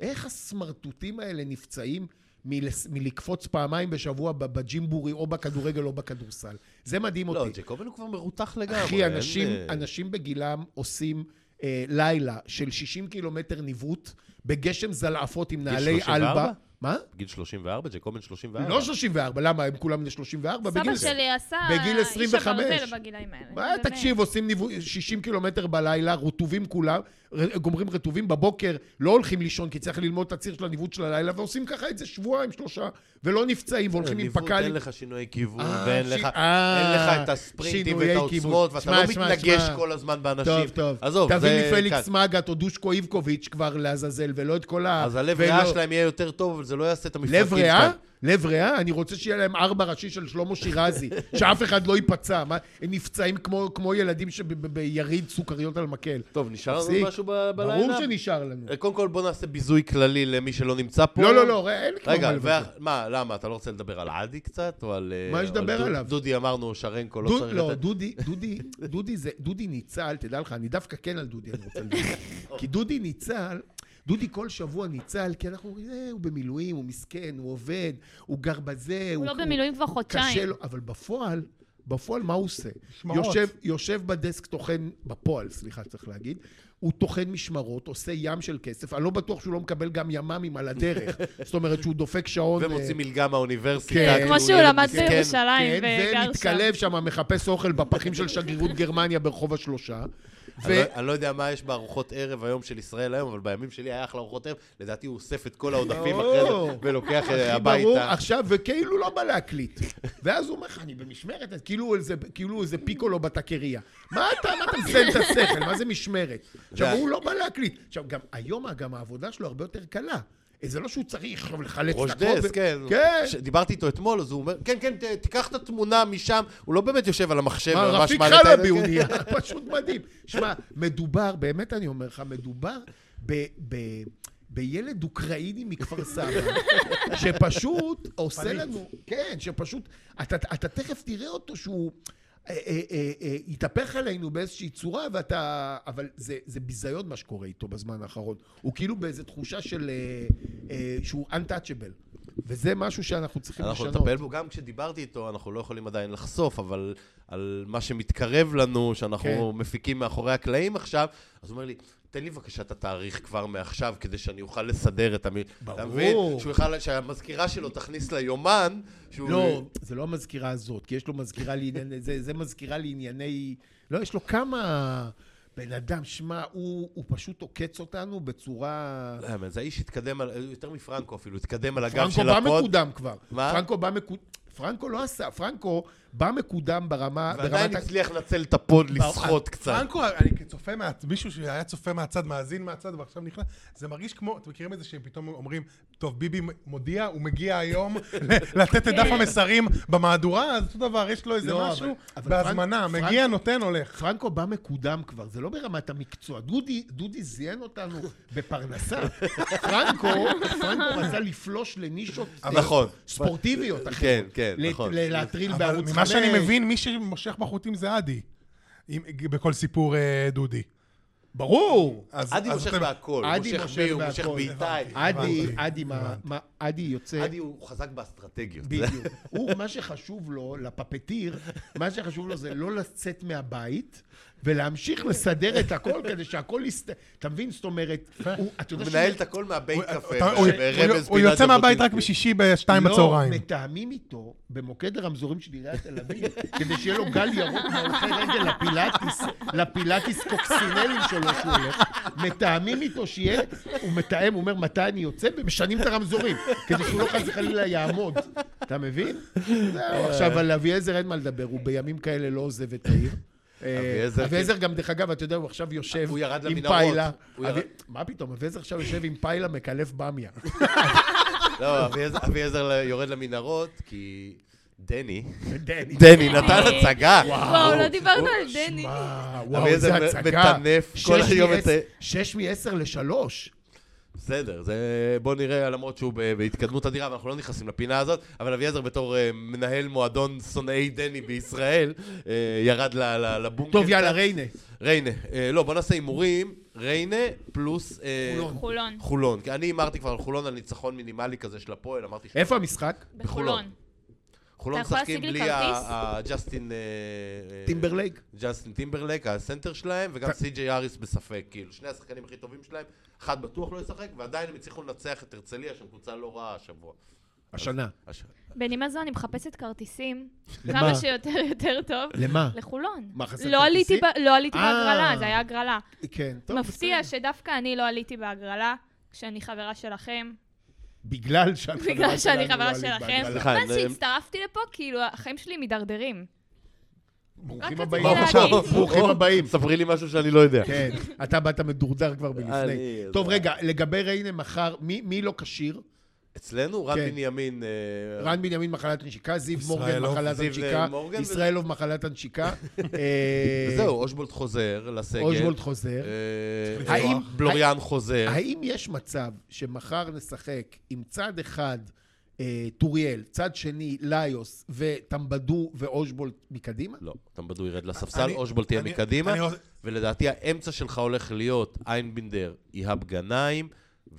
איך הסמרטוטים האלה נפצעים מלס- מלקפוץ פעמיים בשבוע ב- בג'ימבורי או בכדורגל או בכדורסל? זה מדהים
לא,
אותי.
ג'ייקובן הוא כבר מרותח לגמרי.
אחי,
אין,
אנשים,
אה,
אנשים בגילם עושים אה, לילה של 60 קילומטר ניווט בגשם זלעפות עם נעלי
34?
אלבה. מה?
גיל 34, ג'ייקובן 34.
לא 34, למה? הם כולם בני 34?
סבא
בגיל-
שלי עשה
בגיל
איש
25.
הברזל בגילאים האלה.
מה,
באמת.
תקשיב, עושים ניוו... 60 קילומטר בלילה, רטובים כולם, ר- גומרים רטובים בבוקר, לא הולכים לישון כי צריך ללמוד את הציר של הניווט של הלילה, ועושים ככה את זה שבועיים, שלושה, ולא נפצעים, והולכים עם
אה, ניווט, אין
פק"לים.
לך שינויי כיוון,
אה,
ואין
ש-
לך
אה,
אין לך את הספרינטים ואת
שינויי
העוצמות,
כיוון.
ואתה
שמע,
לא
שמע,
מתנגש
שמע.
כל הזמן באנשים.
טוב, טוב.
עזוב,
תביא
זה כן.
לי פליקס
קל.
מגאט או דושקו איבקוביץ' כבר לעזאזל, ולא את כל ה...
אז הלב
אה, ולא-
רעה שלהם יהיה יותר טוב, אבל זה זה לא יעשה את המפרקים
לב ריאה?
שלהם.
לב ריאה? אני רוצה שיהיה להם ארבע ראשי של שלמה שירזי, שאף אחד לא ייפצע. מה, הם נפצעים כמו, כמו ילדים שביריד סוכריות על מקל.
טוב, נשאר
תפסיק.
לנו משהו ב- בלילה?
ברור שנשאר לנו.
אה, קודם כל בוא נעשה ביזוי כללי למי שלא נמצא פה.
לא, לא, לא, ראה, אין לי כבר
רגע,
מה לבטח.
וה- מה, למה? אתה לא רוצה לדבר על עדי קצת? או על... אה,
מה יש
או על
לדבר
דוד-
עליו?
דודי אמרנו, שרנקו לא
דוד,
צריך...
לא,
לתת-
דודי, דודי, דודי זה, דודי ניצל, תדע לך, אני דווקא כן על דודי אני רוצה לדבר. כי דודי ניצל, דודי כל שבוע ניצל, כי אנחנו אומרים, "אה, הוא במילואים, הוא מסכן, הוא עובד, הוא גר בזה,
הוא לא במילואים כבר
קשה
חודשיים.
לו, אבל בפועל, בפועל מה הוא עושה?
משמרות.
יושב, יושב בדסק, טוחן, בפועל, סליחה, צריך להגיד, הוא טוחן משמרות, עושה ים של כסף, אני לא בטוח שהוא לא מקבל גם ימ"מים על הדרך. זאת אומרת שהוא דופק שעון... אה,
ומוציא מלגה מהאוניברסיטה.
כן,
כי
כמו
הוא
שהוא
ילד
למד
מסכן.
בירושלים
כן,
וגר שם.
ומתקלב שם, מחפש אוכל בפחים של שגרירות גרמניה ברחוב השלושה. ו...
אני לא- אני לא יודע מה יש בארוחות ערב היום של ישראל היום, אבל בימים שלי היה אחלה ארוחות ערב. לדעתי הוא אוסף את כל העודפים אחרי זה
ברור.
ולוקח אה,
ברור,
הביתה.
עכשיו, וכאילו לא בא להקליט. ואז הוא אומר לך, אני במשמרת, אז כאילו הוא איזה, כאילו הוא איזה פיקולו בטקריה. מה אתה, מה אתה מזיין את השכל? מה זה משמרת? עכשיו,
זה-
הוא לא בא להקליט. עכשיו, גם היום, גם העבודה שלו הרבה יותר קלה. זה לא שהוא צריך עכשיו לחלץ את
ראש
הכל
דסק,
ו-
כן.
כן.
ש- דיברתי איתו אתמול, אז הוא אומר, כן, כן, ת- תיקח את התמונה משם. הוא לא באמת יושב על המחשב.
מה,
וממש
רפיק
מעלה את ה-
חלבי הוא
כן.
נהיה, פשוט מדהים. שמע, מדובר, באמת אני אומר לך, מדובר ב... ב- בילד אוקראיני מכפר סבא, שפשוט עושה
פליט.
לנו, כן, שפשוט, אתה, אתה תכף תראה אותו שהוא אה, אה, אה, אה, יתהפך עלינו באיזושהי צורה, ואתה, אבל זה, זה ביזיון מה שקורה איתו בזמן האחרון. הוא כאילו באיזו תחושה של, אה, אה, שהוא untouchable, וזה משהו שאנחנו צריכים
כן. אנחנו
לשנות.
נטפל בו. גם כשדיברתי איתו, אנחנו לא יכולים עדיין לחשוף, אבל על מה שמתקרב לנו, שאנחנו
כן.
מפיקים מאחורי הקלעים עכשיו, אז הוא אומר לי, תן לי בבקשה את התאריך כבר מעכשיו, כדי שאני אוכל לסדר את המ... אתה
ברור.
מבין? שהוא יוכל, שהמזכירה שלו תכניס ליומן, שהוא...
לא, זה לא המזכירה הזאת, כי יש לו מזכירה לענייני... זה, זה מזכירה לענייני... לא, יש לו כמה... בן אדם, שמע, הוא, הוא פשוט עוקץ אותנו בצורה...
לא, אבל זה האיש התקדם, על... יותר מפרנקו אפילו, התקדם על הגב
פרנקו
של
בא
הפוד.
מקודם כבר.
מה?
פרנקו בא מקודם... פרנקו לא עשה, פרנקו בא מקודם ברמה...
ועדיין
ברמת ה-
הצליח לנצל את הפוד לסחוט קצת.
פרנקו, אני כצופה, מה- מישהו שהיה צופה מהצד, מאזין מהצד ועכשיו נכנס, זה מרגיש כמו, אתם מכירים את זה שפתאום אומרים, טוב, ביבי מודיע, הוא מגיע היום ל- לתת את דף המסרים במהדורה, אז אותו דבר, יש לו איזה
כן. לא, אבל-
משהו
אבל
בהזמנה,
פרנק-
מגיע,
פרנק-
נותן, הולך.
פרנקו בא מקודם כבר, זה לא ברמת המקצוע. דודי, דודי זיין אותנו בפרנסה. פרנקו, פרנקו רצה לפלוש לנישות אה,
נכון.
ספורטיביות, אחי.
כן, כן,
ל-
נכון.
ל- להטריל
אבל
בערוץ חמש.
ממה שאני מבין, מי שמושך בחוטים זה עדי, עם- בכל סיפור אה, דודי.
ברור.
אז-
עדי
אז
מושך
אתם-
בהכל, הוא
עדי
מושך
מושך
בי, הוא מושך
בהכל,
באיתי.
עדי,
הבנתי,
עדי, מה-
הבנתי.
מה- עדי יוצא...
עדי הוא חזק באסטרטגיות.
בדיוק. הוא, מה שחשוב לו, לפפטיר, מה שחשוב לו זה לא לצאת מהבית ולהמשיך לסדר את הכל כדי שהכל יסת... אתה מבין? זאת אומרת, הוא, אתה יודע
הוא
שהוא-
מנהל את הכל מהבית קפה.
אתה- הוא-
ברמז
הוא- הוא
פינת
יוצא מהבית רק
ז'בוטינסקי.
בשישי בשתיים בצהריים.
לא, מתאמים איתו במוקד הרמזורים של עיריית תל אביב, כדי שיהיה לו גל ירוק מהולכי רגל לפילאטיס, לפילאטיס קוקסינלים שלו שהוא הולך. מתאמים איתו שיהיה, הוא מתאם, הוא אומר מתי אני יוצא, ומשנים את הרמזורים, כדי שהוא לא חס וחלילה יעמוד. אתה מבין? זהו, עכשיו על אביעזר אין מה לדבר, הוא בימים כאלה לא עוזב את העיר. אה,
אביעזר-
אביעזר גם, דרך אגב, אתה יודע, הוא עכשיו יושב
הוא ירד
עם
למנהרות.
פיילה.
הוא ירד-
אבי- מה פתאום, אביעזר עכשיו יושב עם פיילה מקלף במיה.
לא, אביעזר- אביעזר יורד למנהרות, כי דני,
דני.
דני נתן הצגה.
וואו, לא דיברנו על דני.
שמע,
אבל
וואו,
זה
זה
מ-
הצגה.
מטנף
שש
כל היום
מעשר-
את אה, כן,
שש מעשר לשלוש.
בסדר, זה... בוא נראה, למרות שהוא ב- בהתקדמות אדירה, ואנחנו לא נכנסים לפינה הזאת, אבל אביעזר בתור אה, מנהל מועדון שונאי דני בישראל, אה, ירד ל- ל- לבונקר.
טוב, יאללה,
קצת.
ריינה.
ריינה. אה, לא, בוא נעשה הימורים. ריינה פלוס... אה,
לא-
חולון.
חולון.
חולון. כי אני הימרתי כבר על חולון על ניצחון מינימלי כזה של הפועל, אמרתי ש...
איפה המשחק?
אה,
בחולון.
חולון
אתה יכול
משחקים
להשיג לי
בלי ה-
כרטיס?
ה- ג'סטין... אה, אה,
טימברלייק.
ג'סטין טימברלק, הסנטר שלהם, וגם סי.ג'יי אריס בספק, כאילו, שני השחקנים הכי טובים שלהם, אחד בטוח לא ישחק, ועדיין הם הצליחו לנצח את הרצליה, שהם קבוצה לא רעה השבוע.
השנה.
הש-
בנימה זו אני מחפשת כרטיסים,
למה?
כמה שיותר יותר טוב,
למה?
לחולון.
מה, חסר
לא עליתי
כרטיסים?
ב- לא עליתי
אה.
בהגרלה, זה היה הגרלה.
כן, טוב,
מפתיע
בסדר.
שדווקא אני לא עליתי בהגרלה, כשאני חברה שלכם,
בגלל שאת חברה
בגלל שאני
שלנו,
חברה
לא עלית
שלכם.
בהגרלה.
סליחה,
מאז
אני-
שהצטרפתי לפה, כאילו, החיים שלי מידרדרים.
ברוכים
רק
הבאים.
רציתי
ברוך
להגיד.
השם, ברוכים הבאים.
ספרי לי משהו שאני לא יודע.
כן, אתה באת מדורדר כבר
אני
מלפני.
יודע.
טוב, רגע, לגבי ריינה מחר, מי- מי לא כשיר?
אצלנו רן
כן.
בנימין... אה,
רן בנימין מחלת נשיקה, זיו מורגן
ישראלוב,
מחלת
זיו אה,
הנשיקה,
מורגן ו-
ישראלוב מחלת הנשיקה.
וזהו, אה, אושבולט חוזר לסגל.
אושבולד חוזר.
כן. אה,
צריך
האם
לפתוח.
בלוריאן חוזר?
האם יש מצב שמחר נשחק עם צד אחד אה, טוריאל, צד שני ליוס וטמבדו ואושבולט מקדימה?
לא, טמבדו ירד לספסל,
אני-
אושבולט תהיה
אני-
מקדימה,
אני רוצה-
ולדעתי האמצע שלך הולך להיות איינבינדר, איהאב גנאים,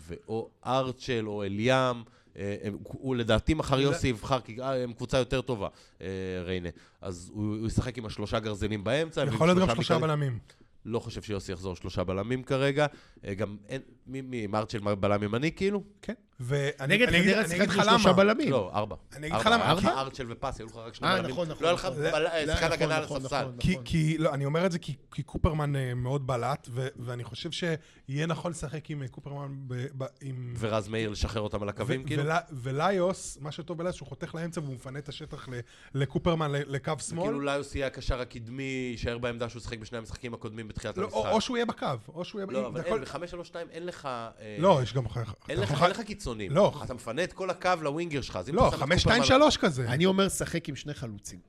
ואו ארצ'ל או אליאם. אה, הם- הוא לדעתי מחר יוסי יבחר, כי אה, הם קבוצה יותר טובה, אה, ריינה. אז הוא הוא ישחק עם השלושה גרזינים באמצע. ועם
יכול להיות גם שלושה
מקדימה.
בלמים.
לא חושב שיוסי יחזור עם שלושה בלמים כרגע. אה, גם אין... מי- מי? מרצ'ל בלם ימני כאילו?
כן. ואני
נגד
אני אגיד-
חדרה
אני
שיחקנו
אגיד לך
שלושה
למה.
בלמים.
לא, ארבע.
אני אגיד לך למה, כן.
ארבע?
כי-
היה לך ארצ'ל ופאסי, היו לך רק שני
אה,
בלמים.
נכון, נכון,
לא היה לך
נכון.
בל- אה,
לא,
שחקן
נכון,
הגנה על
נכון,
הספסל.
נכון.
כי, כי, לא, אני אומר את זה כי, כי קופרמן אה, מאוד בלט, ו, ואני חושב שיהיה נכון לשחק עם אה, קופרמן ב, ב, עם...
ורז מאיר לשחרר אותם על הקווים,
ו-
כאילו?
ול- וליוס, מה שטוב בליוס, שהוא חותך לאמצע והוא מפנה את השטח ל- לקופרמן ל- לקו שמאל. לא,
כאילו ליוס יהיה הקשר הקדמי, יישאר בעמדה שהוא שיחק בשני המשחקים הקודמים בתחילת
לא, או, או
המשחק.
שהוא יהיה בקו, או שהוא יהיה...
לא,
זה
אבל
הכל-
אין, ב-5-3-2 אין לך... אה,
לא, יש גם... אחר-
אין לך-
אחר-
אין לך קיצונים.
לא.
אתה מפנה את כל הקו לווינגר שלך. אז אם
לא,
אתה שם את
חמש,
קופרמן-
שתיים, שלוש כזה.
אני אומר, שחק עם שני חלוצים.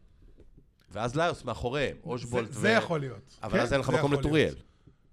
ואז ליוס מאחוריהם, אושבולט
זה- זה יכול להיות. כן,
אבל אז אין לך
זה
מקום
יכול
לטוריאל.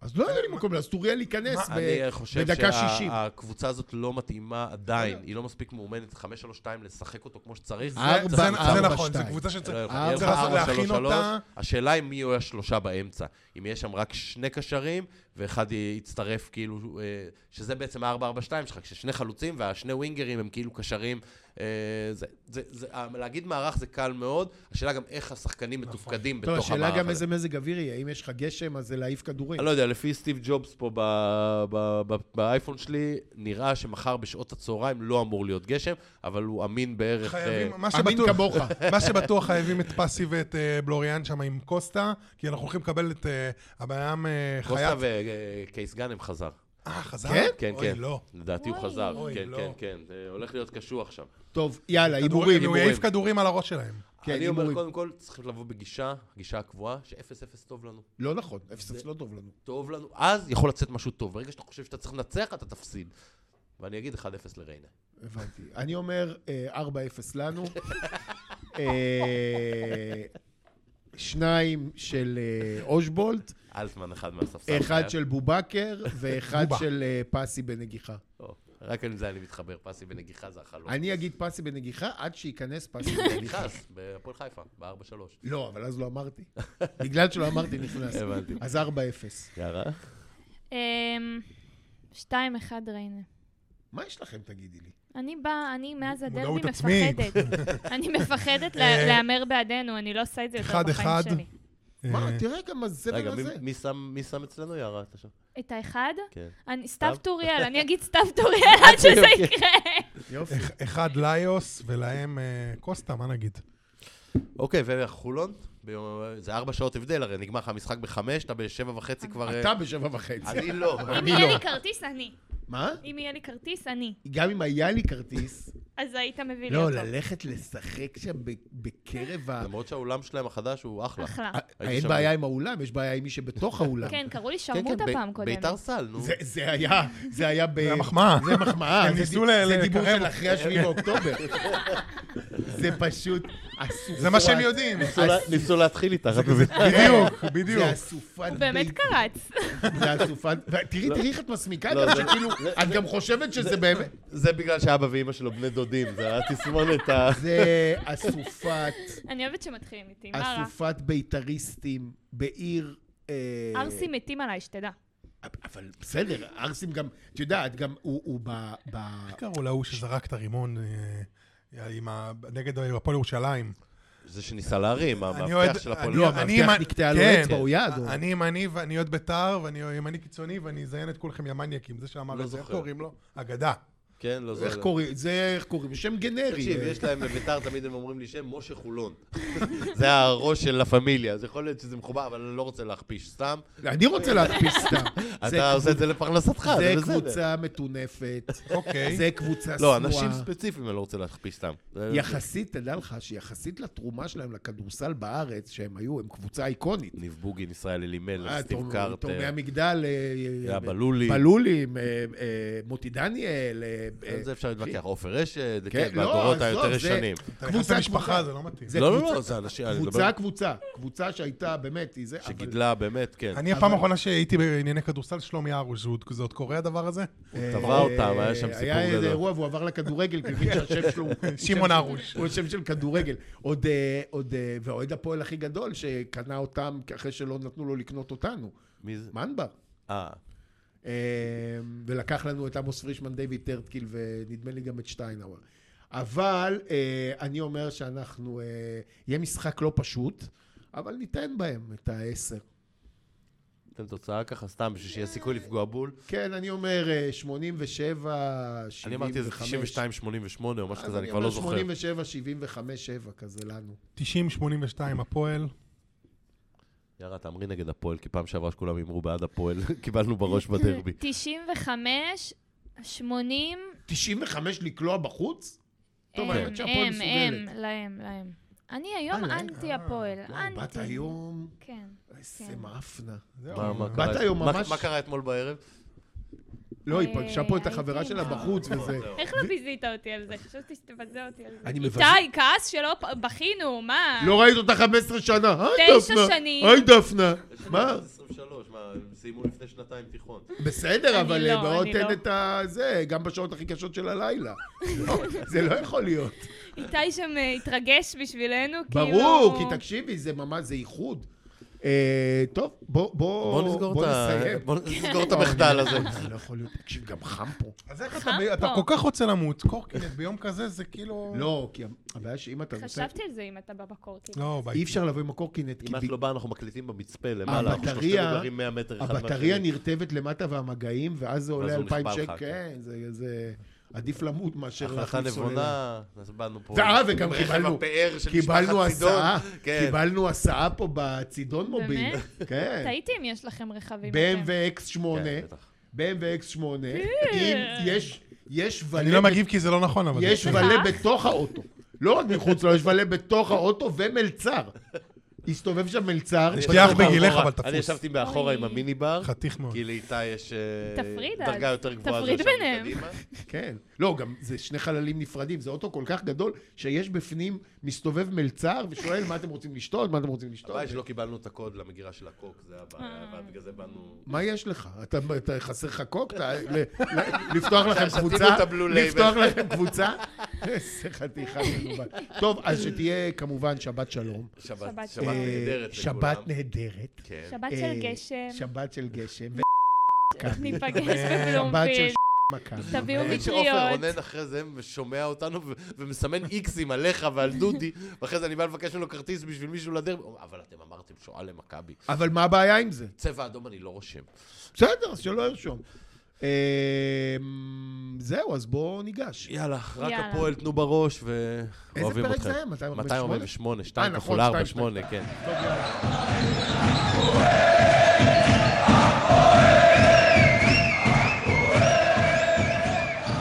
אז לא היה לי מקום, אז טוריאל ייכנס
מה,
ב-
אני אה, חושב
בדקה 60.
שהקבוצה הזאת לא מתאימה עדיין, היא לא מספיק מאומנת, 5-3-2 לשחק אותו כמו שצריך.
ארבע,
צריך
זה-
למצוא-
זה
ארבע,
נכון, זו
שתיים.
קבוצה
לא,
שצריך
יהיה לך
צריך לעשות-
ארבע,
להכין
שלוש, שלוש.
אותה.
השאלה היא מי יהיו השלושה באמצע. אם יש שם רק שני קשרים, ואחד י- יצטרף כאילו, אה, שזה בעצם ה-4-4-2 שלך, כששני חלוצים והשני ווינגרים הם כאילו קשרים. אה, זה- זה- זה- אה, להגיד מערך זה קל מאוד, השאלה גם איך השחקנים מתופקדים
לא,
טוב,
בתוך
השאלה
המערך
גם
הזה.
איזה מזג אוויר יהיה, אם יש לך גשם, אז זה להעיף כדורים.
אני לא יודע, לפי סטיב ג'ובס פה ב- ב- ב- באייפון שלי, נראה שמחר בשעות הצהריים לא אמור להיות גשם, אבל הוא אמין בערך...
חייבים,
אה,
מה
אמין
שבטוח,
כמוך.
מה שבטוח חייבים את פסי ואת אה, בלוריאן שם עם קוסטה, כי אנחנו הולכים לקבל את אה, הבעיהם אה,
קוסטה
חייט.
וקייס גאנם חזר.
אה, חזר?
כן?
כן,
אוי,
כן.
לא.
לדעתי הוא
אוי.
חזר.
אוי,
כן,
לא.
כן, כן. זה הולך להיות קשוח שם.
טוב, יאללה,
כדורים,
הימורים.
הוא
הימורים.
יעיף כדורים על הראש שלהם.
כן,
אני אומר,
הימורים.
קודם כל, צריכים לבוא בגישה, הגישה הקבועה, ש-0-0 טוב לנו.
לא נכון, אפס אפס לא טוב לנו.
טוב לנו, אז יכול לצאת משהו טוב. ברגע שאתה חושב שאתה צריך לנצח, אתה תפסיד. ואני אגיד 1-0 לריינה.
הבנתי. אני אומר, אה, 4-0 לנו. אה, שניים של אה, אושבולט,
אלטמן אחד מהספסל.
אחד
אה?
של בובקר ואחד
בובה.
של אה, פסי בנגיחה.
או, לא, רק עם זה אני מתחבר, פסי בנגיחה זה החלום.
אני אגיד פסי בנגיחה עד שייכנס פסי לא. בנגיחה.
נכנס, בהפועל חיפה, ב-4-3.
לא, אבל אז לא אמרתי. בגלל שלא אמרתי נכנס.
הבנתי.
אז 4-0.
יאללה.
אמ, 2-1 ריינה.
מה יש לכם, תגידי לי?
אני באה, אני מאז הדרבי
מודעות עצמית.
מפחדת. אני מפחדת
אה,
לה- להמר בעדנו, אני לא עושה את זה יותר
אחד,
בחיים
אחד.
שלי.
מה,
אה,
תראה גם
רגע,
הזבל הזה.
מי- מי שם- מי שם אצלנו יערה? אתה שם?
את האחד?
כן.
אני- סתיו
סתיו? אוקיי,
טוריאל, אני אגיד סתיו טוריאל עד שזה יקרה.
יופי.
אח- אה, אחד ליוס ולהם אה, קוסטה, מה נגיד?
אוקיי, וחולון? ביום- זה ארבע שעות הבדל, הרי נגמר לך המשחק בחמש, אתה בשבע וחצי כבר... אה,
אתה בשבע וחצי.
אני לא.
אם
אני
יהיה
לא.
לי כרטיס, אני.
מה?
אם יהיה לי כרטיס, אני.
גם אם היה לי כרטיס,
אז היית מביא לי
לא,
אותו.
ללכת לשחק שם ב- בקרב ה...
למרות שהאולם שלהם החדש הוא אחלה. כן,
אחלה.
אה,
הייתי
אין
שם.
בעיה עם האולם, יש בעיה עם מי שבתוך האולם.
כן, קראו לי
כן,
שרמוטה
בי-
פעם קודמת.
ביתר סל, נו.
זה- זה היה, זה היה
אה,
ב...
זה מחמאה.
זה מחמאה.
הם
זה
ניסו
די-
ל-
זה דיבור
לקרב.
של אחרי השביעי באוקטובר. זה פשוט אסופת... כן.
זה מה שהם יודעים.
ניסו לה- ניסו להתחיל איתך, את מבינה?
בדיוק,
זה
בדיוק.
אסופת...
הוא באמת
בית-
קרץ.
זה אסופת... ו- תראי, תראי איך את מסמיקה
לא,
גם,
זה-
שכאילו, את גם חושבת שזה באמת...
זה בגלל שאבא ואימא שלו בני דודים, זה היה תסמונת ה...
זה אסופת...
אני אוהבת שמתחילים איתי, מה רע?
אסופת בית"ריסטים בעיר... אה,
ארסי מתים עליי, שתדע.
אבל בסדר, ארסים גם, את יודעת, גם הוא, הוא ב... ב...
איך קראו להוא שזרק את הרימון אה, עם ה- נגד הפועל ירושלים?
זה שניסה להרים,
אני אוהד-
המאבטח של הפועל.
אני-
לא,
אני
המאבטח
ימני-
נקטעה לו
כן.
אצבע, הוא יד, או-
אני ימני ואני אוהד בית"ר, ואני ימני קיצוני, ואני אזיין את כולכם ימניאקים. זה שאמר
לא
את זה, איך
זוכר.
קוראים לו? אגדה.
כן, לא זה...
איך קוראים? זה איך קוראים? שם גנרי.
תקשיב, יש להם בביתר, תמיד הם אומרים לי שם משה חולון. זה הראש של לה פמיליה, אז יכול להיות שזה מחובר, אבל אני לא רוצה להכפיש סתם.
אני רוצה להדפיס סתם. זה
אתה עושה את זה לפרנסתך,
זה
זה בסדר.
קבוצה מטונפת,
אוקיי.
זה קבוצה
לא,
שנואה.
אנשים ספציפיים אני לא רוצה להכפיש סתם. זה-
יחסית, תדע לך, שיחסית לתרומה שלהם לכדורסל בארץ, שהם היו, הם קבוצה איקונית.
ניב בוגין, ישראל אלימלך,
אה,
סטיב
תור- תורמי
קרטר,
המגדל, אה,
היה בלולי.
בלולים, אה, אה, מוטי דניאל, אה,
על זה אפשר להתווכח. עופר אשד,
כן,
כן,
לא,
בדורות
עזוב,
היותר
זה-
ישנים.
אתה נכנס
קבוצה,
למשפחה,
קבוצה.
זה לא מתאים.
זה
לא, לא,
קבוצה-
לא, זה אנשים... אני מדבר-
קבוצה, קבוצה. קבוצה שהייתה, באמת, היא זה... אבל-
שגידלה באמת, כן.
אני הפעם האחרונה שהייתי בענייני כדורסל, שלומי ארוש, זה עוד- זה עוד קורה הדבר הזה?
הוא טבע אותם, היה שם סיפור
אה, היה איזה
גדול.
אירוע והוא עבר לכדורגל, כי הוא הבין שהשם שלו... הוא-
שמעון הרוש.
הוא שם של כדורגל. עוד, אה, עוד, אה, והאוהד הפועל הכי גדול שקנה אותם אחרי שלא נתנו לו לקנות אותנו,
מי זה?
מנבר.
אה,
אה, ולקח לנו את עמוס פרישמן, דיוויד טרטקיל, ונדמה לי גם את שטיינאוור. אבל אה, אני אומר שאנחנו, אה, יהיה משחק לא פשוט, אבל ניתן בהם את העשר.
אתם תוצאה ככה סתם בשביל שיהיה סיכוי לפגוע בול.
כן, אני אומר אה, 87, 75.
אני אמרתי איזה 92-88 או משהו
אז
כזה, אני כבר לא זוכר.
87, 75, 7 כזה לנו.
90-82 הפועל.
יאללה, תאמרי נגד הפועל, כי פעם שעברה שכולם הימרו בעד הפועל, קיבלנו בראש בדרבי.
95, 80,
95 לקלוע בחוץ? טוב,
הם,
האמת שהפועל
הם, הם,
מסוגלת.
אה, להם, להם. אני היום
להם?
אנטי הפועל,
וואו, אה, באת
אנטי.
היום,
כן.
איזה
כן.
מאפנה.
זהו.
מה- מה
באת
קרה-
היום
מה-
ממש-
מה קרה אתמול בערב?
לא, היא
אה,
פגשה פה את
הייתי
החברה
עם
שלה
ה-
בחוץ וזה.
איך לא ביזית אותי על זה? חשבתי שתבזה אותי על זה.
אני מבזה.
איתי, כעס שלא פ- בכינו, מה?
לא ראית אותה 15 שנה. היי
תשע
דפנה.
שנים.
היי דפנה. מה?
23, מה, הם סיימו לפני שנתיים תיכון.
בסדר,
אני
אבל
לא,
אה, בוא
אני
תן
לא.
את ה... זה, גם בשעות הכי קשות של הלילה. לא, זה לא יכול להיות.
איתי שם אה, התרגש בשבילנו, כאילו...
ברור, כי תקשיבי, זה ממש, זה איחוד. אה, טוב, בוא, בוא,
בוא נסגור
בוא
את ה-
נסיים. כן.
בוא נסגור את המחדל הזה.
זה לא יכול להיות, תקשיב, גם חם פה.
אז איך אתה,
חם
ב- אתה
פה.
כל כך רוצה למות, קורקינט ביום כזה זה כאילו...
לא, כי הבעיה שאם אתה רוצה...
חשבתי על זה אם אתה כאילו. בא בקורקינט.
לא,
אי
ביי.
אפשר לבוא עם הקורקינט, כי
אם את
ב-
לא באה, אנחנו מקליטים במצפה למעלה, אנחנו שלושתנו
הבטריה-
גרים 100 מטר אחד מהשני.
הבטריה נרטבת למטה והמגעים, ואז זה עולה
הוא נכפה
2,000
לך,
שקל.
כן.
כן, זה- זה... עדיף למות מאשר
החלטה
להחליף סוללה.
נבונה, אז באנו פה.
זה- אה, וגם
עם רכב
קיבלנו-
הפאר של
קיבלנו
משפחת צידון.
הסעה,
כן.
קיבלנו הסעה פה בצידון מוביל.
באמת?
כן.
תהיתי אם יש לכם רכבים. אתם.
BMW X8,
כן, בטח.
BMW X8,
כן.
אם יש, יש ולה...
אני לא מגיב כי זה לא נכון, אבל...
יש
בסדר.
ולה
אה?
בתוך האוטו. לא רק מחוץ לו, יש ולה בתוך האוטו ומלצר. הסתובב שם מלצר.
יש לי אח
ישבתי
בגילך,
מאחורה-
אבל תפוס.
אני ישבתי מאחורה
אוי.
עם המיני בר,
חתיך מאוד.
כי לאיתי יש אה,
תפריד אז.
דרגה יותר גבוהה.
תפריד
זה ישב
ביניהם.
מקדימה.
כן. לא, גם זה שני חללים נפרדים. זה אוטו כל כך גדול, שיש בפנים מסתובב מלצר ושואל מה אתם רוצים לשתות, מה אתם רוצים לשתות.
הבעיה שלא לא קיבלנו את הקוד למגירה של הקוק, זה
אה.
הבעיה, אבל בגלל זה באנו...
מה יש לך? אתה, אתה חסר לך קוק? אתה, ל, ל, לפתוח לכם
שתינו
קבוצה?
את הבלו-לייבל.
לפתוח לכם קבוצה? איזה חתיכה מנוול. טוב, אז שתהיה כמובן שבת שלום.
שבת
שבת.
שבת
אה,
נהדרת לכולם.
שבת נהדרת.
כן.
שבת
אה,
של גשם,
שבת של גשם. ו- שבת
ניפגש
של
בבלומפילד,
ש- מכה.
תביאו
אני מבין שעופר
מטריות.
רונן אחרי זה ושומע אותנו ו- ומסמן איקסים עליך ועל דודי, ואחרי זה אני בא לבקש ממנו כרטיס בשביל מישהו לדרבי. הוא אומר, אבל אתם אמרתם שואה למכבי.
אבל מה הבעיה עם זה?
צבע אדום אני לא רושם.
בסדר, אז שלא ירשום. אה, זהו, אז בואו ניגש.
יאללה, רק
יאללה.
הפועל תנו בראש
איזה
ואוהבים
פרק
אתכם.
זה היה? 248?
248,
אה,
2
נכון,
כפול 4,
שתיים,
8, כן.
טוב, יאללה.